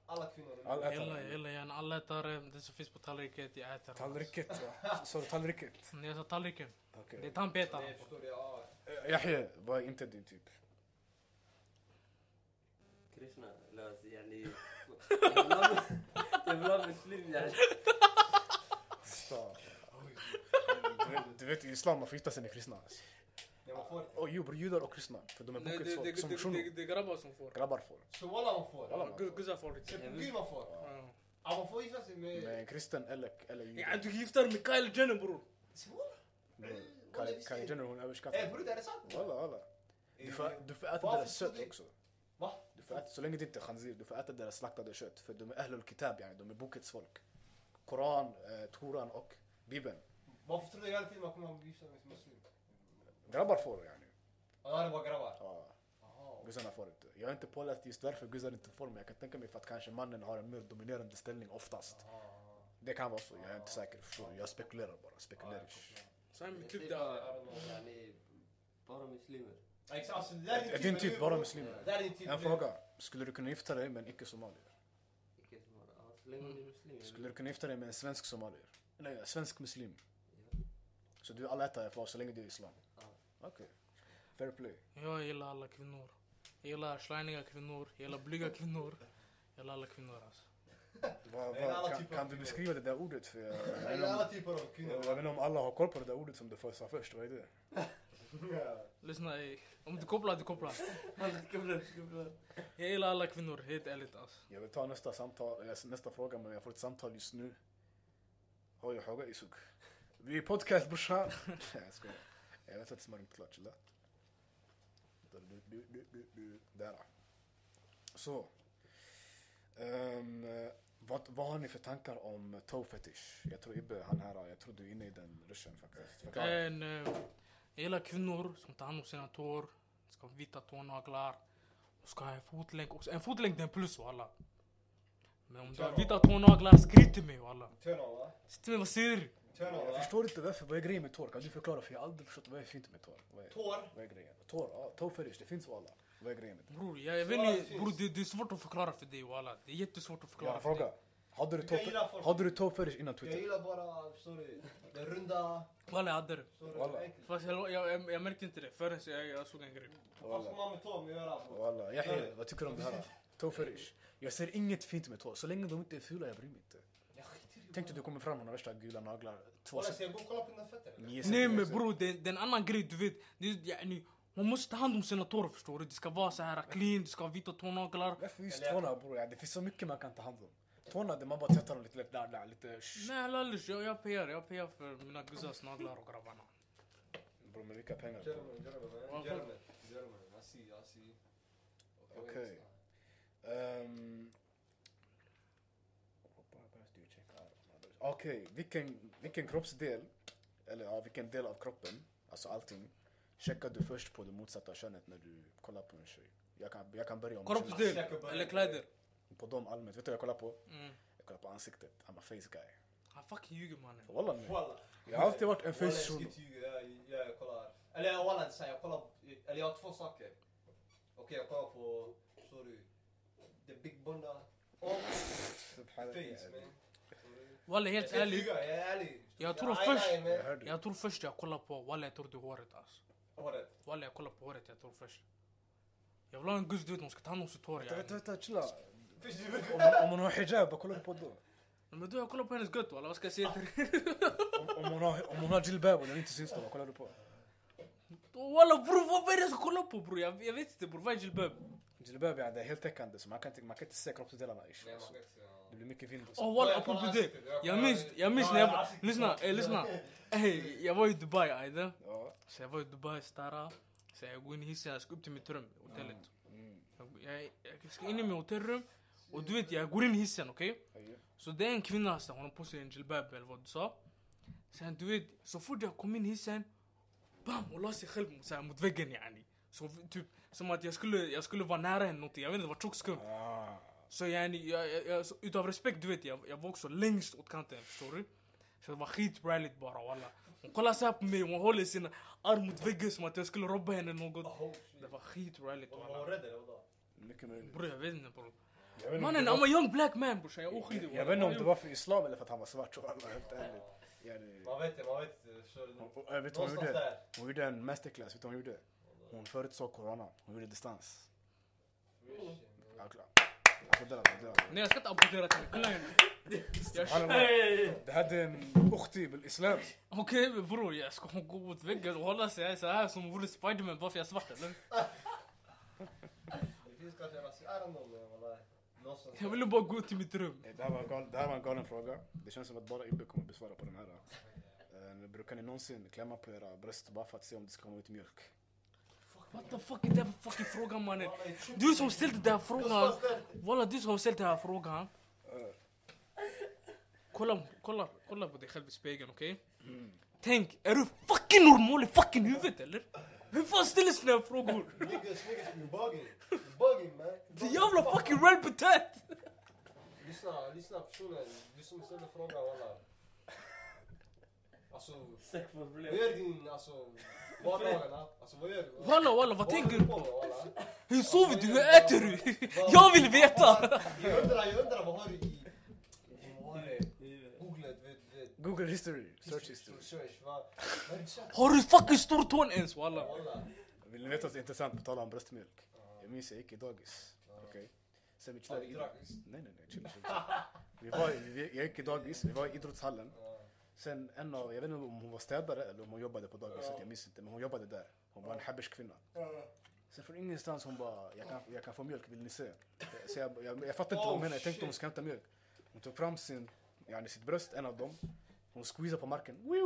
[SPEAKER 1] alla kvinnor.
[SPEAKER 2] All
[SPEAKER 3] Jag
[SPEAKER 2] ätare.
[SPEAKER 3] gillar, jag gillar gärna alla ätare. Det som finns på tallriken, jag äter.
[SPEAKER 2] Tallriket, ja. Sa du tallriket?
[SPEAKER 3] Jag sa tallriken. Det är
[SPEAKER 2] Okej. Eh,
[SPEAKER 3] tandpetare.
[SPEAKER 1] Nej, förstår du? Ja.
[SPEAKER 2] Yahya, vad är inte din typ?
[SPEAKER 4] Krishna, eller alltså yani... Jag vill ha- jag vill ha muslim yani.
[SPEAKER 2] Så. Du vet- Du vet i islam man får gifta sig med kristna. alltså.
[SPEAKER 1] Nej, man får inte.
[SPEAKER 2] Och jo bror, judar och kristna. För de är
[SPEAKER 3] Nej, det-
[SPEAKER 2] bunkers som
[SPEAKER 3] det- det-
[SPEAKER 2] shunon.
[SPEAKER 3] Det är grabbar som får.
[SPEAKER 2] Grabbar får.
[SPEAKER 1] Så walla man får.
[SPEAKER 2] Walla.
[SPEAKER 3] Ja, gu- Guzzar får inte.
[SPEAKER 1] Se på Gud man får.
[SPEAKER 3] Ja.
[SPEAKER 1] Ja, man får gifta sig med...
[SPEAKER 2] Men kristen eller, eller
[SPEAKER 3] Ja,
[SPEAKER 2] jude.
[SPEAKER 3] Du gifter dig med Kyle Jenner bror.
[SPEAKER 1] Se walla.
[SPEAKER 2] Kylie- Kylie Jenner hon
[SPEAKER 1] Ey
[SPEAKER 2] överskattar.
[SPEAKER 1] bror, det är sant.
[SPEAKER 2] Walla walla. Du får, du får äta
[SPEAKER 1] Varför
[SPEAKER 2] deras
[SPEAKER 1] tror
[SPEAKER 2] kött
[SPEAKER 1] du-
[SPEAKER 2] också.
[SPEAKER 1] Va?
[SPEAKER 2] Du får äta, så länge det inte är khanzir, du får äta deras slaktade kött. För de är ahlul kitab, yani, de är bokets folk. Koran, eh, Toran och Bibeln.
[SPEAKER 1] Varför tror du hela tiden man kommer att gifta sig med muslim?
[SPEAKER 2] Grabbar får yani.
[SPEAKER 1] Ja, det var grabbar.
[SPEAKER 2] Ja,
[SPEAKER 1] Jaha.
[SPEAKER 2] guzzarna får inte. Jag är inte påläst just därför guzzar inte får, men jag kan tänka mig för att kanske mannen har en mer dominerande ställning oftast. Det kan vara så, jag är inte säker. Förstår du? Jag spekulerar bara,
[SPEAKER 1] Ah,
[SPEAKER 2] spekulerar.
[SPEAKER 3] Så här med
[SPEAKER 4] Jag
[SPEAKER 3] typ
[SPEAKER 4] säger
[SPEAKER 3] det här.
[SPEAKER 4] bara, yani, bara muslimer.
[SPEAKER 1] Exakt, alltså det där är
[SPEAKER 2] Är din typ bara muslimer?
[SPEAKER 1] Det där är din typ.
[SPEAKER 2] En fråga, skulle du kunna gifta dig med en icke-somalier?
[SPEAKER 4] Icke som har- ja, Så länge ni är muslimer.
[SPEAKER 2] Mm. Skulle du kunna gifta dig med en svensk somalier? Nej, en svensk muslim. Så du är allätare för oss så länge du är islam?
[SPEAKER 4] Ja.
[SPEAKER 1] Ah.
[SPEAKER 2] Okej. Fair play.
[SPEAKER 3] Jag gillar alla kvinnor. Jag gillar slimiga kvinnor. Jag gillar blyga kvinnor. Jag gillar alla kvinnor alltså.
[SPEAKER 2] Vad-
[SPEAKER 1] Det är alla
[SPEAKER 2] vad- kan,
[SPEAKER 1] typer
[SPEAKER 2] kan
[SPEAKER 1] av
[SPEAKER 2] du
[SPEAKER 1] kvinnor.
[SPEAKER 2] beskriva det där ordet? För jag, jag,
[SPEAKER 1] Jag
[SPEAKER 2] vet inte
[SPEAKER 1] gillar
[SPEAKER 2] om,
[SPEAKER 1] alla typer av
[SPEAKER 2] jag
[SPEAKER 1] kvinnor.
[SPEAKER 2] vet inte om alla har koll på det där ordet som du sa först. Vad är det?
[SPEAKER 1] Ja.
[SPEAKER 3] Lyssna ey. Om du kopplar, du kopplar.
[SPEAKER 4] Skubla, skubla.
[SPEAKER 3] Jag gillar alla kvinnor, helt ärligt alltså.
[SPEAKER 2] Jag vill ta nästa, samtal, eller nästa fråga men jag får ett samtal just nu. Har jag fråga Isuk? Vi är podcast brorsan! Nej jag skojar. Jag vet att det är inte klart, chilla. Du, du, du, du, du, du. Där. Så. Ehm, vad, vad har ni för tankar om toe fetish? Jag tror Ibbe, han här, jag tror du är inne i den ruschen faktiskt.
[SPEAKER 3] Det
[SPEAKER 2] Förklara.
[SPEAKER 3] är en, eh, jag gillar kvinnor som tar hand om sina tår. Ska ha vita tånaglar. Och ska ha en fotlängd också. En fotlängd är en plus walla. Men om du har vita tånaglar, skryt till mig walla.
[SPEAKER 1] Turn on va?
[SPEAKER 3] Säg till mig, vad säger du?
[SPEAKER 1] Turn on
[SPEAKER 2] Jag
[SPEAKER 1] va?
[SPEAKER 2] förstår inte varför, vad är grejen med tår? Kan du förklara? För jag har aldrig förstått, vad är fint med tår? Vad är,
[SPEAKER 1] Tår.
[SPEAKER 2] vad är grejen? Tår, ja, toe fetish, det finns alla. Vad är grejen med det?
[SPEAKER 3] Bror, jag, jag vet
[SPEAKER 1] Svara,
[SPEAKER 3] inte.
[SPEAKER 1] precis.
[SPEAKER 3] Bror, det, det är svårt att förklara för dig walla. Det är jättesvårt att
[SPEAKER 2] Jag har
[SPEAKER 3] förklara
[SPEAKER 2] en
[SPEAKER 3] för dig.
[SPEAKER 2] fråga. Hade du
[SPEAKER 1] Du kan
[SPEAKER 2] toe-
[SPEAKER 1] gilla folk.
[SPEAKER 2] hade du toe fetish innan
[SPEAKER 1] Jag
[SPEAKER 2] Twitter?
[SPEAKER 1] gillar bara, förstår du, den runda.
[SPEAKER 3] Walla, jag hade det.
[SPEAKER 1] förstår du,
[SPEAKER 2] Walla.
[SPEAKER 1] enkelt.
[SPEAKER 3] Fast jag, jag, jag, jag märkte inte det förrän jag, jag såg en grej.
[SPEAKER 1] Vad ska man med tår med att göra? bror?
[SPEAKER 2] Walla, Yahya, vad tycker du om det här? Toe fetish. Jag ser inget fint med tår. Så länge de inte är fula, jag bryr mig inte.
[SPEAKER 1] Jag skiter i
[SPEAKER 2] Tänk dig du kommer fram med några värsta gula naglar. Två
[SPEAKER 1] Walla,
[SPEAKER 2] cent-
[SPEAKER 1] ska jag gå och kolla på dina fötter? eller?
[SPEAKER 2] nio
[SPEAKER 3] Nej
[SPEAKER 2] centimeter.
[SPEAKER 3] men bror, det, det är en annan grej du vet. Det är, yani, Man måste ta hand om sina tår förstår du. Det ska vara så här clean, det ska ha vita tånaglar.
[SPEAKER 2] Varför just tårna bror? Ja, det finns så mycket man kan ta hand om. Tårna, det man bara tvättar dem lite lätt, där, där, lite... shh.
[SPEAKER 3] Nej lallish, jag, jag PR. Jag PR för mina gussars naglar och grabbarna.
[SPEAKER 2] Bror med vilka pengar? bror?
[SPEAKER 1] German, German, German, German. I see, I see.
[SPEAKER 2] Okay. Ehm, Okej, vilken, vilken kroppsdel, eller ja, vilken del av kroppen, alltså allting, checkar du först på det motsatta könet när du kollar på en tjej? Jag kan, jag kan börja om
[SPEAKER 3] Kroppsdel eller kläder.
[SPEAKER 2] könet. På dem allmänt, vet du vad jag kollar på?
[SPEAKER 3] Mm.
[SPEAKER 2] Jag kollar på ansiktet, I'm a face guy.
[SPEAKER 3] Han fucking ljuger mannen.
[SPEAKER 2] Walla nej.
[SPEAKER 1] Walla.
[SPEAKER 2] Jag har alltid varit en
[SPEAKER 1] Walla, jag
[SPEAKER 2] face
[SPEAKER 1] ska
[SPEAKER 2] shuno.
[SPEAKER 1] inte ljuga. Jag- jag- Jag kollar. Eller jag wallar inte säga. Jag kollar. Eller jag har två saker. Okej, jag kollar på... Förstår du? The Big Bunda. Och Face, man.
[SPEAKER 3] Walla helt
[SPEAKER 1] Jag ska inte
[SPEAKER 3] ärligt.
[SPEAKER 1] ljuga, jag är ärlig.
[SPEAKER 3] Jag tror
[SPEAKER 1] är
[SPEAKER 3] först-
[SPEAKER 1] ärlig, man.
[SPEAKER 2] Jag hörde.
[SPEAKER 3] Jag tror först jag kollar på, walla jag tror det är håret alltså.
[SPEAKER 1] Håret.
[SPEAKER 3] Walla jag kollar på håret jag tror först. Jag vill ha en guss du vet, hon ska ta hand om sitt hår.
[SPEAKER 2] Vänta,
[SPEAKER 3] yani.
[SPEAKER 2] vänta, vänta, chilla.
[SPEAKER 1] Först du vill-
[SPEAKER 2] Om hon- Om hon har hijab, vad kollar du på då?
[SPEAKER 3] Men du jag kollar på hennes gött walla, vad ska jag säga till dig?
[SPEAKER 2] Om, om hon har, om hon har jilbab och den inte syns då, vad kollar du på?
[SPEAKER 3] Oh, Walla bror vad är det jag ska kolla på bror? Jag, jag vet inte bror, vad är en jilbab?
[SPEAKER 2] Jilbab ja, det är heltäckande så man kan inte, man kan inte se kroppsdelarna. ish.
[SPEAKER 1] Nej, man
[SPEAKER 2] Så
[SPEAKER 1] kan inte säga.
[SPEAKER 2] Det blir mycket vind. och så.
[SPEAKER 3] Åh walla
[SPEAKER 1] Jag
[SPEAKER 3] apropå
[SPEAKER 1] kollar
[SPEAKER 3] det.
[SPEAKER 1] ansiktet, jag
[SPEAKER 3] Jag
[SPEAKER 1] kollar-
[SPEAKER 3] minns, jag minns
[SPEAKER 1] Ja,
[SPEAKER 3] när jag
[SPEAKER 1] ja,
[SPEAKER 3] var...
[SPEAKER 1] ansiktet.
[SPEAKER 3] Lyssna, eh, lyssna. Ey, jag var i Dubai ajde.
[SPEAKER 2] Ja.
[SPEAKER 3] Så jag var i Dubai stara. Så jag går in i hissen, jag ska upp till mitt rum, hotellet.
[SPEAKER 2] Mm.
[SPEAKER 3] Jag, jag, jag ska in i mitt hotellrum. Och du vet jag går in i hissen okej?
[SPEAKER 2] Adjö.
[SPEAKER 3] Så det är en kvinna som har på sig en jilbab eller vad du sa. Sen du vet, så fort jag kom in i hissen, bam, hon la sig själv mot, så här, mot väggen yani. Så v- typ, som att jag skulle, jag skulle vara nära henne någonting, jag vet inte, det var tjockt skumt.
[SPEAKER 2] Ah.
[SPEAKER 3] Så yani, jag, jag, jag, så, utav respekt du vet, jag, jag var också längst åt kanten, förstår du? Så det var skitbrailigt bara walla. Hon kollar såhär på mig, hon håller sin arm mot väggen som att jag skulle robba henne något.
[SPEAKER 1] Oh, shit.
[SPEAKER 3] Det var skitbrailigt
[SPEAKER 1] Var hon
[SPEAKER 3] walla.
[SPEAKER 1] rädd eller vadå?
[SPEAKER 2] Mycket möjligt.
[SPEAKER 3] Bror jag vet inte bror.
[SPEAKER 2] Jag vet inte om
[SPEAKER 3] Mannen
[SPEAKER 2] det var-
[SPEAKER 3] I'm a young black man brorsan, jag är oskyldig.
[SPEAKER 2] Jag vet inte om det var för islam eller för att han var svart. Så alla, helt ärligt. Ja, det-
[SPEAKER 1] Man vet inte, man vet inte. Förstår du?
[SPEAKER 2] Hon- hon- jag Vet du vad hon
[SPEAKER 1] Någonstans
[SPEAKER 2] gjorde?
[SPEAKER 1] där.
[SPEAKER 2] Hon gjorde en masterclass. Vet du vad hon gjorde? Hon förutsåg corona. Hon gjorde distans. Ja, klar. Applådera, applådera.
[SPEAKER 3] Nej jag ska inte applådera till dig, kolla henne. Jag
[SPEAKER 2] Subhanallah.
[SPEAKER 3] känner-
[SPEAKER 2] Det hade en ukhti bil-islam.
[SPEAKER 3] Okej men bror, jag ska hon gå mot väggen och hålla sig så här som vore Spiderman bara för jag är svart eller?
[SPEAKER 1] Det finns kanske en rasism. I don't know man. wallahi. Någonstans
[SPEAKER 3] Jag
[SPEAKER 1] där.
[SPEAKER 3] ville bara gå till mitt rum.
[SPEAKER 2] Eh, Det här var, gal, det här var en galen fråga. Det känns som att bara Ibbe kommer besvara på den här. Eh, brukar ni någonsin klämma på era bröst bara för att se om det ska komma ut mjölk?
[SPEAKER 3] What the fuck är det här för fucking fråga mannen?
[SPEAKER 1] Wallahi, tjock.
[SPEAKER 3] Du som ställde den här
[SPEAKER 1] Någonstans
[SPEAKER 3] frågan.
[SPEAKER 1] där.
[SPEAKER 3] Walla du som har ställt den här frågan. Kolla, kolla, kolla på dig själv i spegeln okej? Tänk, är du fucking normal i fucking huvudet eller? Hur fan ställer såna här frågor?
[SPEAKER 1] Niggas, niggas, you're bugging. You're bugging man.
[SPEAKER 3] Det är jävla fucking red potato!
[SPEAKER 1] Lyssna, lyssna personen. Du som ställer frågan walla. Alltså,
[SPEAKER 4] Säck på
[SPEAKER 1] vad gör din alltså vardagarna? Alltså vad gör du?
[SPEAKER 3] Walla walla vad tänker du
[SPEAKER 1] på?
[SPEAKER 3] på?
[SPEAKER 1] med, walla?
[SPEAKER 3] Hur sover du? Hur äter du? Jag vill veta!
[SPEAKER 1] Jag undrar, jag undrar vad har du i... i- Vad har du? Googlet, vet du?
[SPEAKER 2] Google history, search history.
[SPEAKER 1] history. Search, vad? Vad har du sagt?
[SPEAKER 3] Har du Oh, fucking stor tån ens walla?
[SPEAKER 1] Walla.
[SPEAKER 2] Vill ni veta något intressant på tal om bröstmjölk? Jag minns jag gick i dagis. Okej. Sen vi
[SPEAKER 1] Ja,
[SPEAKER 2] chillade
[SPEAKER 1] du
[SPEAKER 2] i...
[SPEAKER 1] drack
[SPEAKER 2] Nej,
[SPEAKER 1] visst?
[SPEAKER 2] nej, nej. Chilla, chilla. vi var, i- vi, jag gick i dagis, vi var i idrottshallen.
[SPEAKER 1] Ja.
[SPEAKER 2] Sen en av, jag vet inte om hon var städare eller om hon jobbade på dagiset,
[SPEAKER 1] Ja.
[SPEAKER 2] jag minns inte. Men hon jobbade där. Hon var en habersk kvinna. Sen från ingenstans hon bara, jag kan, jag kan få mjölk, vill ni se? Så jag, jag, jag fattade inte vad
[SPEAKER 1] Oh,
[SPEAKER 2] hon menade, jag tänkte
[SPEAKER 1] shit.
[SPEAKER 2] hon ska hämta mjölk. Hon tog fram sin, yani sitt bröst, en av dem. Hon squeezade på marken. Wiu!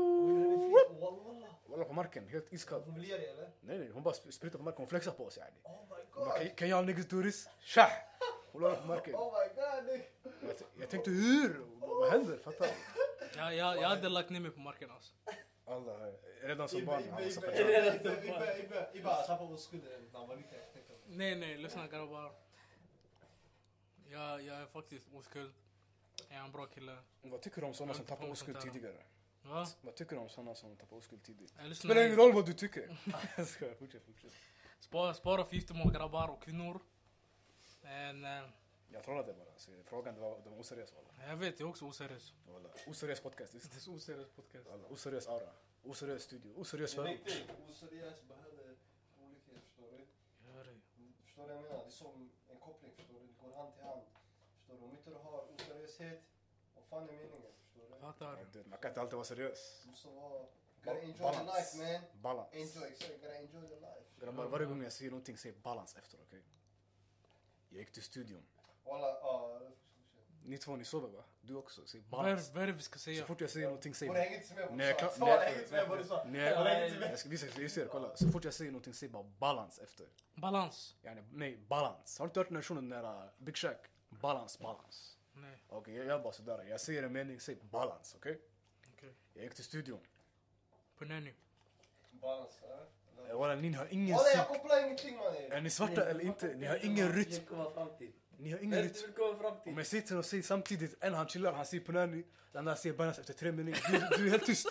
[SPEAKER 1] Walla.
[SPEAKER 2] Walla på marken, helt iskall.
[SPEAKER 1] Hon vill ge dig eller?
[SPEAKER 2] Nej nej, hon bara sp- sprutar på marken, hon flexar på oss yani.
[SPEAKER 1] Oh my
[SPEAKER 2] Hon bara,
[SPEAKER 1] god.
[SPEAKER 2] "Kan- kan jag niggas turis? Tja! Hon la den på marken.
[SPEAKER 1] Oh my god. Nick.
[SPEAKER 2] Jag, t- jag tänkte hur? Vad- Vad händer? Fattar du?
[SPEAKER 3] Ja, ja, jag hade lagt ner mig på marken alltså.
[SPEAKER 2] Alla, redan som
[SPEAKER 1] Ibbe,
[SPEAKER 2] barn,
[SPEAKER 1] Ibbe,
[SPEAKER 2] han var så
[SPEAKER 1] Ibbe,
[SPEAKER 2] fattig.
[SPEAKER 1] Ibbe, Ibbe, Ibbe, Ibbe, han tappade oskulden när han var liten. jag tänkte på det.
[SPEAKER 3] Nej nej, lyssna grabbar. Jag, jag är faktiskt oskuld. Jag är en bra kille.
[SPEAKER 2] Vad tycker du om sådana som
[SPEAKER 3] Jag kommer
[SPEAKER 2] tappar
[SPEAKER 3] inte
[SPEAKER 2] oskuld
[SPEAKER 3] tala.
[SPEAKER 2] tidigare?
[SPEAKER 3] Va?
[SPEAKER 2] Vad tycker du om sådana som tappar oskuld tidigt?
[SPEAKER 3] Jag lyssnar
[SPEAKER 2] Spelar ingen
[SPEAKER 3] ej.
[SPEAKER 2] roll vad du tycker. Jag skojar, fortsätt, fortsätt.
[SPEAKER 3] Spara, spara för giftermål grabbar och kvinnor. Men eh,
[SPEAKER 2] Jag trollade bara. Så frågan det var, det var oseriös walla.
[SPEAKER 3] jag vet, jag är också oseriös.
[SPEAKER 2] Walla. Oseriös podcast visst?
[SPEAKER 3] Det är så oseriös podcast.
[SPEAKER 2] Walla. Oseriös aura. Oseriös studio. Oseriös
[SPEAKER 1] Det är
[SPEAKER 2] förort.
[SPEAKER 1] riktigt oseriöst behandlade olikhet, förstår du?
[SPEAKER 3] Jag hör dig.
[SPEAKER 1] Förstår du vad jag menar? Det är som en koppling, förstår du? Det går hand till hand. Förstår du? Om inte du har oseriöshet, vad fan är meningen? Förstår du?
[SPEAKER 3] Fattar.
[SPEAKER 2] Ja, dude, Man kan inte alltid vara seriös.
[SPEAKER 1] Du måste vara Gotta enjoy the
[SPEAKER 2] balance.
[SPEAKER 1] life man.
[SPEAKER 2] Balans.
[SPEAKER 1] Enjoy, sorry, gotta enjoy the life.
[SPEAKER 2] Grabbar, varje gång jag säger någonting säg balans efter, okej? Jag gick till studion.
[SPEAKER 1] Walla, ah, ja.
[SPEAKER 2] Ni två, ni sover va? Du också, säg
[SPEAKER 3] Vad är
[SPEAKER 2] balans.
[SPEAKER 3] det- vad är det vi ska
[SPEAKER 2] Så
[SPEAKER 3] säga?
[SPEAKER 2] fort jag säger någonting säg
[SPEAKER 1] Hon hänger inte med
[SPEAKER 2] Nej,
[SPEAKER 1] vad
[SPEAKER 2] jag
[SPEAKER 1] du
[SPEAKER 2] kan-
[SPEAKER 1] sa.
[SPEAKER 2] nej,
[SPEAKER 1] Hon hänger inte med vad du sa.
[SPEAKER 2] Nej,
[SPEAKER 1] Hon hänger inte med.
[SPEAKER 2] jag ska visa, jag ser, kolla. Så fort jag säger någonting säg bara balans efter.
[SPEAKER 3] Balans.
[SPEAKER 2] Yani, nej, balans. Har du inte hört den här shunon nära Big Shack? Balans, balans.
[SPEAKER 3] Nej,
[SPEAKER 2] Okej, jag gör bara sådär. Jag säger en mening, säg balans, okej?
[SPEAKER 3] okej.
[SPEAKER 2] Jag gick till studion.
[SPEAKER 3] På Nanny.
[SPEAKER 1] Balans, ja.
[SPEAKER 2] Eh, Walla, ni har ingen
[SPEAKER 1] Walla, jag
[SPEAKER 2] psyk.
[SPEAKER 1] kopplar ingenting mannen.
[SPEAKER 2] Är ni svarta eller inte? Ni har ingen
[SPEAKER 4] Du
[SPEAKER 2] rytm.
[SPEAKER 4] vill komma fram till.
[SPEAKER 2] Ni har
[SPEAKER 4] Vad
[SPEAKER 2] ingen
[SPEAKER 4] är det
[SPEAKER 2] rytm.
[SPEAKER 4] du vill komma fram
[SPEAKER 2] Om
[SPEAKER 4] till?
[SPEAKER 2] jag säger till honom, säg samtidigt. En han chillar, han säger punani. Den andra säger balans efter tre minuter. Du, du är helt tyst.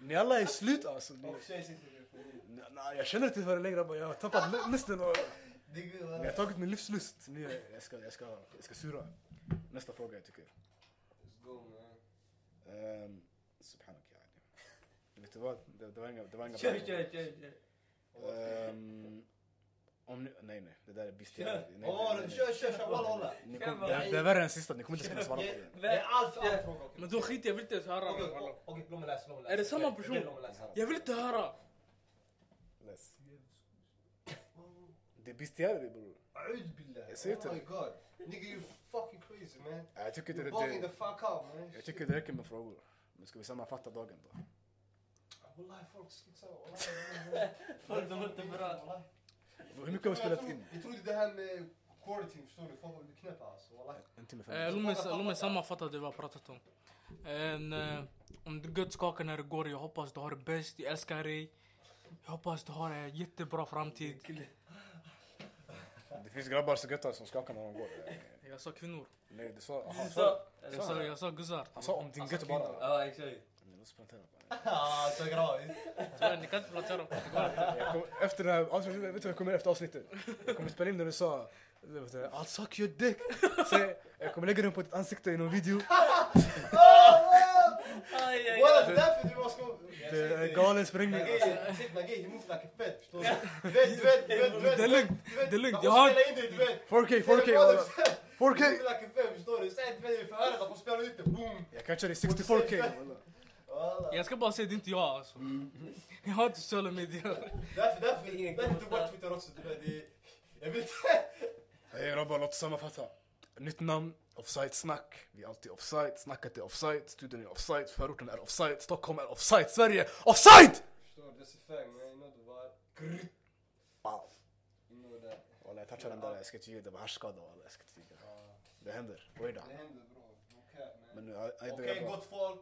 [SPEAKER 2] Ni alla är slut alltså. Ni,
[SPEAKER 1] Och tjej sitter bredvid.
[SPEAKER 2] Nej, nej, jag känner inte för det längre. grabbar. Jag har tappat lu- lusten. Och,
[SPEAKER 1] Det är gud,
[SPEAKER 2] ni
[SPEAKER 1] walla.
[SPEAKER 2] har tagit min livslust. Ni, jag, ska, jag, ska, jag ska sura. Nästa fråga jag tycker.
[SPEAKER 1] Let's go man.
[SPEAKER 2] Um, Subhanak yani. Vet du vad? Det, det var inga... Det var inga
[SPEAKER 4] Kör, kör, kör, kör.
[SPEAKER 2] Ehm, om ni, nej, nej. Det där är bestiga.
[SPEAKER 4] Kör.
[SPEAKER 2] Nej, nej,
[SPEAKER 1] Walla,
[SPEAKER 2] nej, nej.
[SPEAKER 1] kör, kör, kör. Walla, walla.
[SPEAKER 2] Ni kom, det, det är värre än sista. Ni kommer inte kunna svara på det.
[SPEAKER 1] Det är allt, allt fråga. okej.
[SPEAKER 3] Men då skit jag vill inte ens höra.
[SPEAKER 1] Okej,
[SPEAKER 3] wallah.
[SPEAKER 1] okej, okej, låt mig läsa, låt mig läsa.
[SPEAKER 3] Är det samma
[SPEAKER 1] Jag vill-
[SPEAKER 3] person?
[SPEAKER 1] jag vill låt mig läsa.
[SPEAKER 3] Jag vill inte höra.
[SPEAKER 2] Läs. Det är bestiality bror.
[SPEAKER 1] أعوذ بالله.
[SPEAKER 2] Yes, it-
[SPEAKER 1] Oh my god. Nigga, you fucking crazy man.
[SPEAKER 2] Ja, Jag tycker, det,
[SPEAKER 1] You're bugging the
[SPEAKER 2] det,
[SPEAKER 1] fuck out man.
[SPEAKER 2] jag tycker det räcker med frågor. Men ska vi sammanfatta dagen då?
[SPEAKER 1] والله فوق سكيت والله
[SPEAKER 4] Folk de är inte bra.
[SPEAKER 2] Hur mycket har vi spelat in?
[SPEAKER 1] Jag trodde det här med quarantine förstår du, folk blir knäppa alltså. والله.
[SPEAKER 2] En timme fem
[SPEAKER 3] Eh,
[SPEAKER 2] minuter.
[SPEAKER 3] Låt mig- låt mig sammanfatta det vi har pratat om. En, eh, om du gött skakar när det går, jag hoppas du har det bäst, jag älskar dig. Jag hoppas du har en jättebra framtid.
[SPEAKER 2] Det finns grabbar så göttar som skakar när de går. Eh,
[SPEAKER 3] Jag sa kvinnor.
[SPEAKER 2] Nej, du sa... Aha,
[SPEAKER 4] Så. Alltså,
[SPEAKER 3] Jag sa, jag sa guzzar.
[SPEAKER 2] Han sa om din gött bara.
[SPEAKER 4] Ja, exakt.
[SPEAKER 2] Nej, låt oss prata om det.
[SPEAKER 1] Ah, så gratis.
[SPEAKER 3] Tyvärr, ni kan inte placera dem. Det går inte.
[SPEAKER 2] Jag kom, efter det här avsnittet, vet du vad jag kommer efter avsnittet? Jag kommer spela in när du sa vet du, I'll suck your dick. Så jag kommer lägga den på ditt ansikte i någon video.
[SPEAKER 4] Aj, aj,
[SPEAKER 1] والله det är därför du måste...
[SPEAKER 2] Det är galen sprängning. alltså.
[SPEAKER 1] Shit Nagee, he moves like a fed förstår du. Du vet, du vet, du vet, du vet.
[SPEAKER 3] Det är lugnt,
[SPEAKER 1] du vet,
[SPEAKER 3] det är lugnt.
[SPEAKER 1] de
[SPEAKER 3] Jag
[SPEAKER 1] får
[SPEAKER 3] har...
[SPEAKER 1] spela in det, du vet.
[SPEAKER 2] 4K,
[SPEAKER 1] Det är
[SPEAKER 2] 4K,
[SPEAKER 1] bara-
[SPEAKER 2] alla. 4K!
[SPEAKER 1] Du like a fed förstår du. Säg inte mig i förhöret att de spelar ut det, boom.
[SPEAKER 2] Jag catchar dig 64K. walla.
[SPEAKER 1] والله.
[SPEAKER 3] Jag ska bara säga det är inte jag alltså. Jag har inte sociala medier.
[SPEAKER 1] Därför, därför, därför tog bort Twitter också. Du vet, det är... Jag vet inte.
[SPEAKER 2] Hej grabbar, låt oss sammanfatta. Nytt namn, offside-snack. Vi är alltid offside, snacket är offside, studion är offside, förorten är offside, Stockholm är offside, Sverige offside!
[SPEAKER 1] Förstår du, that's a fang man. You know the vibe. Grr.
[SPEAKER 2] Wow.
[SPEAKER 1] You know that.
[SPEAKER 2] Walla, jag touchade den där, jag ska inte ljuga, det var härskada walla, jag ska inte ljuga.
[SPEAKER 1] Ja,
[SPEAKER 2] Det händer, oj då.
[SPEAKER 1] Det händer bror. No cap man.
[SPEAKER 2] Men nu, jag- jag-
[SPEAKER 1] Okej gott folk.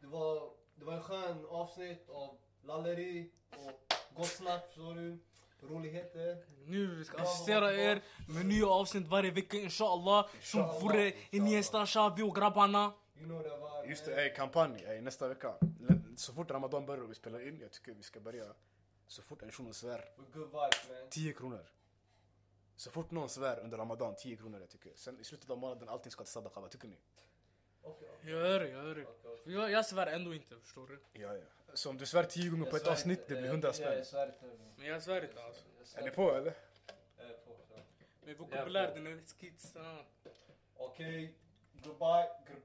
[SPEAKER 1] Det var, det var en skön avsnitt av lalleri och gott snack förstår du. Roligheter.
[SPEAKER 3] Nu vi ska assistera er med nya avsnitt varje vecka inshallah. Som
[SPEAKER 1] Inshallah.
[SPEAKER 3] vore Iniesta, Xavi och grabbarna.
[SPEAKER 1] You know that vibe
[SPEAKER 2] Just
[SPEAKER 1] man.
[SPEAKER 2] det, ey, kampanj. Ey, nästa vecka. L- Så fort Ramadan börjar och vi spelar in, jag tycker vi ska börja. Så fort en shuno svär,
[SPEAKER 1] With good vibes man.
[SPEAKER 2] 10 kronor. Så fort någon svär under Ramadan, 10 kronor jag tycker. Sen i slutet av månaden, allting ska till sadaqa, vad tycker ni?
[SPEAKER 1] Okej, okej,
[SPEAKER 3] Jag hör det, jag hör det.
[SPEAKER 1] okej, okej.
[SPEAKER 3] Jag, jag svär ändå inte förstår du.
[SPEAKER 2] Ja, ja. Så om du svär 10 gånger på
[SPEAKER 1] Jag
[SPEAKER 2] ett
[SPEAKER 1] svär
[SPEAKER 2] avsnitt,
[SPEAKER 1] inte,
[SPEAKER 2] det blir
[SPEAKER 1] eh,
[SPEAKER 2] 100
[SPEAKER 1] Ja,
[SPEAKER 2] spänn.
[SPEAKER 1] jag svär inte. men
[SPEAKER 3] Men jag svär inte alltså.
[SPEAKER 1] jag svär
[SPEAKER 2] Är ni
[SPEAKER 1] inte.
[SPEAKER 2] på eller?
[SPEAKER 1] Jag är på, så.
[SPEAKER 3] Min vokabulär den är skitsam.
[SPEAKER 1] Okej, goodbye, grr.